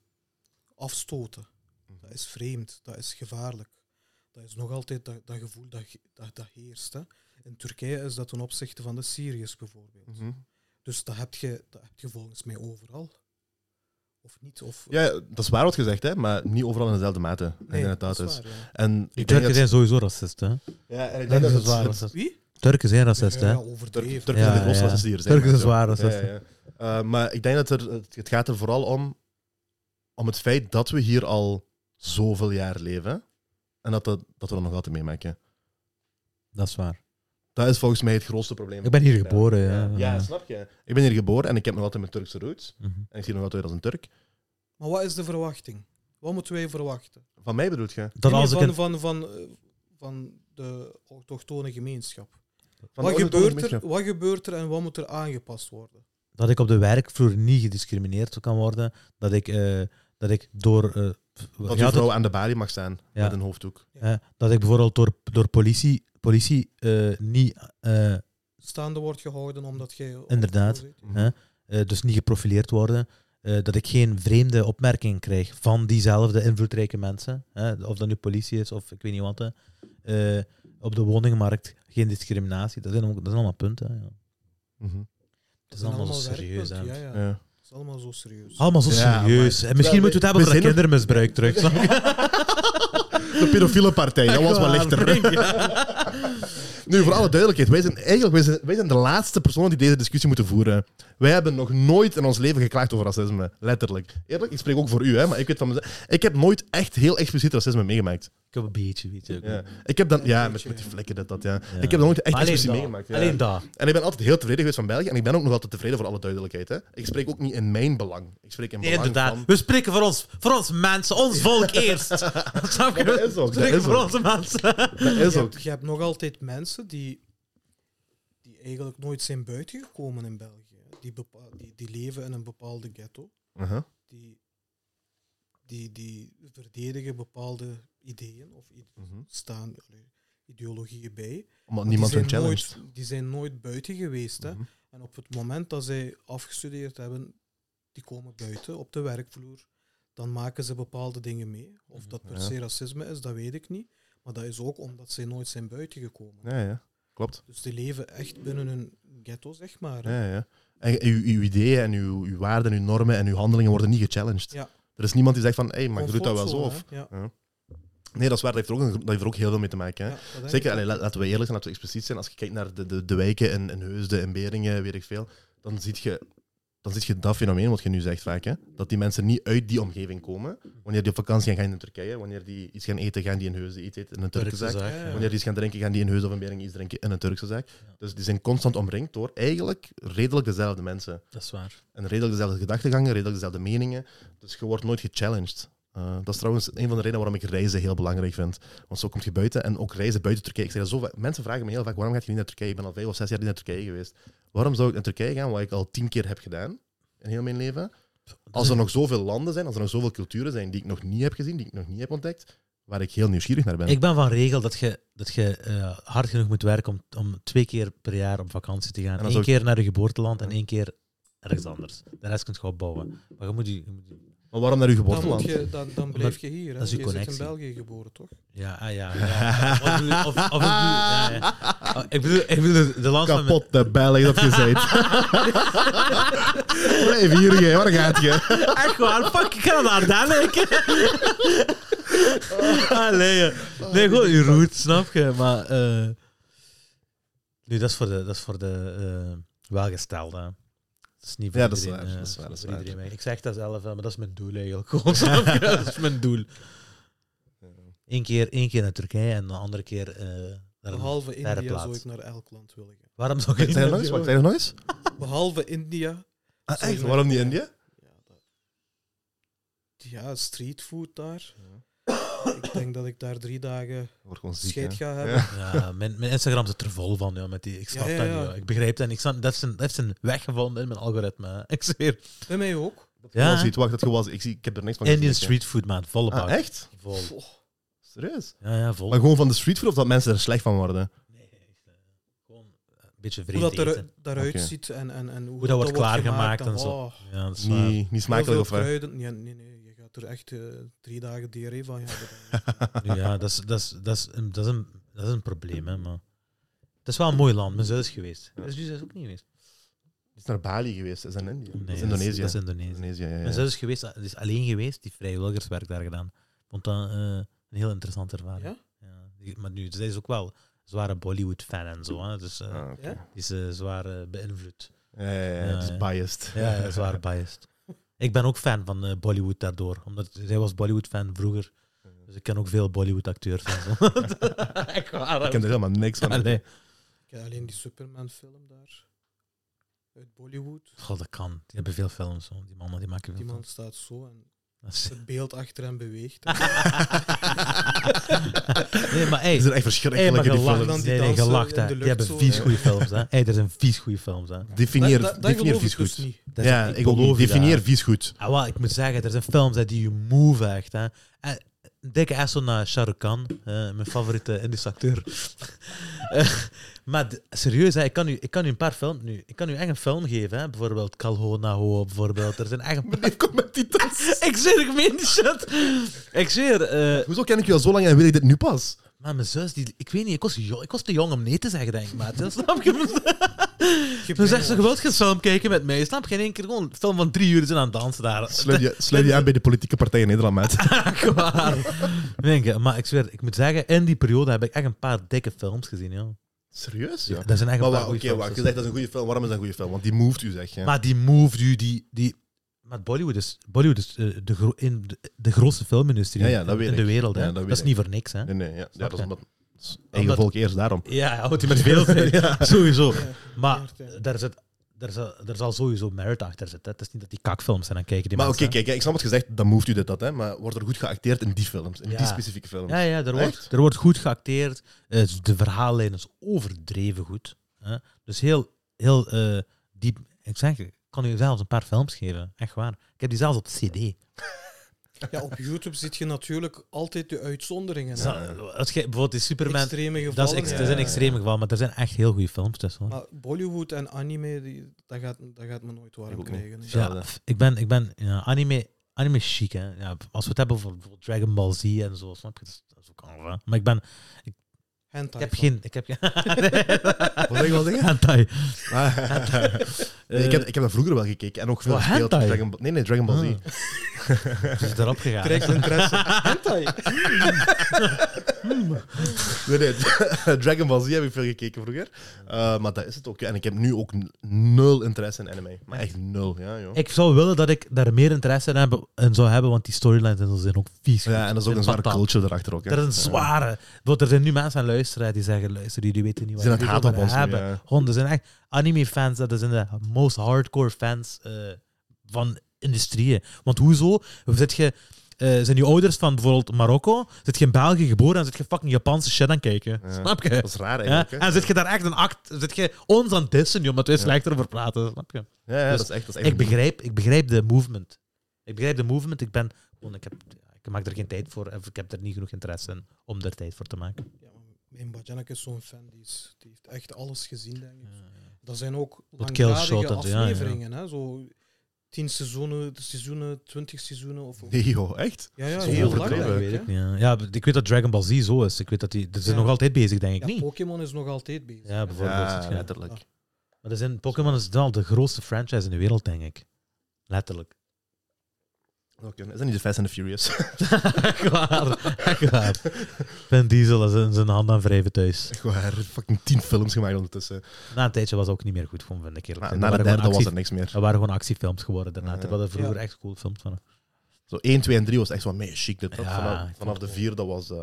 Speaker 3: afstoten.
Speaker 1: mhm.
Speaker 3: Dat is vreemd, dat is gevaarlijk. Dat is nog altijd dat, dat gevoel dat, ge- dat, dat heerst. Hè. In Turkije is dat ten opzichte van de Syriërs bijvoorbeeld.
Speaker 1: Mhm.
Speaker 3: Dus dat heb, je, dat heb je volgens mij overal. Of niet? Of,
Speaker 1: Ja, dat is waar wat gezegd, hè? maar niet overal in dezelfde mate. Ik denk
Speaker 3: Nee,
Speaker 1: dat dat
Speaker 3: dat
Speaker 1: is.
Speaker 3: waar, ja.
Speaker 1: En
Speaker 2: Die
Speaker 1: ik denk
Speaker 2: Turken
Speaker 1: dat,
Speaker 2: zijn sowieso racisten. hè.
Speaker 1: ja, en ik denk
Speaker 2: Turken
Speaker 1: dat
Speaker 2: zijn
Speaker 1: het,
Speaker 2: zwaar
Speaker 1: het,
Speaker 2: racisten.
Speaker 3: Wie?
Speaker 2: Turken zijn racisten. hè.
Speaker 3: Ja, overdreven.
Speaker 1: Turk- Turken zijn de
Speaker 2: Ja,
Speaker 1: grootste
Speaker 2: ja.
Speaker 1: racisten die er zijn.
Speaker 2: Turken zijn
Speaker 1: maar
Speaker 2: zwaar
Speaker 1: het- ja,
Speaker 2: racisten.
Speaker 1: ja, ja. Eh, maar ik denk dat er, het, het gaat er vooral om, om het feit dat we hier al zoveel jaar leven. En dat, dat, dat we dat nog altijd meemaken.
Speaker 2: Dat is waar.
Speaker 1: Dat is volgens mij het grootste probleem.
Speaker 2: Ik ben hier geboren, ja.
Speaker 1: Ja, snap je? Ik ben hier geboren en ik heb nog altijd mijn Turkse roots.
Speaker 2: Mhm.
Speaker 1: En ik zie nog altijd als een Turk.
Speaker 3: Maar wat is de verwachting? Wat moeten wij verwachten?
Speaker 1: Van mij bedoelt je?
Speaker 2: Dat
Speaker 3: Nee,
Speaker 2: als ik
Speaker 3: van,
Speaker 2: een...
Speaker 3: van, van, eh, van de autochtone gemeenschap.
Speaker 1: Van
Speaker 3: wat,
Speaker 1: de
Speaker 3: gebeurt
Speaker 1: origine-
Speaker 3: er, wat gebeurt er en wat moet er aangepast worden?
Speaker 2: dat ik op de werkvloer niet gediscrimineerd kan worden. Dat ik, eh, dat ik door. eh,
Speaker 1: Dat
Speaker 2: ja,
Speaker 1: een
Speaker 2: dat-
Speaker 1: vrouw aan de balie mag staan
Speaker 2: Ja.
Speaker 1: met een hoofddoek.
Speaker 2: eh, dat ik bijvoorbeeld door, door politie, politie eh, niet. eh, eh,
Speaker 3: Staande wordt gehouden omdat jij...
Speaker 2: Inderdaad. Hè? dus niet geprofileerd worden. Eh, dat ik geen vreemde opmerkingen krijg van diezelfde invloedrijke mensen. Hè? Of dat nu politie is of ik weet niet wat. hè. Eh, op de woningmarkt geen discriminatie. Dat zijn, ook- dat zijn allemaal punten. hè, Ja.
Speaker 1: Mhm.
Speaker 2: Het is allemaal zo serieus.
Speaker 3: werkpunten,
Speaker 2: hè.
Speaker 3: Ja, ja.
Speaker 1: Ja.
Speaker 3: Het is allemaal zo serieus.
Speaker 2: Allemaal zo
Speaker 1: Ja,
Speaker 2: serieus.
Speaker 1: maar-
Speaker 2: En misschien
Speaker 1: Ja,
Speaker 2: moeten we het hebben
Speaker 1: we zijn
Speaker 2: over dat
Speaker 1: er-
Speaker 2: kindermisbruik terug. snap je?
Speaker 1: De pedofiele partij, dat was wel
Speaker 2: Echt waar,
Speaker 1: lichter. Nu, voor alle duidelijkheid, wij zijn eigenlijk wij zijn, wij zijn de laatste personen die deze discussie moeten voeren. Wij hebben nog nooit in ons leven geklaagd over racisme, letterlijk. Eerlijk, ik spreek ook voor u, hè, maar ik weet van mezelf, ik heb nooit echt heel expliciet racisme meegemaakt.
Speaker 2: Ik heb een beetje, weet je. ook.
Speaker 1: Ja. Ik heb dan, ja, met, met die vlekken dat, dat, ja. Ik heb dat nooit echt
Speaker 2: Maar alleen
Speaker 1: expliciet
Speaker 2: dat.
Speaker 1: meegemaakt. Ja.
Speaker 2: Alleen daar.
Speaker 1: En ik ben altijd heel tevreden geweest van België en ik ben ook nog altijd tevreden voor alle duidelijkheid. Hè. Ik spreek ook niet in mijn belang. Ik spreek in
Speaker 2: Nee,
Speaker 1: belang
Speaker 2: inderdaad.
Speaker 1: van...
Speaker 2: We spreken voor ons, voor ons mensen, ons volk eerst. Snap je?
Speaker 1: dat is ook, dat
Speaker 2: we spreken
Speaker 1: is
Speaker 2: voor
Speaker 1: ook.
Speaker 2: onze mensen.
Speaker 1: Dat is
Speaker 3: je,
Speaker 1: ook.
Speaker 3: hebt, je hebt nog altijd mensen die, die eigenlijk nooit zijn buitengekomen in België. Die, bepa- die, die leven in een bepaalde ghetto.
Speaker 1: Uh-huh.
Speaker 3: Die, die, die verdedigen bepaalde ideeën of i-
Speaker 1: Mhm.
Speaker 3: staan allee, ideologieën bij.
Speaker 1: Omdat
Speaker 3: Maar
Speaker 1: niemand
Speaker 3: die
Speaker 1: hun
Speaker 3: zijn,
Speaker 1: challenge.
Speaker 3: nooit, die zijn nooit buiten geweest. Hè?
Speaker 1: Mhm.
Speaker 3: En op het moment dat zij afgestudeerd hebben, die komen buiten op de werkvloer. Dan maken ze bepaalde dingen mee. Of dat per
Speaker 1: Ja.
Speaker 3: se racisme is, dat weet ik niet. Maar dat is ook omdat zij nooit zijn buitengekomen.
Speaker 1: Ja, ja. Klopt.
Speaker 3: Dus die leven echt binnen hun ghetto, zeg maar. hè.
Speaker 1: Ja, ja. En uw, uw ideeën en uw, uw waarden en uw normen en uw handelingen worden niet gechallenged.
Speaker 3: Ja.
Speaker 1: Er is niemand die zegt van, hé, hey, maar je doet dat wel zo.
Speaker 3: Comfortzone,
Speaker 1: Of...
Speaker 3: hè. Ja.
Speaker 1: Nee, dat is waar, dat heeft er ook, een- dat heeft er ook heel veel mee te maken. Hè?
Speaker 3: Ja, dat denk ik.
Speaker 1: Zeker, allee, la- laten we eerlijk zijn, laten we expliciet zijn. Als je kijkt naar de, de, de wijken in, in Heusden, in Beringen, weet ik veel, dan zie je, dan ziet je dat fenomeen wat je nu zegt vaak. Hè? Dat die mensen niet uit die omgeving komen. Wanneer die op vakantie gaan, gaan die in Turkije. Wanneer die iets gaan eten, gaan die in Heusden iets eten in een Turkse zaak.
Speaker 3: zaak, ja.
Speaker 1: Wanneer die iets gaan drinken, gaan die in Heusden of in Beringen iets drinken in een Turkse zaak. Dus die zijn constant omringd door eigenlijk redelijk dezelfde mensen.
Speaker 2: Dat is waar.
Speaker 1: En redelijk dezelfde gedachtegangen, redelijk dezelfde meningen. Dus je wordt nooit gechallenged. Eh, dat is trouwens een van de redenen waarom ik reizen heel belangrijk vind. Want zo kom je buiten en ook reizen buiten Turkije. Ik zeg dat zo vaak. Mensen vragen me heel vaak: waarom gaat je niet naar Turkije? Ik ben al vijf of zes jaar niet naar Turkije geweest. Waarom zou ik naar Turkije gaan, wat ik al tien keer heb gedaan in heel mijn leven? Als er nog zoveel landen zijn, als er nog zoveel culturen zijn die ik nog niet heb gezien, die ik nog niet heb ontdekt, waar ik heel nieuwsgierig naar ben.
Speaker 2: Ik ben van regel dat je, dat je eh, hard genoeg moet werken om, om twee keer per jaar op vakantie te gaan.
Speaker 1: dan
Speaker 2: Eén
Speaker 1: zou ik-
Speaker 2: keer naar je geboorteland en één keer ergens anders. De rest kun je opbouwen. Maar je moet je... je moet je-
Speaker 1: Maar waarom naar uw
Speaker 3: Dan, moet
Speaker 1: geboorteland?
Speaker 3: je, dan, dan blijf je hier. Hè?
Speaker 2: dat is je
Speaker 3: je zit in
Speaker 2: connectie.
Speaker 3: België geboren, toch?
Speaker 2: ja, ah, ja, ja. Of, ik bedoel- of, of ik bedoel... ja, ja. Oh, Ik bedoel, ik bedoel de last van mijn-
Speaker 1: Kapot de Belg dat je bent. Blijf hier, jij. waar gaat je?
Speaker 2: Echt waar, fuck, ik ga naar daar denken. Allee, joh. nee, gewoon je route, snap je? Maar, eh, nu, dat is voor de, dat is voor de eh, welgestelde. Dat is niet voor
Speaker 1: Ja, dat is
Speaker 2: iedereen.
Speaker 1: waar,
Speaker 2: eh,
Speaker 1: dat is waar, dat is
Speaker 2: voor
Speaker 1: waar.
Speaker 2: iedereen, eigenlijk. Ik zeg dat zelf, hè, maar dat is mijn doel eigenlijk. Gewoon, snap je? Dat is mijn doel. Eén keer, één keer naar Turkije en de andere keer eh, naar een-
Speaker 3: Behalve
Speaker 2: derde
Speaker 3: India
Speaker 2: plaats.
Speaker 3: zou ik naar elk land willen gaan.
Speaker 2: Waarom zou ik
Speaker 1: Zijn
Speaker 2: niet
Speaker 1: er
Speaker 2: naar
Speaker 1: nog eens? Wat,
Speaker 2: Turkije?
Speaker 1: zijn er nog eens?
Speaker 3: Behalve India.
Speaker 1: Ah,
Speaker 3: Sorry,
Speaker 1: echt?
Speaker 3: maar-
Speaker 1: Waarom niet India?
Speaker 3: Ja, dat... ja streetfood daar. Ik denk dat ik daar drie dagen
Speaker 1: Wordt gewoon
Speaker 3: scheid
Speaker 1: hè?
Speaker 3: ga hebben.
Speaker 2: Ja, eh, mijn, mijn Instagram zit er vol van, ja, met die, ik snap
Speaker 3: Ja, ja,
Speaker 2: dat niet.
Speaker 3: ja.
Speaker 2: ja. Ik begrijp dat niet. Ik snap, dat, is een, dat heeft een weg gevonden in mijn algoritme. hè. Ik zweer.
Speaker 3: Bij mij ook.
Speaker 1: Ja.
Speaker 2: Ja, hè?
Speaker 1: ziet, wacht, dat gewas. Ik, zie, ik heb er niks van
Speaker 2: Indian
Speaker 1: gezien, hè.
Speaker 2: streetfood, maat. Volle bak.
Speaker 1: Ah, echt?
Speaker 2: Vol.
Speaker 3: Goh,
Speaker 1: Serieus?
Speaker 2: Ja, ja, vol.
Speaker 1: Maar gewoon van de streetfood of dat mensen er slecht van worden?
Speaker 2: Nee, echt, eh, gewoon een beetje
Speaker 3: Hoe
Speaker 2: vreemd
Speaker 3: dat
Speaker 2: eten.
Speaker 3: er, daaruit
Speaker 1: Oké.
Speaker 3: ziet en, en, en hoe,
Speaker 2: dat wordt klaargemaakt en zo.
Speaker 3: Oh,
Speaker 2: Ja, dat is waar.
Speaker 1: Niet, niet smakelijk
Speaker 3: heel
Speaker 1: of
Speaker 3: veel
Speaker 1: wat?
Speaker 3: kruiden. Ja, nee, nee, je gaat er echt eh, drie dagen diarree van hebben.
Speaker 2: Ja, dat is, dat is, dat is, een, dat is, een, dat is een probleem, hè, maar... Het is wel een mooi land. Mijn zus is geweest. Mijn zus is ook niet geweest.
Speaker 1: is naar Bali geweest, dat is in India.
Speaker 2: Nee,
Speaker 1: dat is Indonesië.
Speaker 2: Dat is Indonesië.
Speaker 1: Indonesië, ja, ja.
Speaker 2: Mijn zus is geweest, die is alleen geweest, die heeft vrijwilligerswerk daar gedaan. Vond dat eh, een heel interessante ervaring.
Speaker 3: Ja?
Speaker 2: die- maar nu, zij is ook wel een zware Bollywood-fan en zo, hè, dus eh,
Speaker 1: Ah, oké.
Speaker 3: Ja?
Speaker 2: die is eh, zwaar eh, beïnvloed.
Speaker 1: Ja, ja, ja,
Speaker 2: Ja,
Speaker 1: het
Speaker 2: ja.
Speaker 1: is biased.
Speaker 2: Ja, ja, zwaar biased. Ik ben ook fan van eh, Bollywood daardoor, omdat zij was Bollywood-fan vroeger. Dus ik ken ook veel Bollywood-acteurs. en zo. Echt waar.
Speaker 1: Ik ken er helemaal niks van.
Speaker 2: Allee.
Speaker 3: Ik ken alleen die Superman-film daar. Uit Bollywood.
Speaker 2: Goh, dat kan. Die hebben veel films. hoor. Die mannen die maken veel
Speaker 3: Die man
Speaker 2: films.
Speaker 3: staat zo en
Speaker 2: Dat is-
Speaker 3: het beeld achter hem beweegt.
Speaker 2: nee, maar hey,
Speaker 1: is er echt
Speaker 2: hey, maar
Speaker 1: verschrikkelijke die
Speaker 2: gelacht.
Speaker 1: films.
Speaker 3: Dan die
Speaker 2: Nee, nee,
Speaker 3: dansen
Speaker 2: gelacht.
Speaker 3: in de
Speaker 2: Hè.
Speaker 3: lucht
Speaker 2: Die hebben
Speaker 3: zo,
Speaker 2: vies
Speaker 3: ja.
Speaker 2: goede films. Hè. Hey, er zijn vies goede films. Hè.
Speaker 1: Definieer,
Speaker 3: Dat- dat- dat
Speaker 1: definieer
Speaker 3: geloof ik
Speaker 1: vies
Speaker 3: dus
Speaker 1: goed.
Speaker 3: niet.
Speaker 2: Dat is-
Speaker 1: ja, ik, ook
Speaker 2: beloof
Speaker 1: niet.
Speaker 2: je dat.
Speaker 1: Definieer vies goed.
Speaker 2: Ah, wel, ik moet zeggen, er zijn films hè, die je move echt. Hè. En, een dikke ass naar Shah Rukh Khan, eh, mijn favoriete Indische acteur. Eh, maar d- serieus, hè, ik, kan u, ik kan u een paar films nu. Ik kan u echt een film geven, hè. bijvoorbeeld Kalho Na Ho, bijvoorbeeld. Er zijn echt een paar...
Speaker 1: Kom met die tas.
Speaker 2: Ik zweer, ik meen die shit. Ik zweer, eh,
Speaker 1: Hoezo ken ik je al zo lang en wil ik dit nu pas?
Speaker 2: maar mijn zus, die, ik weet niet, ik was, jo- ik was te jong om nee te zeggen, denk ik. Maar dat snap je? Toen zegt ze, wilt je een film kijken met mij? Snap je? In één keer gewoon een film van drie uur zijn aan het dansen daar.
Speaker 1: Sluit je, sluit je aan bij de politieke partij in Nederland, maat.
Speaker 2: Kwaar. Denk je, maar ik zweer, ik moet zeggen, in die periode heb ik echt een paar dikke films gezien, joh.
Speaker 1: Serieus?
Speaker 2: Ja.
Speaker 1: Ja.
Speaker 2: Dat zijn echt
Speaker 1: Maar
Speaker 2: een paar
Speaker 1: wa-
Speaker 2: goeie
Speaker 1: oké,
Speaker 2: films. dus
Speaker 1: wacht. Je zegt dat is een goede film. Waarom is dat een goede film? Want die moved u, zeg je.
Speaker 2: Maar die move, die... die, die maar Bollywood is, Bollywood is eh, de, gro- in de, de grootste filmindustrie
Speaker 1: Ja, ja, dat weet
Speaker 2: in de
Speaker 1: ik.
Speaker 2: wereld. hè.
Speaker 1: Ja, dat
Speaker 2: dat,
Speaker 1: weet
Speaker 2: is
Speaker 1: ik.
Speaker 2: niet voor niks, hè.
Speaker 1: Nee, nee. Ja, ja
Speaker 2: Snap
Speaker 1: dat is
Speaker 2: je?
Speaker 1: omdat... dat is
Speaker 2: Omdat-
Speaker 1: Eigen volk eerst daarom.
Speaker 2: Ja, houdt hij met veel zijn. Sowieso. Maar
Speaker 3: ja.
Speaker 2: daar, zit, daar, zal, daar zal sowieso merit achter zitten. hè. Het is niet dat die kakfilms zijn aan kijken die
Speaker 1: maar oké,
Speaker 2: mensen.
Speaker 1: kijk, ik snap wat gezegd, dan moved u dit, dat, hè. Maar wordt er goed geacteerd in die films, in
Speaker 2: Ja.
Speaker 1: die specifieke films?
Speaker 2: Ja, ja, er wordt,
Speaker 1: Echt?
Speaker 2: er wordt goed geacteerd. Eh, de verhaallijn is overdreven goed. Hè? Dus heel, heel eh, diep. Ik zeg, ik kan u zelfs een paar films geven. Echt waar. Ik heb die zelfs op CD.
Speaker 3: Ja, op YouTube zit je natuurlijk altijd de uitzonderingen. hè.
Speaker 2: Zo- Als je bijvoorbeeld die Superman.
Speaker 3: Extreme
Speaker 2: Dat is,
Speaker 3: gevallen.
Speaker 2: ex-
Speaker 1: ja.
Speaker 2: dat is een extreme geval, maar er zijn echt heel goede films tussen. hoor.
Speaker 3: Maar Bollywood en anime, die, dat, gaat, dat gaat me nooit
Speaker 1: Ik
Speaker 3: warm
Speaker 1: ook niet.
Speaker 3: krijgen. hè.
Speaker 2: ja,
Speaker 1: hetzelfde.
Speaker 2: f- ik ben, ik ben ja, anime, anime chic. Hè. Ja, als we het hebben over bijvoorbeeld Dragon Ball Z en zo, snap je? Dat is, dat is ook al. hè. Maar ik ben. Ik
Speaker 3: Hentai
Speaker 2: heb
Speaker 3: van.
Speaker 2: geen. Ik heb geen.
Speaker 1: Wat zeg je, wat zeg je?
Speaker 2: Hentai.
Speaker 1: Ah. Nee, ik, heb, ik heb dat vroeger wel gekeken en ook veel
Speaker 2: Wat,
Speaker 1: gespeeld.
Speaker 2: hentai?
Speaker 1: Dragon Ball- nee, nee, Dragon Ball Z.
Speaker 2: Ah. Het is erop gegaan.
Speaker 3: Direct interesse. Hentai.
Speaker 1: Nee, nee, Dragon Ball Z heb ik veel gekeken vroeger. Eh, maar dat is het ook. En ik heb nu ook n- nul interesse in anime. Maar echt nul, ja, joh.
Speaker 2: Ik zou willen dat ik daar meer interesse in, heb, in zou hebben, want die storylines en zo zijn ook vies.
Speaker 1: Ja, en dat is ook een zware
Speaker 2: Patat.
Speaker 1: culture erachter ook. hè.
Speaker 2: Dat is een
Speaker 1: Ja.
Speaker 2: zware. Want er zijn nu mensen aan luisteren hè, die zeggen: luister, jullie weten niet wat
Speaker 1: Ze zijn aan het
Speaker 2: jullie
Speaker 1: haten op
Speaker 2: over
Speaker 1: ons nu,
Speaker 2: hebben.
Speaker 1: ja.
Speaker 2: Gewoon, er zijn echt anime-fans, dat zijn de most hardcore fans eh, van industrieën. Want hoezo? Zit je, eh, zijn je ouders van bijvoorbeeld Marokko? Zit je in België geboren en zit je fucking Japanse shit aan het kijken?
Speaker 1: Ja.
Speaker 2: Snap je?
Speaker 1: Dat is raar
Speaker 2: Ja?
Speaker 1: eigenlijk. hè.
Speaker 2: En zit je daar echt een act, zit je ons aan het dissen, joh, omdat wij slecht erover praten? Snap je?
Speaker 1: Ja, ja,
Speaker 2: Dus
Speaker 1: dat is echt. Dat is echt
Speaker 2: Ik begrijp, ik begrijp de movement. Ik begrijp de movement. Ik ben gewoon, ik, heb, ik maak er geen tijd voor. of Ik heb er niet genoeg interesse in om er tijd voor te maken.
Speaker 3: Ja, maar mijn Bajanek is zo'n fan, die, is, die heeft echt alles gezien, denk ik. Dat zijn ook
Speaker 2: Killshot
Speaker 3: langdradige
Speaker 2: en zo, ja, ja.
Speaker 3: afleveringen. Hè? Zo tien seizoenen, seizoenen, twintig seizoenen. Of, of-
Speaker 1: Nee, joh, echt?
Speaker 3: Ja, ja,
Speaker 1: Zo
Speaker 3: heel lang,
Speaker 1: overdreven,
Speaker 3: denk ik.
Speaker 2: weet ik
Speaker 3: hè.
Speaker 2: niet. Ja. Ja, ik weet dat Dragon Ball Z zo is. Ik weet dat die, ze zijn
Speaker 3: Ja.
Speaker 2: nog altijd bezig, denk ik
Speaker 3: Ja,
Speaker 2: niet.
Speaker 3: Pokémon is nog altijd bezig.
Speaker 2: Ja, bijvoorbeeld.
Speaker 1: Ja,
Speaker 2: zit je-
Speaker 1: letterlijk.
Speaker 3: Ja.
Speaker 2: Maar er zijn, Pokémon is wel de grootste franchise in de wereld, denk ik. Letterlijk.
Speaker 1: Oké, Is dat niet de Fast and the Furious?
Speaker 2: Echt waar. Echt waar. Vin Diesel is in zijn hand aan wrijven thuis.
Speaker 1: Echt waar, fucking tien films gemaakt ondertussen.
Speaker 2: Na een tijdje was het ook niet meer goed, gewoon, vind ik eerlijk.
Speaker 1: Maar na
Speaker 2: gezegd. Dat
Speaker 1: de derde
Speaker 2: waren gewoon
Speaker 1: was er
Speaker 2: actie-
Speaker 1: niks meer.
Speaker 2: Dat waren gewoon actiefilms geworden daarna.
Speaker 1: Ja.
Speaker 2: We hadden vroeger
Speaker 3: Ja.
Speaker 2: echt cool films van.
Speaker 1: Zo 1, 2 en 3 was echt zo mega chic. Dit, dat.
Speaker 2: Ja, ik
Speaker 1: vanaf,
Speaker 2: vond
Speaker 1: vanaf
Speaker 2: het
Speaker 1: de
Speaker 2: wel.
Speaker 1: 4 dat was. eh,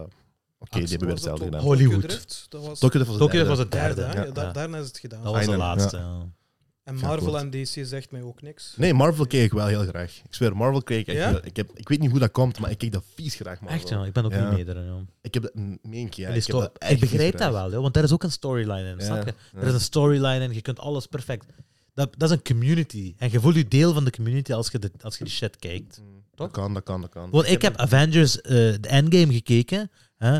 Speaker 1: Oké, die hebben weer
Speaker 3: Was dat
Speaker 1: hetzelfde
Speaker 3: Tokyo
Speaker 1: gedaan.
Speaker 2: Hollywood.
Speaker 3: Drift? Dat was
Speaker 1: Tokyo Drift was de
Speaker 2: Tokyo
Speaker 1: derde.
Speaker 2: was het derde.
Speaker 3: derde, hè?
Speaker 1: ja.
Speaker 3: Ja, da-
Speaker 2: Ja.
Speaker 3: Daarna is het gedaan.
Speaker 2: Dat was de
Speaker 1: Eindelijk,
Speaker 2: laatste.
Speaker 3: En
Speaker 1: Ja,
Speaker 3: Marvel
Speaker 1: klopt.
Speaker 3: en DC zegt mij ook niks.
Speaker 1: Nee, Marvel keek ik wel heel graag. Ik zweer, Marvel keek ik echt
Speaker 3: Ja?
Speaker 1: heel- ik, heb, ik weet niet hoe dat komt, maar ik keek dat vies graag,
Speaker 2: ja.
Speaker 1: Marvel.
Speaker 2: Echt, ja. Ik ben ook
Speaker 1: Ja.
Speaker 2: niet meer erin, joh.
Speaker 1: Ik heb dat... mm, Meen ik, ja.
Speaker 2: En die
Speaker 1: Ik, heb
Speaker 2: sto-
Speaker 1: dat
Speaker 2: Ik,
Speaker 1: echt vies
Speaker 2: begrijp dat
Speaker 1: graag.
Speaker 2: wel, joh, want daar is ook een storyline in.
Speaker 1: Ja,
Speaker 2: Snap je?
Speaker 1: ja.
Speaker 2: Er is een storyline en je kunt alles perfect. Dat, dat is een community. En je voelt je deel van de community als je, de, als je die shit kijkt.
Speaker 1: Mm,
Speaker 2: Toch?
Speaker 1: Dat kan, dat kan, dat kan.
Speaker 2: Want ik heb Avengers, eh, de Endgame gekeken. Hè?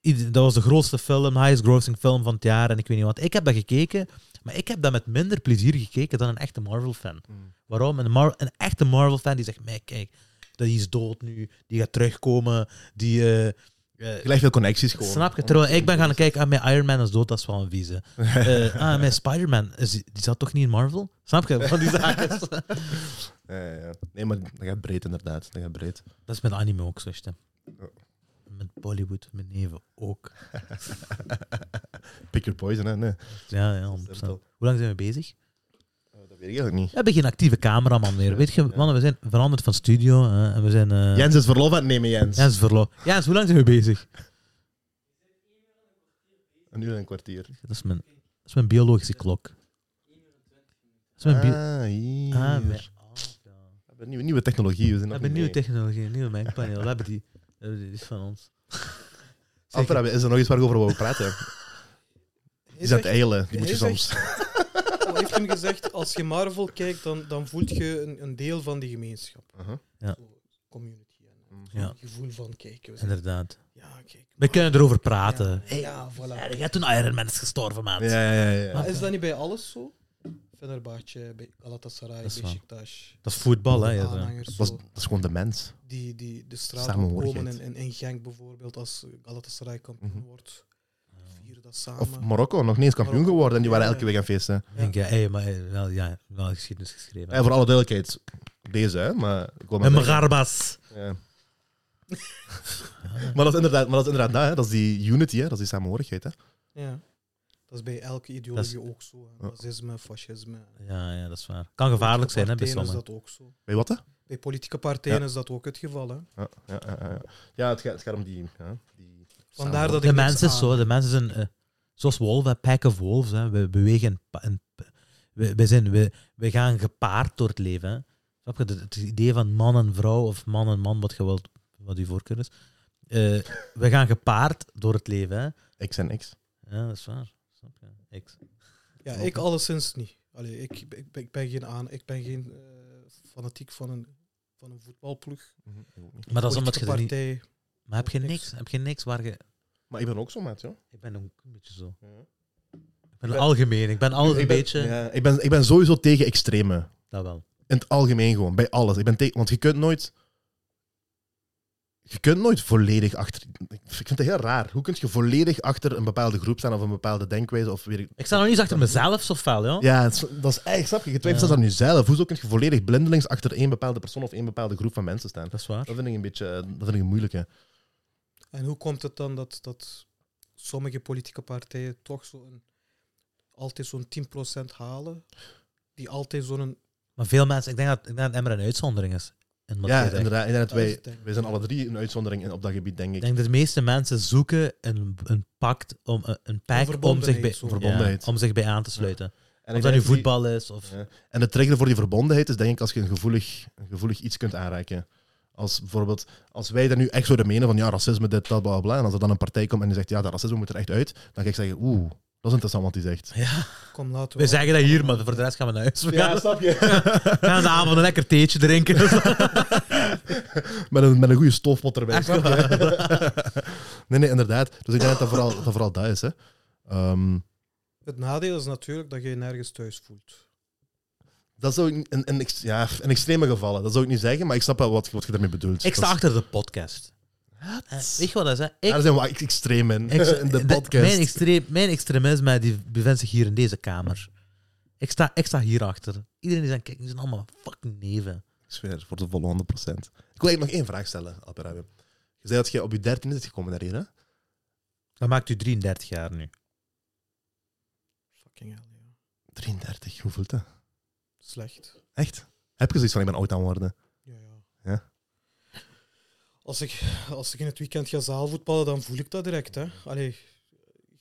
Speaker 2: Ieder- Dat was de grootste film, highest grossing film van het jaar. En ik weet niet wat. Ik heb dat gekeken, maar ik heb dat met minder plezier gekeken dan een echte Marvel-fan.
Speaker 1: Mm.
Speaker 2: Waarom? Een, Mar- een echte Marvel-fan die zegt, "Mij, kijk, die is dood nu, die gaat terugkomen, die... eh, eh,
Speaker 1: Je legt veel connecties gewoon.
Speaker 2: Snap je? Terwijl ik ben gaan kijken, ah, mijn Iron Man is dood, dat is wel een vieze. Eh, ah, mijn Spider-Man, is die die zat toch niet in Marvel? Snap je? Van die zaken.
Speaker 1: Ja, ja, ja. Nee, maar dat gaat breed inderdaad. Dat gaat breed.
Speaker 2: dat is met anime ook zo, stem. Met Bollywood, met neven ook.
Speaker 1: Pick your poison, hè. Nee.
Speaker 2: Ja, ja, 100%. Hoe lang zijn we bezig?
Speaker 1: Eh, Dat weet ik eigenlijk niet.
Speaker 2: We hebben geen actieve cameraman meer. Weet je, mannen, we zijn veranderd van studio. hè, en we zijn... eh,
Speaker 1: Jens is verlof aan het nemen, Jens.
Speaker 2: Jens Verlo. Jens, hoe lang zijn we bezig?
Speaker 1: Een uur en een kwartier.
Speaker 2: Dat is mijn, dat is mijn biologische klok. Dat is mijn bio-
Speaker 1: Ah, hier.
Speaker 2: Ah, mijn- ah, ja.
Speaker 1: We hebben nieuwe, nieuwe technologie. We zijn
Speaker 2: We
Speaker 1: nog
Speaker 2: hebben
Speaker 1: niet
Speaker 2: nieuwe
Speaker 1: mee.
Speaker 2: technologie, een nieuwe mengpaneel. We hebben die. We hebben die, die is van ons.
Speaker 1: Alfred, is er nog iets waarover we over praten? Die zijn het eilen, die moet je
Speaker 3: Hij zegt-
Speaker 1: soms...
Speaker 3: Al heeft hem gezegd, als je Marvel kijkt, dan, dan voel je een, een deel van die gemeenschap.
Speaker 1: Aha.
Speaker 3: Community. En
Speaker 1: Mhm.
Speaker 2: Ja.
Speaker 3: het gevoel van, kijk, we zijn...
Speaker 2: Inderdaad.
Speaker 3: Ja, kijk.
Speaker 2: We
Speaker 3: Marvel,
Speaker 2: kunnen erover praten.
Speaker 3: Ja,
Speaker 2: Hey,
Speaker 3: ja, voilà.
Speaker 2: jij hebt toen Iron Man is gestorven, maat.
Speaker 1: Ja, ja, ja.
Speaker 2: Ah,
Speaker 3: Maar
Speaker 1: ja.
Speaker 3: is dat niet bij alles zo? Fenerbahce, bij Galatasaray,
Speaker 2: Dat is waar.
Speaker 3: Beşiktaş,
Speaker 2: Dat is voetbal, hè. Ah, ja, dan.
Speaker 3: aanhangers,
Speaker 1: Dat, was,
Speaker 3: zo,
Speaker 1: dat is gewoon de mens.
Speaker 3: die, die de straat
Speaker 1: Samenhorigheid.
Speaker 3: opkomen en in, in Genk bijvoorbeeld, als Galatasaray kampioen
Speaker 1: Mhm.
Speaker 3: wordt, vieren dat samen.
Speaker 1: Of Marokko, nog niet eens kampioen
Speaker 3: Ah, Marokko.
Speaker 1: geworden en die waren
Speaker 3: Ja,
Speaker 1: elke week aan feesten.
Speaker 2: Ik denk, ja, hey, maar hey, wel, ja, wel geschiedenis geschreven.
Speaker 1: Ja, voor alle duidelijkheid, deze, hè. Maar ik wil maar
Speaker 2: en mijn
Speaker 1: zeggen-
Speaker 2: garbas.
Speaker 1: Ja. maar, dat is inderdaad, maar dat is inderdaad dat, hè. Dat is die unity, hè. Dat is die samenhorigheid, hè.
Speaker 3: ja. Dat is bij elke ideologie ook zo. hè. Nazisme, fascisme.
Speaker 2: Ja, ja, dat is waar. Kan gevaarlijk zijn, hè, bij
Speaker 3: Partijen is
Speaker 2: sommigen.
Speaker 3: dat ook zo.
Speaker 1: Bij wat, hè?
Speaker 3: Bij politieke partijen
Speaker 1: Ja.
Speaker 3: is dat ook het geval. Hè.
Speaker 1: Ja, ja, ja, ja. ja het, gaat, het gaat om die... Ja, die
Speaker 3: Vandaar dat ik
Speaker 2: De
Speaker 3: niks
Speaker 2: mensen is
Speaker 3: aan-
Speaker 2: zo, de mensen zijn eh, zoals wolven, pack of wolves. Hè. We bewegen in pa- in pa- we, we, zijn, we, we gaan gepaard door het leven. Hè. Snap je? Het, het idee van man en vrouw of man en man, wat je wilt, wat je voorkeur is. Eh, we gaan gepaard door het leven. Hè.
Speaker 1: X en X.
Speaker 2: Ja, dat is waar. Snap je? Ik,
Speaker 3: Ja, ik alleszins niet. Allee, ik, ik, ben- ik ben geen, aan, ik ben geen eh, fanatiek van een, van een voetbalploeg.
Speaker 1: Mhm.
Speaker 2: maar dat is omdat je
Speaker 3: politieke
Speaker 2: er niet...
Speaker 3: partij.
Speaker 2: Maar heb je
Speaker 3: niks.
Speaker 2: niks? Heb je niks waar je...
Speaker 1: Maar ik ben ook zo, maat, joh.
Speaker 2: Ik ben ook een beetje zo.
Speaker 1: Ja.
Speaker 2: Ik ben algemeen. Ik ben al een
Speaker 1: ik ben,
Speaker 2: beetje...
Speaker 1: ja, ik, ben, ik ben sowieso tegen extreme.
Speaker 2: Dat wel.
Speaker 1: In het algemeen gewoon, bij alles. Ik ben tegen, want je kunt nooit. Je kunt nooit volledig achter. Ik vind het heel raar. Hoe kun je volledig achter een bepaalde groep staan of een bepaalde denkwijze of weer.
Speaker 2: Ik sta nog niet eens achter mezelf zo fel, joh.
Speaker 1: Ja, het is- dat is echt snap je. Je twijfelt
Speaker 2: Ja.
Speaker 1: zelfs aan jezelf. Hoezo kun je volledig blindelings achter één bepaalde persoon of één bepaalde groep van mensen staan?
Speaker 2: Dat is waar.
Speaker 1: Dat vind ik een beetje eh, dat vind ik een moeilijke.
Speaker 3: En hoe komt het dan dat, dat sommige politieke partijen toch zo'n, altijd zo'n 10% halen? Die altijd zo'n...
Speaker 2: Maar veel mensen, ik denk dat, ik denk dat Emmer een uitzondering is. In wat jij
Speaker 1: ja,
Speaker 2: zegt.
Speaker 1: inderdaad. inderdaad
Speaker 3: Dat is
Speaker 1: wij,
Speaker 3: het, denk ik.
Speaker 1: wij zijn alle drie een uitzondering in- op dat gebied, denk ik.
Speaker 2: Ik denk dat de meeste mensen zoeken een, een pact, om, een, een pact om, zich bij,
Speaker 3: verbondenheid, zo.
Speaker 1: Verbondenheid.
Speaker 2: ja, om zich bij aan te sluiten.
Speaker 1: en
Speaker 2: Of
Speaker 1: ik
Speaker 2: dat
Speaker 1: denk
Speaker 2: nu
Speaker 1: die-
Speaker 2: voetbal is. Of,
Speaker 1: Ja. En de trigger voor die verbondenheid is denk ik als je een gevoelig, een gevoelig iets kunt aanreiken. Als bijvoorbeeld, als wij daar nu echt zouden menen van ja, racisme, dit, dat, bla, bla, bla. En als er dan een partij komt en die zegt ja, dat racisme moet er echt uit. Dan ga ik zeggen, oeh, dat is interessant wat die zegt.
Speaker 2: Ja.
Speaker 3: Kom, laten
Speaker 2: We
Speaker 3: we...
Speaker 2: zeggen dat hier, maar voor de rest gaan we naar huis. We gaan,
Speaker 1: snap je.
Speaker 2: we gaan in de avond een lekker theetje drinken.
Speaker 1: met, een, met een goede stofpot erbij.
Speaker 2: Echt
Speaker 1: snap je? nee, nee, inderdaad. Dus ik denk dat dat vooral dat, vooral dat is. Hè. Ehm,
Speaker 3: Het nadeel is natuurlijk dat je je nergens thuis voelt.
Speaker 1: dat zou ik in, in, ex- ja, in extreme gevallen, dat zou ik niet zeggen, maar ik snap wel wat, wat je daarmee bedoelt.
Speaker 2: ik sta
Speaker 1: Dat is-
Speaker 2: achter de podcast. Eh, Weet je wat dat is? Hè? Ik,
Speaker 1: Daar zijn we ex- extreem in,
Speaker 2: ik-
Speaker 1: in de podcast.
Speaker 2: Mijn, extreem, mijn extremisme die bevindt zich hier in deze kamer. Ik sta, ik sta hierachter. Iedereen die zijn kijken, die zijn allemaal fucking neven.
Speaker 1: Ik zweer, voor de volle 100 Ik wil eigenlijk nog één vraag stellen, Alperabi. Je zei dat je op je dertiende bent gekomen naar hier, hè?
Speaker 2: Dat maakt u 33 jaar nu.
Speaker 3: Fucking hell, ja.
Speaker 1: 33, hoe voelt dat?
Speaker 3: Slecht.
Speaker 1: Echt? Heb je zoiets van, ik ben oud aan het worden?
Speaker 3: Ja, ja.
Speaker 1: Ja.
Speaker 3: Als, ik, als ik in het weekend ga zaalvoetballen, dan voel ik dat direct. Hè. Allee,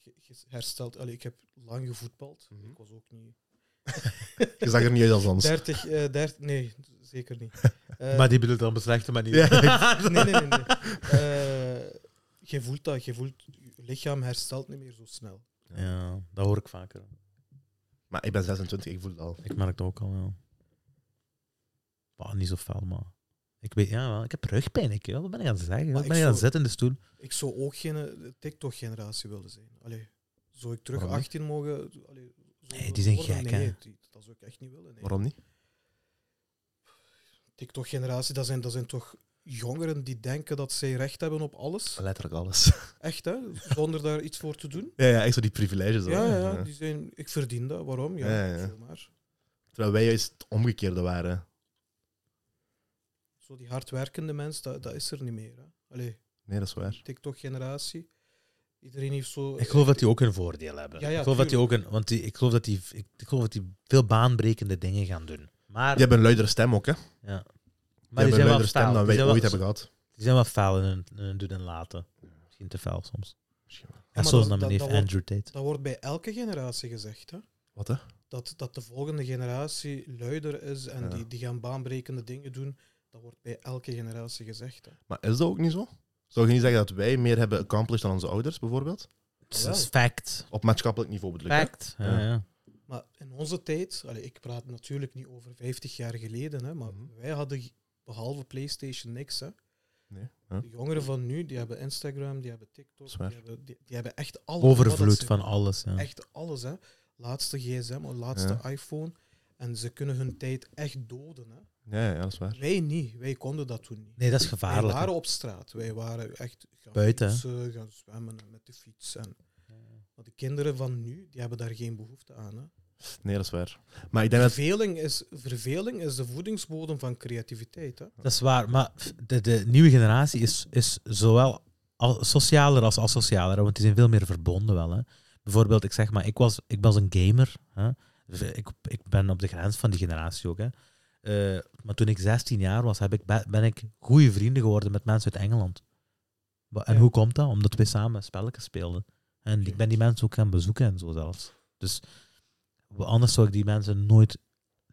Speaker 3: je- je herstelt... Allee, ik heb lang gevoetbald.
Speaker 1: Mhm.
Speaker 3: Ik was ook niet...
Speaker 1: Je zag er niet uit als ons.
Speaker 3: 30, eh 30, nee, zeker niet. Eh,
Speaker 2: Maar die bedoelt dan op een slechte manier.
Speaker 3: Nee, nee, nee. nee. Eh, je voelt dat, je voelt, je lichaam herstelt niet meer zo snel.
Speaker 2: Ja, dat hoor ik vaker.
Speaker 1: Maar ik ben 26, ik voel het al.
Speaker 2: Ik merk dat ook al, ja. Bah, niet zo fel, maar... Ik weet, ja, wel, ik heb rugpijn, ik, joh. Wat ben ik aan het zeggen? Wat
Speaker 3: ik
Speaker 2: ben ik aan het
Speaker 3: zou-
Speaker 2: zitten in de stoel?
Speaker 3: Ik zou ook geen eh, TikTok-generatie willen zijn. Allee, zou ik terug
Speaker 1: Waarom niet?
Speaker 3: 18 mogen... Allee, zo
Speaker 2: Nee, die zijn
Speaker 3: worden?
Speaker 2: gek,
Speaker 3: nee,
Speaker 2: hè.
Speaker 3: die- dat zou ik echt niet willen. nee.
Speaker 1: Waarom niet?
Speaker 3: TikTok-generatie, dat zijn, dat zijn toch jongeren die denken dat zij recht hebben op alles.
Speaker 1: Letterlijk alles.
Speaker 3: Echt, hè? Zonder daar iets voor te doen.
Speaker 1: Ja, ja echt zo die privileges. hoor.
Speaker 3: Ja, ja, ja, die zijn... Ik verdien dat. Waarom? Ja,
Speaker 1: Ja, ja, ja.
Speaker 3: vul maar.
Speaker 1: Terwijl wij juist het omgekeerde waren.
Speaker 3: Zo die hardwerkende mens, dat, dat is er niet meer. Hè? Allee,
Speaker 1: Nee, dat is waar.
Speaker 3: TikTok-generatie. Iedereen heeft zo... eh,
Speaker 2: Ik geloof dat die ook een voordeel hebben.
Speaker 3: Ja, ja,
Speaker 2: ik geloof dat die ook
Speaker 3: tuurlijk.
Speaker 2: een... Want die, ik, geloof dat die, ik, ik geloof dat die veel baanbrekende dingen gaan doen. Maar,
Speaker 1: Je hebt een luidere stem ook, hè? Je
Speaker 2: maar
Speaker 1: hebt
Speaker 2: die
Speaker 1: een
Speaker 2: zijn wel
Speaker 1: luidere
Speaker 2: fel.
Speaker 1: stem dan
Speaker 2: Die
Speaker 1: wij
Speaker 2: zijn wel,
Speaker 1: ooit hebben gehad.
Speaker 2: die zijn wel fel in hun, in hun doen en laten. Misschien te fel soms.
Speaker 1: Misschien wel.
Speaker 2: En
Speaker 3: maar
Speaker 2: zoals naar
Speaker 3: dat- dat-
Speaker 2: meneer
Speaker 3: dat wordt-
Speaker 2: Andrew Tate.
Speaker 3: Dat wordt bij elke generatie gezegd. Hè?
Speaker 1: Wat hè?
Speaker 3: Dat, dat de volgende generatie luider is en
Speaker 1: Ja.
Speaker 3: die, die gaan baanbrekende dingen doen. Dat wordt bij elke generatie gezegd. Hè?
Speaker 1: Maar is dat ook niet zo? Zou je niet zeggen dat wij meer hebben accomplished dan onze ouders, bijvoorbeeld?
Speaker 2: Dat is fact.
Speaker 1: Op maatschappelijk niveau bedoel ik. hè?
Speaker 2: Fact. Ja, ja.
Speaker 3: Maar in onze tijd, allee, ik praat natuurlijk niet over 50 jaar geleden, hè, maar
Speaker 1: Mhm.
Speaker 3: wij hadden g- behalve PlayStation niks. Hè.
Speaker 1: Nee, ja.
Speaker 3: De jongeren van nu, die hebben Instagram, die hebben TikTok, die
Speaker 1: Zwaar.
Speaker 3: hebben, die, die hebben echt alles.
Speaker 2: Overvloed van alles. Ja.
Speaker 3: Echt alles, hè. Laatste gsm, of laatste iPhone. En ze kunnen hun tijd echt doden, hè.
Speaker 1: Ja, ja, ja, dat is waar.
Speaker 3: Wij niet, wij konden dat toen niet.
Speaker 2: Nee, dat is
Speaker 3: Wij
Speaker 2: gevaarlijk.
Speaker 3: waren op straat, wij waren echt gaan
Speaker 2: Buiten, hè.
Speaker 3: fietsen, gaan zwemmen en met de fiets. En, maar de kinderen van nu, die hebben daar geen behoefte aan, hè.
Speaker 1: Nee, dat is waar. Maar ik denk dat...
Speaker 3: Verveling is, verveling is de voedingsbodem van creativiteit. Hè?
Speaker 2: Dat is waar, maar f- de, de nieuwe generatie is, is zowel al- socialer als asocialer, hè, want die zijn veel meer verbonden wel. Hè. Bijvoorbeeld, ik zeg maar, ik was, ik was een gamer. Hè. Dus, eh, Ik, ik ben op de grens van die generatie ook. Hè. Eh, maar toen ik 16 jaar was, heb ik, be- ben ik goede vrienden geworden met mensen uit Engeland. Wa- En
Speaker 3: Ja.
Speaker 2: hoe komt dat? Omdat wij samen spelletjes speelden. En
Speaker 3: Oké.
Speaker 2: ik ben die mensen ook gaan bezoeken en zo zelfs. Dus wa- anders zou ik die mensen nooit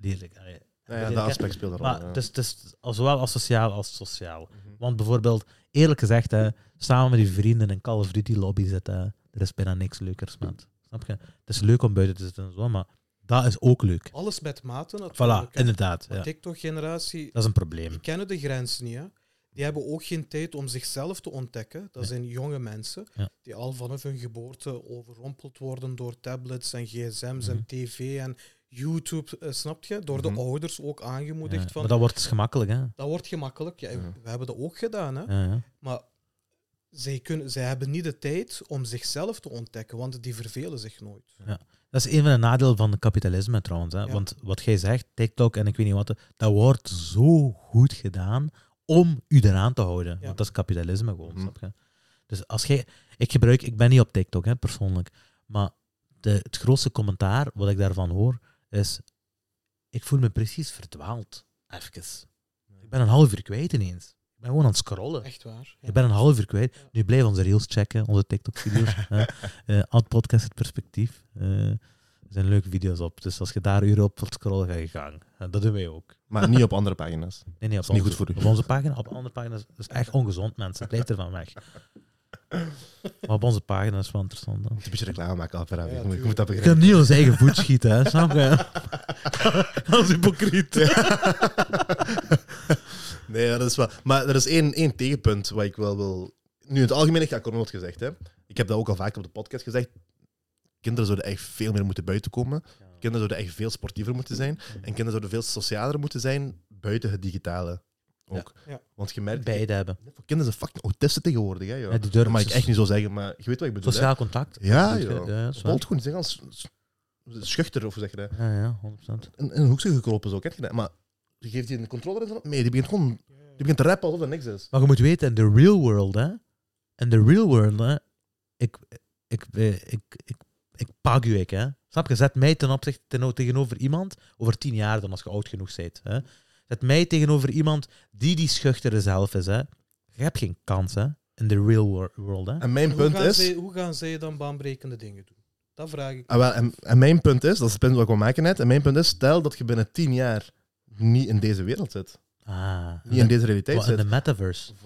Speaker 2: leren. eh,
Speaker 1: Ja, ja, dat aspect speelt er
Speaker 2: maar dus-
Speaker 1: al.
Speaker 2: het is, het is al- zowel asociaal als sociaal. Want bijvoorbeeld, eerlijk gezegd, hè, samen met je vrienden in een Call of Duty lobby zitten, hè, er is bijna niks leukers, maat. Snap je? Het is leuk om buiten te zitten en zo, maar dat is ook leuk.
Speaker 3: Alles met mate natuurlijk.
Speaker 2: Voilà,
Speaker 3: hè.
Speaker 2: inderdaad.
Speaker 3: De
Speaker 2: Ja.
Speaker 3: TikTok-generatie,
Speaker 2: Dat is een probleem.
Speaker 3: die kennen de grens niet. Hè? Die hebben ook geen tijd om zichzelf te ontdekken. Dat
Speaker 2: Nee.
Speaker 3: zijn jonge mensen
Speaker 2: Ja.
Speaker 3: die al vanaf hun geboorte overrompeld worden door tablets en gsm's
Speaker 2: Mhm.
Speaker 3: en tv en YouTube, eh, snap je? Door
Speaker 1: Mhm.
Speaker 3: de ouders ook aangemoedigd
Speaker 2: Ja,
Speaker 3: van...
Speaker 2: maar
Speaker 3: dat...
Speaker 2: dat wordt dus gemakkelijk, hè? Ja,
Speaker 3: wordt gemakkelijk. Ja,
Speaker 1: Ja.
Speaker 3: We hebben dat ook gedaan. Hè?
Speaker 2: ja.
Speaker 3: Maar zij, kunnen, zij hebben niet de tijd om zichzelf te ontdekken, want die vervelen zich nooit.
Speaker 2: Dat is een van de nadelen van het kapitalisme trouwens. Hè?
Speaker 3: Ja.
Speaker 2: Want wat jij zegt, TikTok en ik weet niet wat, dat wordt zo goed gedaan om u eraan te houden.
Speaker 3: Ja.
Speaker 2: Want dat is kapitalisme gewoon,
Speaker 1: Mhm.
Speaker 2: snap je? Dus als jij, ik gebruik, ik ben niet op TikTok hè, persoonlijk, maar de, het grootste commentaar wat ik daarvan hoor is, ik voel me precies verdwaald, even. Ik ben een half uur kwijt ineens. Ik ben gewoon aan het scrollen.
Speaker 3: Echt waar. ja.
Speaker 2: Ik ben een half uur kwijt. Nu blijf onze reels checken, onze TikTok-video's. hè. Eh, Ad Podcast Het Perspectief. Eh, er zijn leuke video's op. Dus als je daar uren op wilt scrollen, ga je gang. En dat doen wij ook.
Speaker 1: Maar niet op andere pagina's.
Speaker 2: Nee, nee, op,
Speaker 1: is niet
Speaker 2: onze,
Speaker 1: goed voor u.
Speaker 2: op onze pagina. Op andere pagina's dat is echt ongezond, mensen. Blijf ervan weg. Maar op onze pagina is het wel interessant. Dan.
Speaker 1: Je moet een beetje reclame maken, Alper.
Speaker 3: Ja,
Speaker 1: ik, moet- ik
Speaker 3: tuurlijk.
Speaker 1: moet dat
Speaker 2: Je
Speaker 1: begrijpen.
Speaker 2: kunt niet ons eigen voet schieten, hè. Snap je? Dat is hypocriet.
Speaker 1: Nee, ja, dat is wel. Maar er is één, één tegenpunt wat ik wel wil. Nu, in het algemeen, ik heb corona wat gezegd. Hè. Ik heb dat ook al vaak op de podcast gezegd. Kinderen zouden echt veel meer moeten buiten komen. Kinderen zouden echt veel sportiever moeten zijn. En kinderen zouden veel socialer moeten zijn buiten het digitale. Ook.
Speaker 3: Ja, ja.
Speaker 1: Want je merkt.
Speaker 2: Beide hebben.
Speaker 1: Kinderen zijn fucking autisten tegenwoordig. Hè, joh.
Speaker 2: Ja, die durven
Speaker 1: dat mag ik
Speaker 2: zo-
Speaker 1: echt niet zo zeggen, maar je weet wat ik bedoel. hè.
Speaker 2: Sociaal contact.
Speaker 1: Ja,
Speaker 2: ja.
Speaker 1: joh.
Speaker 2: Ja, dat is waar.
Speaker 1: Spoelt goed. Ze zijn al s- s- schuchter, of hoe zeg je dat?
Speaker 2: ja, ja 100%.
Speaker 1: In, in een hoekje gekropen, zo. Ken je dat? Maar je geeft die een controller en zo. Nee, die begint gewoon.
Speaker 3: Ja, ja.
Speaker 1: Die begint te rappen alsof er niks is.
Speaker 2: Maar je moet weten, in de real world, hè. In de real world, hè. Ik, ik, eh, ik, ik, ik, pak u, ik, hè. Snap je? Zet mij ten opzichte ten, tegenover iemand over tien jaar dan, als je oud genoeg bent, hè. Zet mij tegenover iemand die die schuchtere zelf is, hè. Je hebt geen kans, hè. In de real wor- world, hè.
Speaker 1: En mijn
Speaker 3: hoe,
Speaker 1: punt
Speaker 3: gaan
Speaker 1: is.
Speaker 3: zij, hoe gaan zij dan baanbrekende dingen doen? Dat vraag ik.
Speaker 1: Ah, wel, en, en mijn punt is, dat is het punt wat ik wil maken net. En mijn punt is, stel dat je binnen tien jaar niet in deze wereld zit.
Speaker 2: Ah.
Speaker 1: Niet in deze realiteit
Speaker 2: Wel, in de
Speaker 1: zit.
Speaker 2: metaverse.
Speaker 1: Voilà.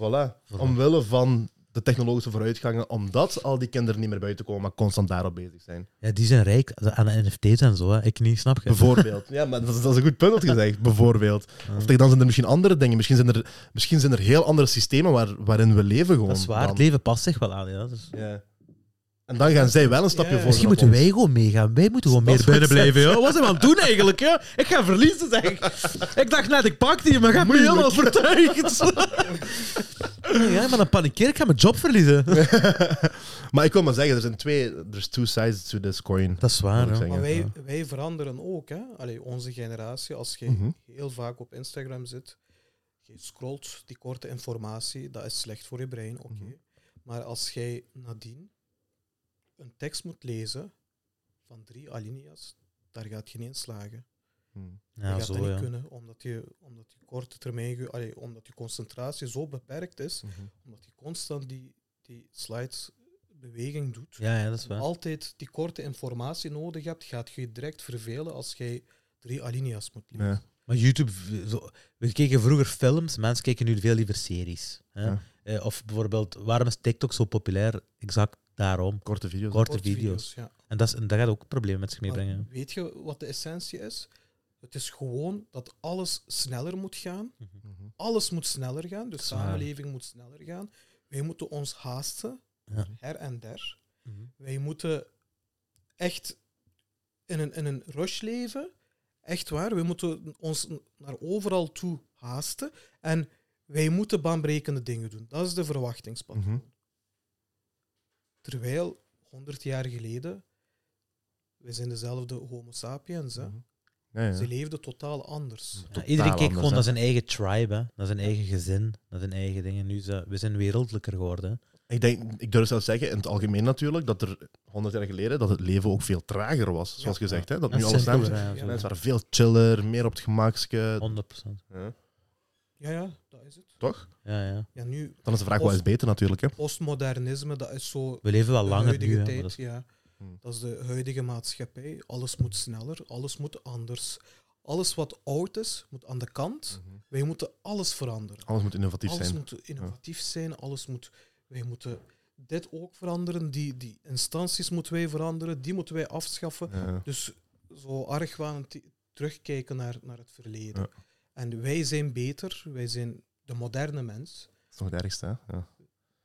Speaker 2: Voilà.
Speaker 1: Omwille van de technologische vooruitgangen, omdat al die kinderen niet meer buiten komen, maar constant daarop bezig zijn.
Speaker 2: Ja, die zijn rijk aan de NFT's en zo, hè. Ik niet, snap je?
Speaker 1: Bijvoorbeeld. Ja, maar dat is, dat is een goed punt wat je zegt. Bijvoorbeeld. Of dan zijn er misschien andere dingen. Misschien zijn er, misschien zijn er heel andere systemen waar, waarin we leven gewoon.
Speaker 2: Dat is waar,
Speaker 1: dan.
Speaker 2: het leven past zich wel aan, ja. Dus...
Speaker 1: Ja. En dan gaan zij wel een stapje
Speaker 3: Ja, ja.
Speaker 1: voor.
Speaker 2: Misschien moeten wij gewoon meegaan. Wij moeten gewoon
Speaker 1: Dat
Speaker 2: meer
Speaker 1: is wat
Speaker 2: binnen
Speaker 1: ik zeg.
Speaker 2: blijven. joh. Wat zijn we aan het doen eigenlijk? Joh? Ik ga verliezen, zeg ik. Ik dacht net, ik pak die, maar ik heb me
Speaker 1: Moeilijk.
Speaker 2: helemaal overtuigd. Oh ja, maar dan panikeer ik, ga mijn job verliezen.
Speaker 1: Maar ik wil maar zeggen, er zijn twee... There's two sides to this coin.
Speaker 2: Dat is waar,
Speaker 1: Moet ik
Speaker 2: hè.
Speaker 1: zeggen.
Speaker 3: Maar wij,
Speaker 2: Ah, ja.
Speaker 3: wij veranderen ook. Hè? Allee, onze generatie, als je
Speaker 1: Mhm.
Speaker 3: heel vaak op Instagram zit, je scrolt die korte informatie, dat is slecht voor je brein, oké.
Speaker 1: Mhm.
Speaker 3: Maar als jij nadien een tekst moet lezen van drie alinea's, daar gaat je niet in slagen.
Speaker 1: Hmm.
Speaker 3: je
Speaker 2: Ja,
Speaker 3: gaat dat
Speaker 2: zo,
Speaker 3: niet
Speaker 2: ja.
Speaker 3: kunnen, omdat je, omdat je korte termijn, ge- allee,
Speaker 1: Mhm.
Speaker 3: omdat je concentratie zo beperkt is, omdat je constant die, die slides beweging doet,
Speaker 2: Ja, ja, dat is waar.
Speaker 3: altijd die korte informatie nodig hebt, gaat je je direct vervelen als jij drie alinea's moet lezen.
Speaker 1: Ja.
Speaker 2: Maar YouTube, zo- we keken vroeger films, mensen kijken nu veel liever series. Hè?
Speaker 1: Ja.
Speaker 2: Eh, of bijvoorbeeld, waarom is TikTok zo populair? Exact daarom.
Speaker 1: Korte video's.
Speaker 2: Korte video's.
Speaker 3: ja.
Speaker 2: En dat, is, en dat gaat ook problemen met zich meebrengen.
Speaker 3: Maar weet je wat de essentie is? Het is gewoon dat alles sneller moet gaan.
Speaker 1: Mhm.
Speaker 3: Alles moet sneller gaan. De
Speaker 2: is waar.
Speaker 3: samenleving moet sneller gaan. Wij moeten ons haasten,
Speaker 2: Ja.
Speaker 3: her en der.
Speaker 2: Mhm.
Speaker 3: Wij moeten echt in een, in een rush leven. Echt waar. We moeten ons naar overal toe haasten. En wij moeten baanbrekende dingen doen. Dat is de verwachtingspatroon.
Speaker 1: Mhm.
Speaker 3: Terwijl 100 jaar geleden, we zijn dezelfde Homo sapiens. Hè?
Speaker 1: Mhm. Ja, Mhm. ja.
Speaker 3: Ze leefden totaal anders.
Speaker 2: Ja, iedereen keek
Speaker 1: anders,
Speaker 2: gewoon
Speaker 1: hè.
Speaker 2: naar zijn eigen tribe, hè? naar zijn eigen gezin, naar zijn eigen dingen. Nu is dat- we zijn wereldlijker geworden. hè.
Speaker 1: Ik, denk, ik durf zelfs zeggen, in het algemeen natuurlijk, dat er 100 jaar geleden dat het leven ook veel trager was. Zoals
Speaker 3: Ja.
Speaker 1: gezegd, hè? dat
Speaker 2: En
Speaker 1: nu alles
Speaker 2: simpeler,
Speaker 1: sneller
Speaker 3: zijn-
Speaker 2: hè,
Speaker 3: ja,
Speaker 2: zo.
Speaker 1: Mensen waren veel chiller, meer op het gemakske.
Speaker 2: 100%.
Speaker 1: Ja.
Speaker 3: Ja, ja, dat is het.
Speaker 1: Toch?
Speaker 2: Ja, ja.
Speaker 3: Ja, nu,
Speaker 1: Dan is de vraag, wat is beter natuurlijk? Hè?
Speaker 3: postmodernisme, dat is zo
Speaker 2: We leven wel
Speaker 3: de
Speaker 2: langer nu.
Speaker 3: huidige
Speaker 2: hè, maar
Speaker 3: tijd.
Speaker 2: dat is-
Speaker 3: ja.
Speaker 1: Hmm.
Speaker 3: Dat is de huidige maatschappij. Alles moet sneller, alles moet anders. Alles wat oud is, moet aan de kant.
Speaker 1: Mhm.
Speaker 3: Wij moeten alles veranderen.
Speaker 1: Alles moet innovatief
Speaker 3: alles
Speaker 1: Hm. zijn.
Speaker 3: moet innovatief zijn. Alles moet, wij moeten dit ook veranderen. Die, die instanties moeten wij veranderen. Die moeten wij afschaffen.
Speaker 1: Ja.
Speaker 3: Dus zo argwanend t- terugkijken naar, naar het verleden.
Speaker 1: Ja.
Speaker 3: En wij zijn beter. Wij zijn de moderne mens.
Speaker 1: Dat is nog het ergste. Hè? Ja.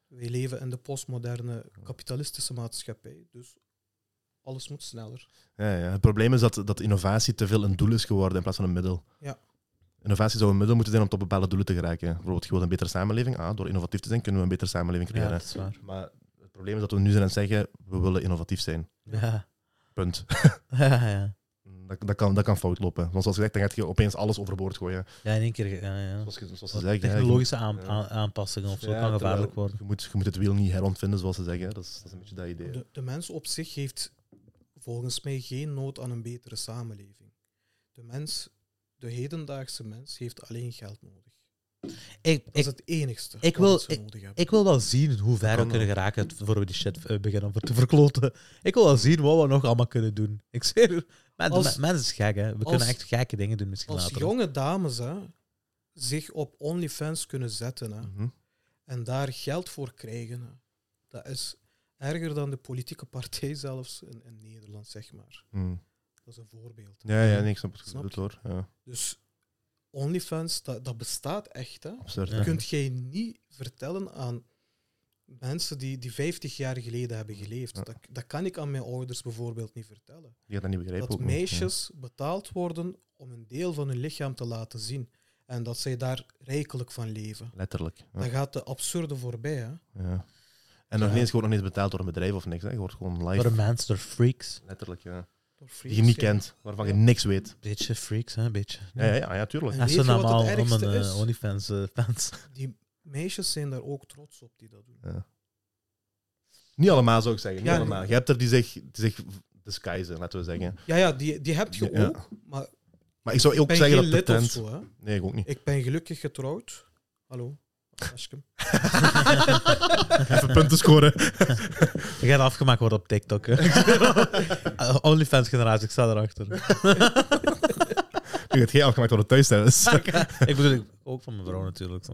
Speaker 3: Wij leven in de postmoderne kapitalistische maatschappij. Dus alles moet sneller.
Speaker 1: Ja, ja. Het probleem is dat, dat innovatie te veel een doel is geworden in plaats van een middel.
Speaker 3: Ja.
Speaker 1: Innovatie zou een middel moeten zijn om tot bepaalde doelen te geraken. Bijvoorbeeld, je wilt een betere samenleving. Ah, door innovatief te zijn kunnen we een betere samenleving
Speaker 2: Ja,
Speaker 1: creëren.
Speaker 2: dat is waar.
Speaker 1: Maar het probleem is dat we nu zijn aan het zeggen, we willen innovatief zijn.
Speaker 2: Ja.
Speaker 1: Punt.
Speaker 2: Ja, ja.
Speaker 1: Dat, dat, kan, dat kan fout lopen. Want zoals gezegd, dan ga je opeens alles overboord gooien.
Speaker 2: ja, in één keer. ge- Ja, ja.
Speaker 1: Zoals, je- zoals ze zeggen. hè, je moet-
Speaker 2: Technologische aan-
Speaker 1: ja.
Speaker 2: aan- aanpassingen of zo
Speaker 1: Ja,
Speaker 2: kan gevaarlijk
Speaker 1: terwijl-
Speaker 2: worden.
Speaker 1: Je moet, je moet het wiel niet herontvinden, zoals ze zeggen. Dat is, dat is een beetje dat idee.
Speaker 3: De, de mens op zich heeft volgens mij geen nood aan een betere samenleving. De mens, de hedendaagse mens, heeft alleen geld nodig.
Speaker 2: Ik,
Speaker 3: Dat is
Speaker 2: ik,
Speaker 3: het enigste
Speaker 2: ik
Speaker 3: wat
Speaker 2: wil-
Speaker 3: ze nodig hebben.
Speaker 2: ik wil wel zien hoe ver we
Speaker 1: kan
Speaker 2: kunnen geraken voor we die shit eh, beginnen om te verkloten. Ik wil wel zien wat we nog allemaal kunnen doen. Ik zweer u. Men-
Speaker 3: Als-
Speaker 2: men- Mensen is gek, hè. We
Speaker 3: als-
Speaker 2: kunnen echt gekke dingen doen misschien
Speaker 3: Als
Speaker 2: later.
Speaker 3: jonge dames hè, zich op OnlyFans kunnen zetten hè,
Speaker 1: Mhm.
Speaker 3: en daar geld voor krijgen, hè, dat is erger dan de politieke partij zelfs in, in Nederland, zeg maar.
Speaker 1: Mm.
Speaker 3: Dat is een voorbeeld.
Speaker 1: Ja, ja, nee, ik snap het
Speaker 3: Snap
Speaker 1: goed hoor. Ja,
Speaker 3: Dus OnlyFans, dat, dat bestaat echt. Hè.
Speaker 1: absurd.
Speaker 2: Ja.
Speaker 1: hè.
Speaker 3: Kunt jij niet vertellen aan mensen die, die 50 jaar geleden hebben geleefd.
Speaker 1: Ja.
Speaker 3: Dat, dat kan ik aan mijn ouders bijvoorbeeld niet vertellen.
Speaker 1: Die gaat dat niet begrijpen.
Speaker 3: dat
Speaker 1: ook niet. Ja.
Speaker 3: meisjes betaald worden om een deel van hun lichaam te laten zien. En dat zij daar rijkelijk van leven.
Speaker 1: Letterlijk. Ja.
Speaker 3: Dan gaat de absurde voorbij. Hè?
Speaker 1: Ja. En nog
Speaker 3: Ja.
Speaker 1: ineens eens gewoon nog niet betaald door een bedrijf of niks. Hè. Je wordt gewoon live.
Speaker 2: Door mensen, door freaks.
Speaker 1: Letterlijk, ja.
Speaker 3: Door
Speaker 1: Die
Speaker 3: freaks,
Speaker 1: je niet
Speaker 3: ja.
Speaker 1: kent, waarvan je niks weet.
Speaker 2: Beetje freaks, hè, beetje.
Speaker 1: Ja, ja, ja, ja, tuurlijk.
Speaker 3: En
Speaker 2: En
Speaker 3: weet
Speaker 2: ze
Speaker 3: je wat
Speaker 2: namen
Speaker 3: het
Speaker 2: al
Speaker 3: ergste
Speaker 2: allemaal
Speaker 3: is?
Speaker 2: eh, OnlyFans eh, fans.
Speaker 3: Die meisjes zijn daar ook trots op die dat doen.
Speaker 1: Niet allemaal zou ik zeggen. Niet
Speaker 3: Ja,
Speaker 1: allemaal.
Speaker 3: nee.
Speaker 1: Je hebt er die zich, die zich disguisen, laten we zeggen.
Speaker 3: Ja, ja die, die heb je
Speaker 1: Ja.
Speaker 3: ook. Maar
Speaker 1: Maar ik zou ook
Speaker 3: ik ben
Speaker 1: zeggen
Speaker 3: geen
Speaker 1: dat de
Speaker 3: lid of
Speaker 1: trend...
Speaker 3: zo. Hè?
Speaker 1: Nee, ik ook niet.
Speaker 3: Ik ben gelukkig getrouwd. Hallo. Ashkem.
Speaker 1: Even punten scoren.
Speaker 2: Je gaat afgemaakt worden op TikTok. hè. Eh, OnlyFans-generatie, ik sta erachter.
Speaker 1: Nu gaat geen afgemaakt worden thuis thuis.
Speaker 2: ik bedoel, ik- ook van mijn vrouw natuurlijk.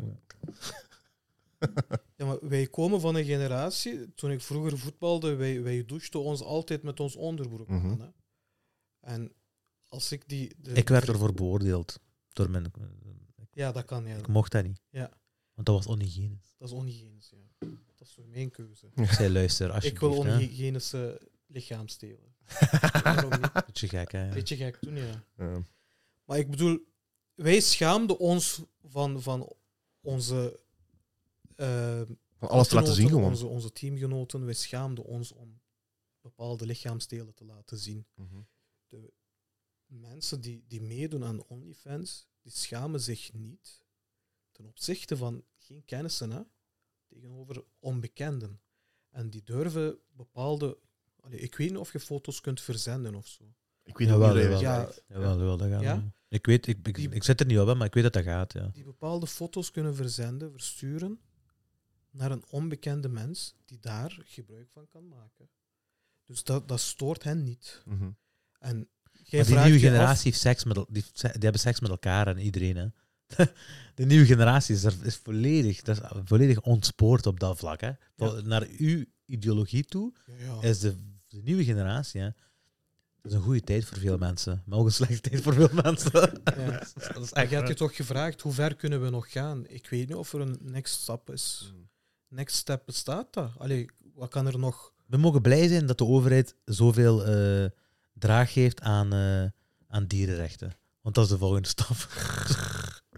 Speaker 3: Ja, maar wij komen van een generatie, toen ik vroeger voetbalde, wij, wij douchten ons altijd met ons onderbroek
Speaker 1: Mhm.
Speaker 3: aan. Hè? En als ik die... de-
Speaker 2: Ik werd ervoor beoordeeld. Door mijn,
Speaker 3: Ja, dat kan, ja.
Speaker 2: ik mocht dat niet.
Speaker 3: Ja.
Speaker 2: Want dat was onhygiënisch.
Speaker 3: Dat is onhygiënisch, ja. Dat is voor mijn keuze.
Speaker 2: Ik zei, luister,
Speaker 3: Ik
Speaker 2: alsjeblieft.
Speaker 3: wil
Speaker 2: hè.
Speaker 3: onhygiënische lichaamstelen. Waarom niet?
Speaker 2: Beetje gek, hè. ja.
Speaker 3: Beetje gek doen, ja.
Speaker 1: Ja.
Speaker 3: Maar ik bedoel, wij schaamden ons van, van onze... eh,
Speaker 1: Van alles te laten zien
Speaker 3: teamgenoten,
Speaker 1: gewoon.
Speaker 3: Onze, onze teamgenoten, wij schaamden ons om bepaalde lichaamstelen te laten zien. Mensen die, die meedoen aan OnlyFans, die schamen zich niet ten opzichte van geen kennissen, hè, tegenover onbekenden. En die durven bepaalde... Allee, ik weet niet of je foto's kunt verzenden of zo.
Speaker 1: Ik weet
Speaker 2: Jawel,
Speaker 1: niet hoe
Speaker 2: jawel.
Speaker 1: je-
Speaker 3: Ja,
Speaker 2: Jawel, jawel, dat gaat.
Speaker 3: Ja?
Speaker 2: wel. Ik weet, ik, ik,
Speaker 3: Die-
Speaker 2: ik zit er niet op, hè, maar ik weet dat dat gaat, ja.
Speaker 3: die bepaalde foto's kunnen verzenden, versturen. naar een onbekende mens die daar gebruik van kan maken. Dus dat, dat stoort hen niet.
Speaker 1: Mhm.
Speaker 3: En jij
Speaker 2: Maar die
Speaker 3: vraagt
Speaker 2: nieuwe
Speaker 3: je af-
Speaker 2: generatie heeft seks met, el- die, heeft se- die hebben seks met elkaar en iedereen. Hè. De nieuwe generatie is, er, is, volledig, dat is volledig ontspoord op dat vlak. Hè. Vo- Naar uw ideologie toe
Speaker 3: Ja, ja.
Speaker 2: is de, de nieuwe generatie. Hè. Dat is een goede tijd voor veel mensen, maar ook een slechte tijd voor veel mensen.
Speaker 3: Ja.
Speaker 2: Dat is- dat is
Speaker 3: Maar
Speaker 2: echt-
Speaker 3: je had je toch gevraagd, hoe ver kunnen we nog gaan? Ik weet niet of er een next stap is. Next step bestaat dat? Allee, wat kan er nog?
Speaker 2: We mogen blij zijn dat de overheid zoveel eh, draag geeft aan, eh, aan dierenrechten. Want dat is de volgende stap.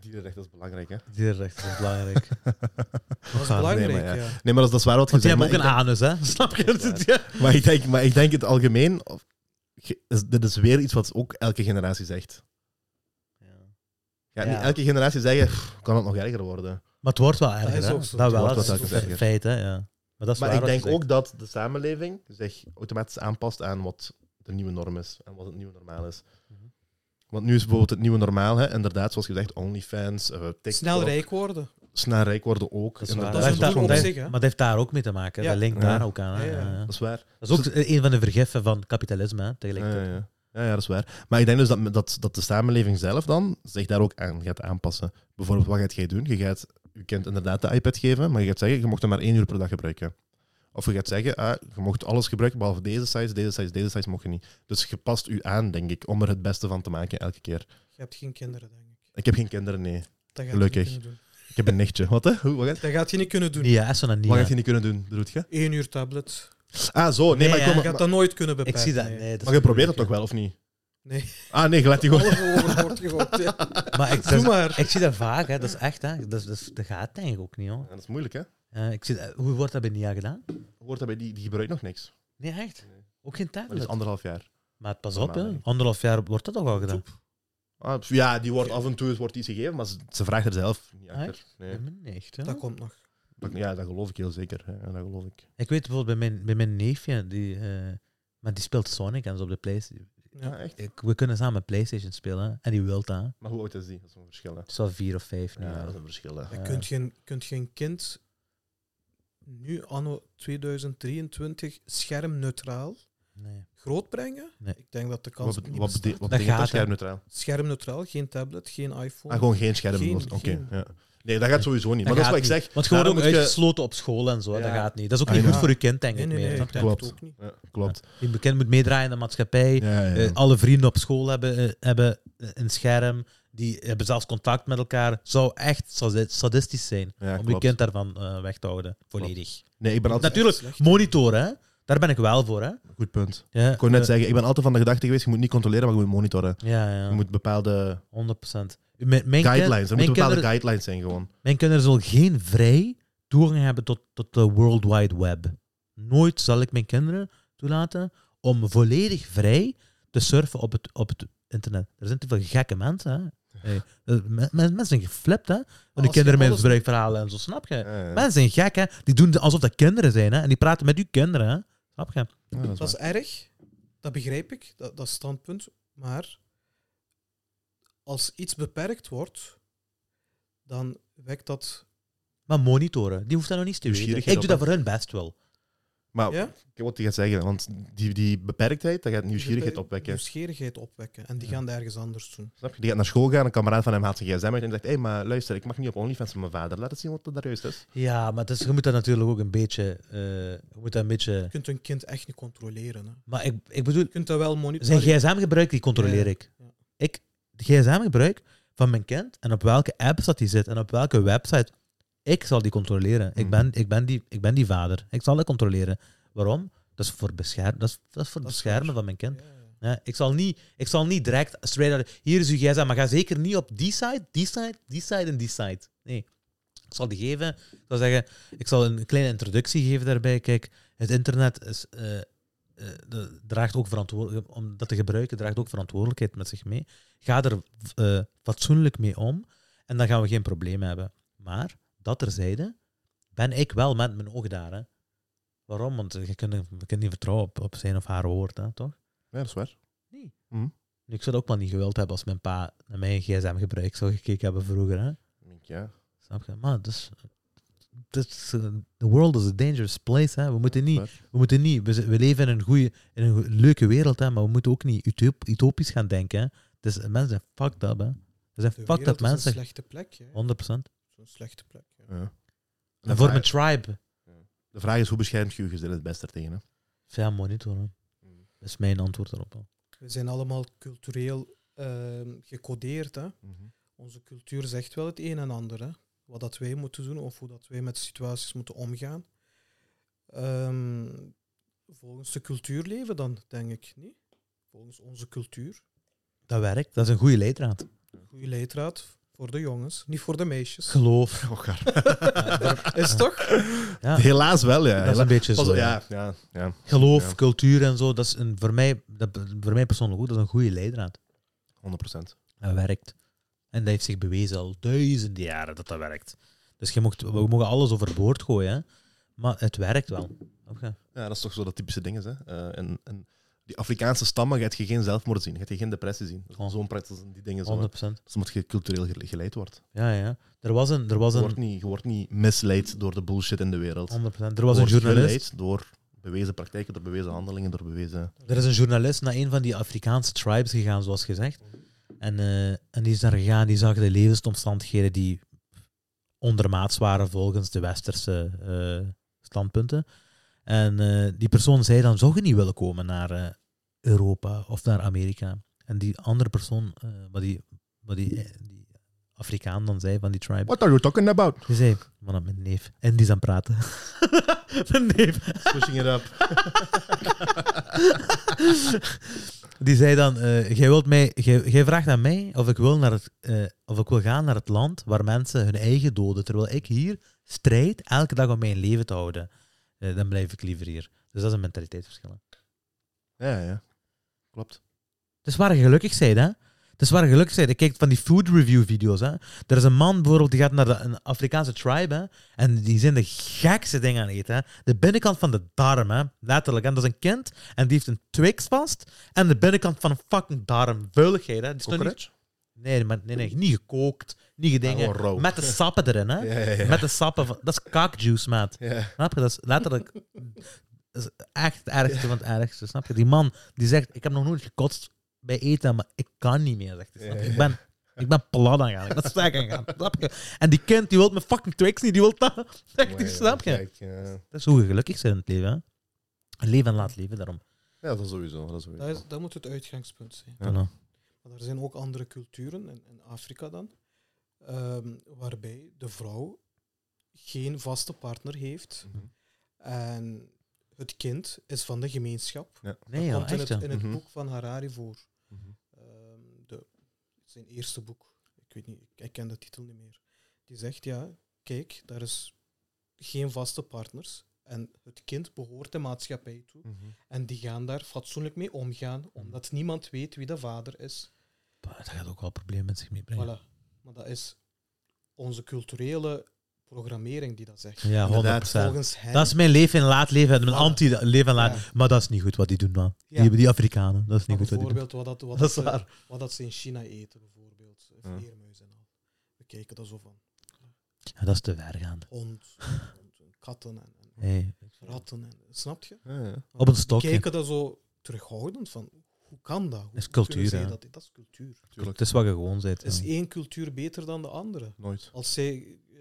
Speaker 1: Dierenrecht dat is belangrijk, hè?
Speaker 2: Dierenrechten is belangrijk.
Speaker 3: Dat is
Speaker 2: Ah,
Speaker 3: belangrijk,
Speaker 1: nee, maar
Speaker 3: ja.
Speaker 1: Nee, maar dat is, dat is waar wat je
Speaker 2: Want die
Speaker 1: zegt.
Speaker 2: hebben
Speaker 1: Maar,
Speaker 2: ook een
Speaker 1: ik
Speaker 2: anus, hè? Snap je?
Speaker 1: Dat is denk- maar, ik denk, maar ik denk in het algemeen... of- ge- is- dit is weer iets wat ook elke generatie zegt.
Speaker 2: Ja.
Speaker 1: Ja,
Speaker 2: Ja.
Speaker 1: Niet elke generatie zeggen, "Pff, kan het nog erger worden?
Speaker 2: Maar het wordt wel
Speaker 3: Dat
Speaker 2: erger,
Speaker 3: is
Speaker 2: hè?
Speaker 3: ook zo.
Speaker 2: Dat
Speaker 3: Het
Speaker 2: wel,
Speaker 1: wordt
Speaker 2: dat
Speaker 1: wel
Speaker 2: is
Speaker 1: telkens
Speaker 2: een
Speaker 1: erger.
Speaker 2: feit, hè? Ja. Maar dat is
Speaker 1: Maar
Speaker 2: waar
Speaker 1: ik
Speaker 2: wat
Speaker 1: denk
Speaker 2: je zegt.
Speaker 1: ook dat de samenleving zich automatisch aanpast aan wat de nieuwe norm is en wat het nieuwe normaal is.
Speaker 2: Mhm.
Speaker 1: Want nu is bijvoorbeeld het nieuwe normaal, hè, inderdaad, zoals gezegd, OnlyFans, eh, TikTok.
Speaker 3: Snel rijk worden.
Speaker 1: Snel rijk worden ook.
Speaker 2: Dat is waar.
Speaker 1: inderdaad.
Speaker 2: Dat
Speaker 3: Dat is
Speaker 2: heeft
Speaker 3: een
Speaker 2: daar-
Speaker 3: doel op
Speaker 2: dat
Speaker 3: zich,
Speaker 2: heeft-
Speaker 3: hè?
Speaker 2: Maar dat heeft daar ook mee te maken. hè.
Speaker 3: Ja.
Speaker 2: Dat linkt
Speaker 1: Ja.
Speaker 2: daar ook aan. hè.
Speaker 3: Ja, Dus ja.
Speaker 2: Ja, ja.
Speaker 1: Dat is waar.
Speaker 2: Dat is ook een van de vergeffen van kapitalisme, hè,
Speaker 1: Ja, ja,
Speaker 2: tegelijkertijd.
Speaker 1: ja. Ja, ja, dat is waar. Maar ik denk dus dat, dat, dat de samenleving zelf dan zich daar ook aan gaat aanpassen. Bijvoorbeeld, wat gaat jij doen? Je gaat je kind inderdaad de iPad geven, maar je gaat zeggen, je mocht hem maar één uur per dag gebruiken. Of je gaat zeggen, ah, je mocht alles gebruiken, behalve deze size, deze size, deze size mocht je niet. Dus je past u aan, denk ik, om er het beste van te maken elke keer.
Speaker 3: Je hebt geen kinderen, denk ik.
Speaker 1: Ik heb geen kinderen, nee.
Speaker 3: Dat gaat
Speaker 1: Gelukkig.
Speaker 3: Je niet kunnen doen.
Speaker 1: Ik heb een nichtje. Wat, hè? Hoe, wat, gaat,
Speaker 3: Dat gaat je niet kunnen doen.
Speaker 2: Nia Essen en
Speaker 1: wat
Speaker 2: Nia.
Speaker 1: gaat je niet kunnen doen? Dat doet je?
Speaker 3: Eén uur tablet.
Speaker 1: Ah, zo. Nee,
Speaker 2: Nee,
Speaker 1: maar, ik
Speaker 2: ja.
Speaker 1: kom,
Speaker 3: Je
Speaker 1: maar,
Speaker 3: gaat dat nooit kunnen
Speaker 2: Ik
Speaker 3: beperken.
Speaker 2: zie dat.
Speaker 3: nee.
Speaker 2: Nee, dat is
Speaker 1: maar je probeert het
Speaker 2: moeilijk,
Speaker 1: toch wel, of niet?
Speaker 3: Nee.
Speaker 1: Ah, nee, je laat die gewoon...
Speaker 3: Alles overboord gegooid, ja.
Speaker 2: hè. Maar ik, dat
Speaker 3: Doe
Speaker 2: is-
Speaker 3: maar.
Speaker 2: ik zie dat vaak, hè. Dat is echt, hè. Dat, is- dat, is- dat gaat denk ik ook niet, hoor.
Speaker 1: Ja, dat is moeilijk, hè?
Speaker 2: Eh, ik zie dat- hoe wordt dat bij Nia gedaan?
Speaker 1: Hoort daarbij, die, die gebruikt nog niks.
Speaker 2: Nee, echt.
Speaker 1: Nee.
Speaker 2: Ook geen
Speaker 1: Dat is
Speaker 2: tablet.
Speaker 1: anderhalf jaar.
Speaker 2: Maar pas op,
Speaker 1: Normaal,
Speaker 2: hè.
Speaker 1: denk ik.
Speaker 2: Anderhalf jaar wordt dat toch al gedaan?
Speaker 1: Ah, pff, ja, die wordt af en toe het wordt iets gegeven, maar ze, ze vraagt er zelf niet achter. Nee.
Speaker 2: Nee, echt, hè.
Speaker 3: Dat komt nog.
Speaker 1: Dat- Ja, dat geloof ik heel zeker. hè. Ja, dat geloof ik.
Speaker 2: Ik weet bijvoorbeeld bij mijn, bij mijn neefje, die, eh, maar die speelt Sonic en zo op de PlayStation.
Speaker 1: Ja, Ah, echt.
Speaker 2: Ik- we kunnen samen PlayStation spelen hè, en die wil dat. Het
Speaker 1: Maar hoe oud is die? Dat is een verschil. Hè.
Speaker 2: is al vier of vijf nu.
Speaker 1: Ja,
Speaker 2: hè.
Speaker 1: dat is een verschil. Hè.
Speaker 3: Je
Speaker 2: Ja.
Speaker 3: kunt geen, kunt geen kind nu, anno 2023, schermneutraal
Speaker 2: Nee.
Speaker 3: grootbrengen.
Speaker 2: Nee.
Speaker 3: Ik denk dat de kans
Speaker 1: Wat, bete-
Speaker 3: niet
Speaker 1: wat, bete-
Speaker 3: bestaat.
Speaker 1: wat
Speaker 2: Dat
Speaker 1: betekent dat
Speaker 2: gaat, hè.
Speaker 1: schermneutraal?
Speaker 3: Schermneutraal, geen tablet, geen iPhone.
Speaker 1: Ah, gewoon geen scherm.
Speaker 3: Oh. Geen-
Speaker 1: Oké.
Speaker 3: geen-
Speaker 1: ja. Nee, dat gaat sowieso niet. Maar dat,
Speaker 2: gaat
Speaker 1: is wat ik
Speaker 2: niet.
Speaker 1: zeg.
Speaker 2: Want gewoon ook
Speaker 1: Daarom moet je-
Speaker 2: uitgesloten op school en zo, hè, dat
Speaker 1: Ja.
Speaker 2: gaat niet. Dat is ook
Speaker 1: Ah,
Speaker 2: niet
Speaker 1: ja.
Speaker 2: goed voor je kind, denk
Speaker 3: nee,
Speaker 2: ik.
Speaker 3: nee,
Speaker 2: meer,
Speaker 3: nee,
Speaker 2: snap
Speaker 3: ik
Speaker 2: je?
Speaker 3: denk het
Speaker 1: Klopt.
Speaker 3: ook niet.
Speaker 1: Ja, klopt.
Speaker 2: Je bekend moet meedraaien in de maatschappij.
Speaker 1: Ja, ja, ja.
Speaker 2: Eh, alle vrienden op school hebben, eh, hebben eh, een scherm. Die hebben zelfs contact met elkaar. Zou echt sadi- sadistisch zijn
Speaker 1: Ja,
Speaker 2: om je
Speaker 1: klopt.
Speaker 2: kind daarvan eh, weg te houden. Volledig.
Speaker 1: Nee, ik ben altijd...
Speaker 2: Natuurlijk,
Speaker 3: slecht.
Speaker 2: monitoren, hè? daar ben ik wel voor. Hè?
Speaker 1: Goed punt.
Speaker 2: Ja,
Speaker 1: Ik kon net
Speaker 2: eh,
Speaker 1: zeggen, ik ben altijd van de gedachte geweest, je moet niet controleren, maar je moet monitoren.
Speaker 2: Ja, ja.
Speaker 1: Je moet bepaalde
Speaker 2: 100%. Mijn, mijn
Speaker 1: guidelines, er moeten
Speaker 2: kind- mijn,
Speaker 1: bepaalde
Speaker 2: kinderen,
Speaker 1: guidelines zijn gewoon.
Speaker 2: mijn kinderen zullen geen vrij toegang hebben tot, tot de World Wide Web. Nooit zal ik mijn kinderen toelaten om volledig vrij te surfen op het, op het internet. Er zijn te veel gekke mensen. Hè? Hey, eh, men- men- mensen zijn geflipt, hè? Van
Speaker 3: Als
Speaker 2: die
Speaker 3: je
Speaker 2: kinderen met
Speaker 3: alles-
Speaker 2: misbruikverhalen en zo, snap je?
Speaker 1: Ja, ja.
Speaker 2: Mensen zijn gek, hè? Die doen alsof dat kinderen zijn, hè? En die praten met uw kinderen, hè? Snap je?
Speaker 1: Ja, dat is
Speaker 3: Dat
Speaker 1: waar.
Speaker 3: is erg, dat begrijp ik, dat, dat standpunt. Maar als iets beperkt wordt, dan wekt dat.
Speaker 2: Maar monitoren, die hoeft dat nog niet te weten. Ik
Speaker 1: Nieuwsgierigheid
Speaker 2: doe
Speaker 1: op,
Speaker 2: dat voor hun best wel.
Speaker 1: Maar
Speaker 3: Ja?
Speaker 1: Ik wat die gaat zeggen, want die, die beperktheid, dat gaat nieuwsgierigheid
Speaker 3: beper-
Speaker 1: opwekken.
Speaker 3: Nieuwsgierigheid opwekken. En die
Speaker 2: Ja.
Speaker 3: gaan dat ergens anders doen.
Speaker 1: Snap je? Die gaat naar school gaan, een kameraad van hem haalt zijn gsm uit en die zegt, hé, hey, maar luister, ik mag niet op OnlyFans van mijn vader. Laat eens zien wat er daar juist is.
Speaker 2: Ja, maar het is, je moet dat natuurlijk ook een beetje. eh, je moet dat een beetje.
Speaker 3: Je kunt een kind echt niet controleren. Hè.
Speaker 2: Maar ik, ik bedoel,
Speaker 3: Je kunt dat wel monitoren.
Speaker 2: zijn gsm-gebruik die controleer
Speaker 3: Ja,
Speaker 2: ik.
Speaker 3: ja.
Speaker 2: Ik, de gsm-gebruik van mijn kind en op welke apps dat die zit en op welke website, ik zal die controleren. Ik,
Speaker 1: Mhm.
Speaker 2: ben, ik, ben die, ik ben die vader. Ik zal dat controleren. Waarom? Dat is voor, bescherm, dat is, dat is voor het
Speaker 3: Dat is
Speaker 2: beschermen
Speaker 3: waar.
Speaker 2: van mijn kind.
Speaker 3: Ja, ja.
Speaker 2: Ja, ik, zal niet, ik zal niet direct straight out. Hier is uw gsm, maar ga zeker niet op die site, die site, die site en die site. Nee. Ik zal die geven. Ik zal zeggen, ik zal een kleine introductie geven daarbij. Kijk, het internet is, eh, eh, de- draagt ook verantwoordelijkheid. Om dat te gebruiken, draagt ook verantwoordelijkheid met zich mee. Ga er eh, fatsoenlijk mee om. En dan gaan we geen probleem hebben. Maar, dat terzijde, ben ik wel met mijn ogen daar. Hè. Waarom? Want je kunt, je kunt niet vertrouwen op, op zijn of haar woord, hè, toch?
Speaker 1: Ja, dat is waar.
Speaker 2: Nu, Ik zou het ook wel niet gewild hebben als mijn pa naar mijn gsm gebruik zou gekeken hebben vroeger. Hè?
Speaker 1: Ik denk, Ja.
Speaker 2: Snap je? Maar dus, that's, uh, the world is a dangerous place. Hè. We moeten niet, we moeten niet, we, z- we leven in een goede, in een goe- leuke wereld, hè, maar we moeten ook niet utop- utopisch gaan denken. Hè. Dus eh, mensen zijn fucked up, hè. Er zijn
Speaker 3: De
Speaker 2: fucked
Speaker 3: wereld
Speaker 2: up
Speaker 3: is een
Speaker 2: mensen. 100%.
Speaker 3: slechte plek. hè. Zo'n slechte plek. ja.
Speaker 1: Ja.
Speaker 2: En
Speaker 1: De,
Speaker 2: voor mijn
Speaker 1: vraag,
Speaker 2: tribe.
Speaker 1: de vraag is, hoe beschermt je je gezin het best ertegen? Hè?
Speaker 2: Veel monitoren.
Speaker 1: Mm.
Speaker 2: Dat is mijn antwoord daarop. hè.
Speaker 3: We zijn allemaal cultureel ehm, gecodeerd. Hè?
Speaker 1: Mhm.
Speaker 3: Onze cultuur zegt wel het een en ander. Hè? Wat dat wij moeten doen of hoe dat wij met situaties moeten omgaan. Ehm, volgens de cultuur leven dan, denk ik. Niet? Volgens onze cultuur.
Speaker 2: Dat werkt. Dat is een goede leidraad.
Speaker 3: Goede leidraad voor de jongens, niet voor de meisjes.
Speaker 2: Geloof.
Speaker 1: Och, Oh, gaar.
Speaker 3: Is het toch?
Speaker 2: Ja,
Speaker 1: Helaas wel, ja.
Speaker 2: dat is een
Speaker 1: Hela-
Speaker 2: beetje
Speaker 1: Pas-
Speaker 2: zo. ja.
Speaker 1: ja, ja, ja.
Speaker 2: Geloof,
Speaker 1: Ja.
Speaker 2: cultuur en zo. Dat is een, voor, mij, dat, voor mij persoonlijk ook, dat is een goede leidraad.
Speaker 1: 100%.
Speaker 2: Dat werkt. En dat heeft zich bewezen al duizenden jaren dat dat werkt. Dus je mocht, we mogen alles overboord gooien, hè. maar het werkt wel. Oké.
Speaker 1: Ja, dat is toch zo dat typische ding is. Hè? Eh, en, en die Afrikaanse stammen gaat je geen zelfmoord zien, gaat je geen depressie zien. Dat
Speaker 2: Oh.
Speaker 1: is Zo'n praktisch die dingen. Zo, hè.
Speaker 2: 100%.
Speaker 1: dat is omdat je cultureel gele- geleid wordt.
Speaker 2: Ja, ja. Er was een, er was
Speaker 1: Je wordt,
Speaker 2: een,
Speaker 1: niet, je wordt niet misleid door de bullshit in de wereld.
Speaker 2: 100%, er was
Speaker 1: wordt
Speaker 2: een journalist.
Speaker 1: geleid door bewezen praktijken, door bewezen handelingen, door bewezen...
Speaker 2: Er is een journalist naar een van die Afrikaanse tribes gegaan, zoals gezegd. En, eh, en die is daar gegaan, die zag de levensomstandigheden die ondermaats waren volgens de westerse eh, standpunten. En eh, die persoon zei dan, zou je niet willen komen naar eh, Europa of naar Amerika? En die andere persoon, eh, wat, die, wat die, eh, die Afrikaan dan zei van die tribe,
Speaker 1: What are you talking about?
Speaker 2: die zei, man, mijn neef. En die is aan het praten. mijn neef.
Speaker 1: Pushing it up.
Speaker 2: Die zei dan, eh, jij, wilt mij, jij, jij vraagt aan mij of ik, wil naar het, eh, of ik wil gaan naar het land waar mensen hun eigen doden, terwijl ik hier strijd elke dag om mijn leven te houden. Eh, dan blijf ik liever hier. Dus dat is een mentaliteitsverschil. hè.
Speaker 1: Ja, ja. Klopt.
Speaker 2: Het is waar je gelukkig bent, hè. Het is waar je gelukkig bent. Ik kijk van die food review video's, hè. Er is een man bijvoorbeeld, die gaat naar de, een Afrikaanse tribe, hè. En die zijn de gekste dingen aan het eten, hè. De binnenkant van de darm, hè. Letterlijk. En dat is een kind, en die heeft een Twix vast. En de binnenkant van een fucking darm. Vuiligheid, hè. Het is nog niet- Nee, maar nee, nee, niet gekookt, niet gedingen.
Speaker 1: gewoon rauw.
Speaker 2: met de sappen erin, hè?
Speaker 1: Ja, ja, ja.
Speaker 2: Met de sappen. Van, dat is kakjuice, maat.
Speaker 1: Ja.
Speaker 2: Snap je? Dat is letterlijk. Dat is echt het ergste van het ergste. Snap je? Die man die zegt: Ik heb nog nooit gekotst bij eten, maar ik kan niet meer. Zegt hij. snap je? Ik ben. Ik ben plat aangaan. Ik ben sterk aangaan. Snap je? En die kind die wil mijn fucking Twix niet. Die wil dat. Zegt hij, snap je?
Speaker 1: Kijk, eh, ja.
Speaker 2: Dat is hoe je gelukkig bent in het leven. Hè? Een Leven en laat leven daarom.
Speaker 1: Ja, dat sowieso. Dat sowieso.
Speaker 3: Dat, is, dat moet het uitgangspunt zijn.
Speaker 1: Ja.
Speaker 2: Voilà.
Speaker 3: Maar er zijn ook andere culturen, in, in Afrika dan, ehm, waarbij de vrouw geen vaste partner heeft.
Speaker 1: Mhm.
Speaker 3: En het kind is van de gemeenschap.
Speaker 2: Nee,
Speaker 3: Dat
Speaker 2: joh,
Speaker 3: komt in
Speaker 2: echt.
Speaker 3: het,
Speaker 2: joh.
Speaker 3: in het
Speaker 1: Mhm.
Speaker 3: boek van Harari voor.
Speaker 1: Mhm.
Speaker 3: Ehm, de, zijn eerste boek. Ik weet niet, ik, ik ken de titel niet meer. Die zegt, ja, kijk, daar is geen vaste partners. En het kind behoort de maatschappij toe.
Speaker 1: Mhm.
Speaker 3: En die gaan daar fatsoenlijk mee omgaan, omdat niemand weet wie de vader is.
Speaker 2: Bah, Dat gaat ook wel problemen met zich meebrengen.
Speaker 3: Voilà. Maar dat is onze culturele programmering die dat zegt.
Speaker 2: Ja, 100
Speaker 1: Inderdaad,
Speaker 3: Volgens hen.
Speaker 2: Dat is mijn leven en laat leven, mijn
Speaker 3: Voilà.
Speaker 2: anti-leven en laat.
Speaker 3: Ja.
Speaker 2: Maar dat is niet goed wat die doen, man.
Speaker 3: Ja.
Speaker 2: Die, die Afrikanen, dat is niet
Speaker 3: Maar
Speaker 2: goed wat die doen.
Speaker 3: bijvoorbeeld wat dat, wat,
Speaker 2: Dat is
Speaker 3: dat ze,
Speaker 2: waar.
Speaker 3: wat dat ze in China eten, bijvoorbeeld.
Speaker 1: Ja.
Speaker 3: Vleermuis en al. We kijken daar zo van.
Speaker 2: Ja, dat is te ver gaan.
Speaker 3: Hond, hond en katten en, en
Speaker 2: Hey,
Speaker 3: ratten. En, snap je?
Speaker 1: Ja, ja.
Speaker 2: op een
Speaker 3: We
Speaker 2: stokje.
Speaker 3: kijken daar zo terughoudend van. Hoe kan dat? Hoe
Speaker 2: is cultuur,
Speaker 3: kunnen zij
Speaker 2: hè?
Speaker 3: Dat, dat is cultuur.
Speaker 1: Tuurlijk.
Speaker 2: Het is wat je gewoon bent.
Speaker 3: Is
Speaker 2: ja.
Speaker 3: één cultuur beter dan de andere?
Speaker 1: Nooit.
Speaker 3: Als zij eh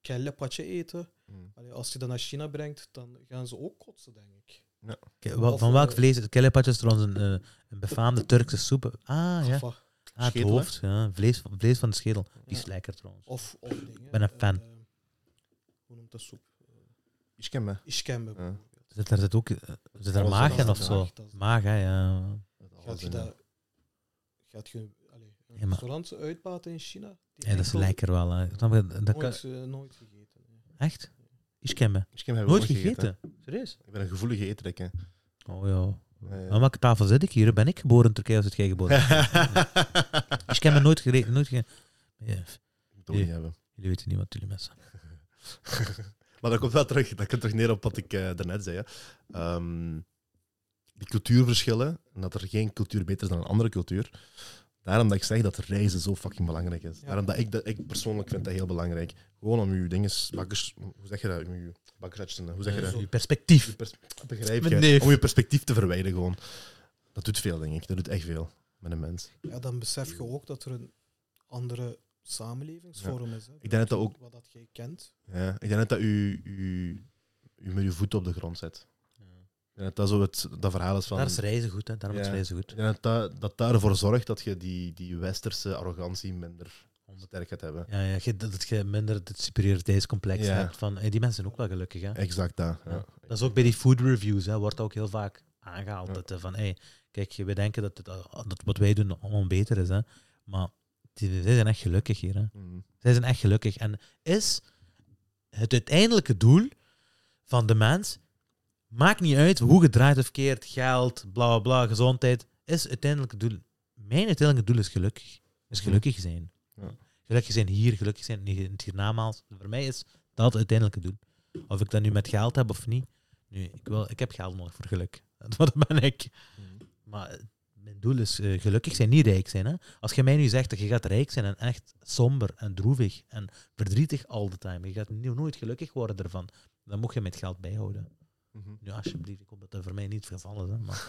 Speaker 3: kelle patje eten,
Speaker 1: Mm.
Speaker 3: allee, als je dat naar China brengt, dan gaan ze ook kotsen, denk ik.
Speaker 2: Ke- wel-
Speaker 3: of,
Speaker 2: Van welk
Speaker 3: eh,
Speaker 2: vlees? Het kellepatje is trouwens een, eh, een befaamde Turkse soep. Ah, ja.
Speaker 3: Of eh, wat.
Speaker 2: Ah, het
Speaker 1: Schedel,
Speaker 2: hoofd. Ja. Vlees, vlees van de schedel. Die is
Speaker 3: Ja.
Speaker 2: lekker trouwens.
Speaker 3: Of, of dingen.
Speaker 2: ben een
Speaker 3: eh,
Speaker 2: fan.
Speaker 3: hoe noemt dat soep?
Speaker 1: Ik ken me.
Speaker 3: Ischembe. bijvoorbeeld.
Speaker 2: Zit daar zit ook eh, zit er
Speaker 1: Alles
Speaker 2: maag
Speaker 1: wat
Speaker 2: in
Speaker 1: aan
Speaker 2: of
Speaker 1: de
Speaker 2: zo?
Speaker 3: maag, dat is-
Speaker 2: Maag, hè, ja.
Speaker 3: Gaat je dat... Gaat je allee, een
Speaker 2: Ja, maar-
Speaker 3: restaurant uitbaten in China? Die
Speaker 2: Ja, dat is
Speaker 3: enkel
Speaker 2: lekker wel. Hè. Snap je? Dat kan...
Speaker 3: Nooit, eh, nooit gegeten. hè.
Speaker 2: Echt? Ik ken me.
Speaker 1: Ik ken me
Speaker 2: Nooit gegeten. Serieus?
Speaker 1: Ik ben een gevoelige eter, ik, hè.
Speaker 2: Oh ja.
Speaker 1: Ja, ja.
Speaker 2: Aan welke tafel zit ik hier? Ben ik geboren in Turkije of zit jij geboren? ik heb me nooit gereden. Nooit ge... Ja,
Speaker 1: Dat wil ik niet hebben.
Speaker 2: jullie weten niet wat jullie mensen.
Speaker 1: Maar dat komt wel terug, dat komt terug neer op wat ik eh, daarnet zei. Hè. Ehm, die cultuurverschillen, en dat er geen cultuur beter is dan een andere cultuur, Daarom dat ik zeg dat reizen zo fucking belangrijk is.
Speaker 3: Ja.
Speaker 1: Daarom dat ik, dat ik persoonlijk vind dat heel belangrijk. Gewoon om je dinges, bakkers, hoe zeg je dat? Om je bakkers, hoe zeg je dat?
Speaker 2: Eh, uw
Speaker 1: Je
Speaker 2: perspectief.
Speaker 1: pers- begrijp
Speaker 2: Mijn
Speaker 1: je?
Speaker 2: neef.
Speaker 1: Om je perspectief te verwijderen gewoon. Dat doet veel, denk ik. Dat doet echt veel met een mens.
Speaker 3: Ja, dan besef je ook dat er een andere samenlevingsvorm is. Hè.
Speaker 1: Ik denk dat dat ook-
Speaker 3: Wat dat jij kent.
Speaker 1: Ja, ik denk net dat u, u, u met je voeten op de grond zet. Ik denk dat dat zo het dat verhaal is van...
Speaker 2: Daar is reizen goed, hè. Daarom is
Speaker 1: Ja.
Speaker 2: reizen goed.
Speaker 1: Ik denk dat, dat dat dat ervoor zorgt dat je die, die westerse arrogantie minder sterk gaat hebben.
Speaker 2: Ja, ja, je- dat dat je minder het superioriteitscomplex
Speaker 1: Ja.
Speaker 2: hebt van hey, die mensen zijn ook wel gelukkig. Hè?
Speaker 1: Exact dat. Ja.
Speaker 2: Ja. Dat is ook bij die food reviews, hè, wordt ook heel vaak aangehaald.
Speaker 1: Ja.
Speaker 2: Dat eh, van, hey, kijk, we denken dat, het, eh, dat wat wij doen allemaal beter is. Hè. Maar die, zij zijn echt gelukkig hier. Hè.
Speaker 1: Mhm.
Speaker 2: Zij zijn echt gelukkig. En is het uiteindelijke doel van de mens, maakt niet uit hoe gedraaid of keert, geld, bla bla bla, gezondheid, is uiteindelijke doel. Mijn uiteindelijke doel is gelukkig. Is gelukkig zijn.
Speaker 1: Ja.
Speaker 2: Gelukkig zijn hier, gelukkig zijn in het hiernamaals. Voor mij is dat het uiteindelijke doel. Of ik dat nu met geld heb of niet. Nu, ik, wil, ik heb geld nodig voor geluk. Dat ben ik.
Speaker 1: Mhm.
Speaker 2: Maar eh, mijn doel is eh, gelukkig zijn, niet rijk zijn. Hè? Als je mij nu zegt dat je gaat rijk zijn en echt somber en droevig en verdrietig all the time, je gaat nu nooit gelukkig worden ervan, dan moet je met geld bijhouden.
Speaker 1: Mhm.
Speaker 2: Nu, alsjeblieft, ik hoop dat dat voor mij niet het geval is. Hè? Maar,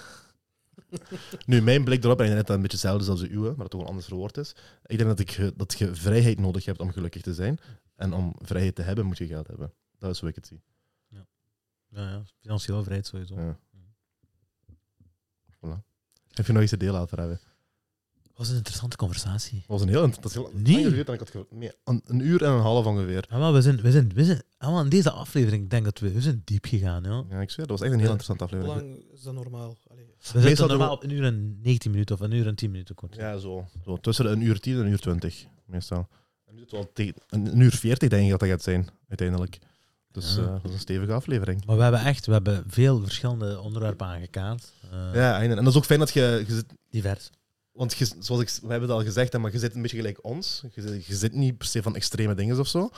Speaker 1: Nu, mijn blik erop, en ik denk dat dat een beetje hetzelfde is als de uwe, maar dat het gewoon anders verwoord is. Ik denk dat, ik, ge- dat je vrijheid nodig hebt om gelukkig te zijn. En om vrijheid te hebben, moet je geld hebben. Dat is hoe ik het zie.
Speaker 2: ja, ja, financieel vrijheid sowieso.
Speaker 1: Ja. Voilà. Heb je nog iets te delen, Alvarado?
Speaker 2: was een interessante conversatie.
Speaker 1: Dat was een heel... Dat is heel
Speaker 2: Nee.
Speaker 1: langer duurde dan ik had gehoord. Nee, een, een uur en een half ongeveer.
Speaker 2: Ah, maar we zijn, we zijn, we zijn ah, maar in deze aflevering, ik denk dat we, we zijn diep gegaan. Joh.
Speaker 1: Ja, ik zweer, dat was echt een heel interessante
Speaker 3: Hoe
Speaker 1: aflevering.
Speaker 3: lang is dat normaal? Allee,
Speaker 2: We zitten
Speaker 1: Meestal doen
Speaker 2: normaal
Speaker 1: we-
Speaker 2: op een uur en 19 minuten of een uur en 10 minuten kort.
Speaker 1: Ja, zo. zo. Tussen een uur tien en een uur twintig, meestal. En nu zit het wel tegen, een, een uur veertig denk ik dat dat gaat zijn, uiteindelijk. Dus
Speaker 2: Ja.
Speaker 1: eh, dat is een stevige aflevering.
Speaker 2: Maar we hebben echt we hebben veel verschillende onderwerpen aangekaart. Eh,
Speaker 1: Ja, en en dat is ook fijn dat je... je zit-
Speaker 2: Divers.
Speaker 1: want je, zoals ik, we hebben het al gezegd, hè, maar je zit een beetje gelijk ons. Je, zit- je zit niet per se van extreme dingen of zo.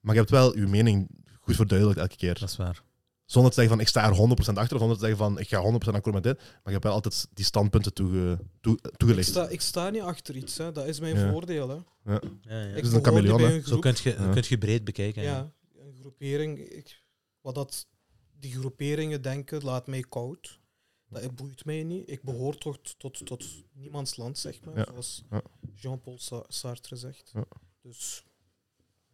Speaker 1: Maar je hebt wel je mening goed verduidelijkt elke keer.
Speaker 2: Dat is waar.
Speaker 1: Zonder te zeggen van ik sta er 100% achter, of zonder te zeggen van ik ga 100% akkoord met dit. Maar je hebt wel altijd die standpunten toege, toe-
Speaker 3: ik,
Speaker 1: toegelicht.
Speaker 3: sta, ik sta niet achter iets, hè. dat is mijn
Speaker 1: Ja.
Speaker 3: voordeel. Hè.
Speaker 2: Ja, ja.
Speaker 3: Ik
Speaker 1: is een
Speaker 3: behoor niet
Speaker 1: chameleon,
Speaker 3: bij
Speaker 1: hè.
Speaker 3: een
Speaker 2: Zo
Speaker 3: groep.
Speaker 2: kun Dus je,
Speaker 1: Ja.
Speaker 2: kunt je breed bekijken. ja.
Speaker 3: Ja, een groepering. Ik, wat dat die groeperingen denken, laat mij koud. Dat boeit mij niet. Ik behoor toch t- tot, tot niemands land, zeg maar.
Speaker 1: Ja.
Speaker 3: Zoals
Speaker 1: Ja.
Speaker 3: Jean-Paul Sa- Sartre zegt.
Speaker 1: Ja.
Speaker 3: Dus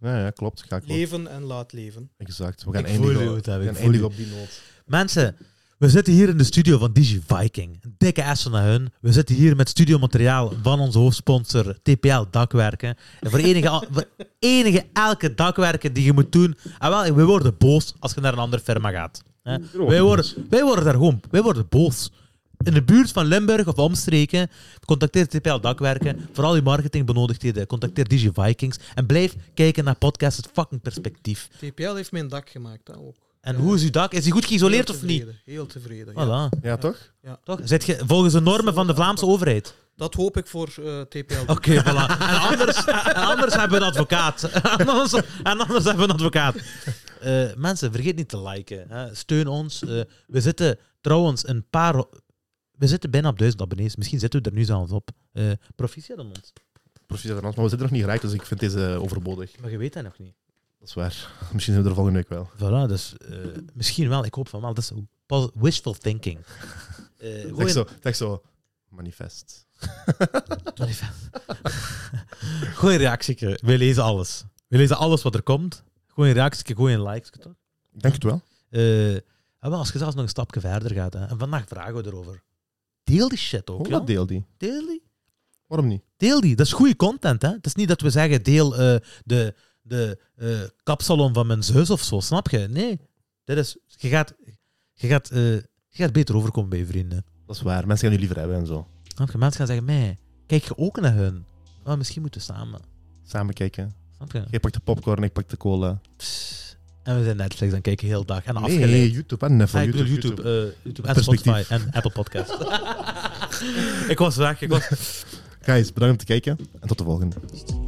Speaker 1: Ja, ja, klopt. Ga ik wel.
Speaker 3: leven en laat leven.
Speaker 1: Exact. We gaan
Speaker 2: Ik
Speaker 1: eindigen,
Speaker 2: voel je het, hè,
Speaker 1: we
Speaker 2: ik
Speaker 1: gaan
Speaker 2: voel
Speaker 1: eindigen
Speaker 2: je.
Speaker 1: op die noot.
Speaker 2: Mensen, we zitten hier in de studio van Digi Viking. Een dikke ass naar hun. We zitten hier met studiomateriaal van onze hoofdsponsor TPL Dakwerken. En voor enige, al- voor enige elke dakwerken die je moet doen. En wel, we worden boos als je naar een andere firma gaat. Hè? Wij, worden, wij worden daar gewoon wij worden boos. In de buurt van Limburg of omstreken, contacteer TPL Dakwerken. Voor al je marketingbenoodigdheden, contacteer Digi Vikings. En blijf kijken naar podcast Het Fucking Perspectief.
Speaker 3: TPL heeft mijn dak gemaakt. Hè, ook.
Speaker 2: En
Speaker 3: Ja.
Speaker 2: hoe is uw dak? Is die goed geïsoleerd
Speaker 3: Heel
Speaker 2: of niet? Ah,
Speaker 3: tevreden, Heel tevreden. ja.
Speaker 2: Voilà.
Speaker 1: Ja, toch?
Speaker 2: Toch? Zit je volgens de normen van de Vlaamse overheid?
Speaker 3: Dat hoop ik voor eh, TPL.
Speaker 2: Oké, voilà. En anders, en anders hebben we een advocaat. En anders, en anders hebben we een advocaat. Eh, mensen, vergeet niet te liken. Hè. Steun ons. Eh, we zitten trouwens een paar... ho- We zitten bijna op duizend abonnees. Misschien zitten we er nu zelfs op. Eh proficiat aan ons.
Speaker 1: Proficiat aan ons, maar we zitten nog niet geraakt, dus ik vind deze overbodig.
Speaker 2: Maar je weet dat nog niet.
Speaker 1: Dat is waar. Misschien zijn we er volgende week wel.
Speaker 2: Voilà, dus eh, misschien wel. Ik hoop van wel. Dat is pas- wishful thinking. Eh,
Speaker 1: Zeg
Speaker 2: gooi-
Speaker 1: zo, zeg zo, manifest.
Speaker 2: Gooi een reactie. We lezen alles. We lezen alles wat er komt. Gooi een reactie, gooi een like. Toch?
Speaker 1: Ik denk het wel.
Speaker 2: Eh, ah, wel, als je zelfs nog een stapje verder gaat. Hè. En vandaag vragen we erover. Deel die shit ook.
Speaker 1: Hoe
Speaker 2: ja.
Speaker 1: dat deel die?
Speaker 2: Deel die.
Speaker 1: Waarom niet?
Speaker 2: Deel die. Dat is goede content. Hè. Het is niet dat we zeggen, deel eh, de, de eh, kapsalon van mijn zus of zo. Snap je? Nee. Dat is, je, gaat, je, gaat, eh, je gaat beter overkomen bij je vrienden.
Speaker 1: Dat is waar. Mensen gaan je liever hebben en zo.
Speaker 2: Snap je? Mensen gaan zeggen, mij, kijk je ook naar hun? Wel, misschien moeten we samen.
Speaker 1: Samen kijken.
Speaker 2: Snap je?
Speaker 1: Jij pakt de popcorn, ik pak de cola.
Speaker 2: Psst. En we zijn Netflix aan het kijken heel dag. En
Speaker 1: Nee,
Speaker 2: afgeleid.
Speaker 1: YouTube. En
Speaker 2: Ah,
Speaker 1: Netflix.
Speaker 2: ik bedoel YouTube, eh, YouTube, en
Speaker 1: Perspectief.
Speaker 2: Spotify en Apple Podcast. ik was weg, ik was
Speaker 1: Guys, bedankt om te kijken en tot de volgende.
Speaker 4: Just a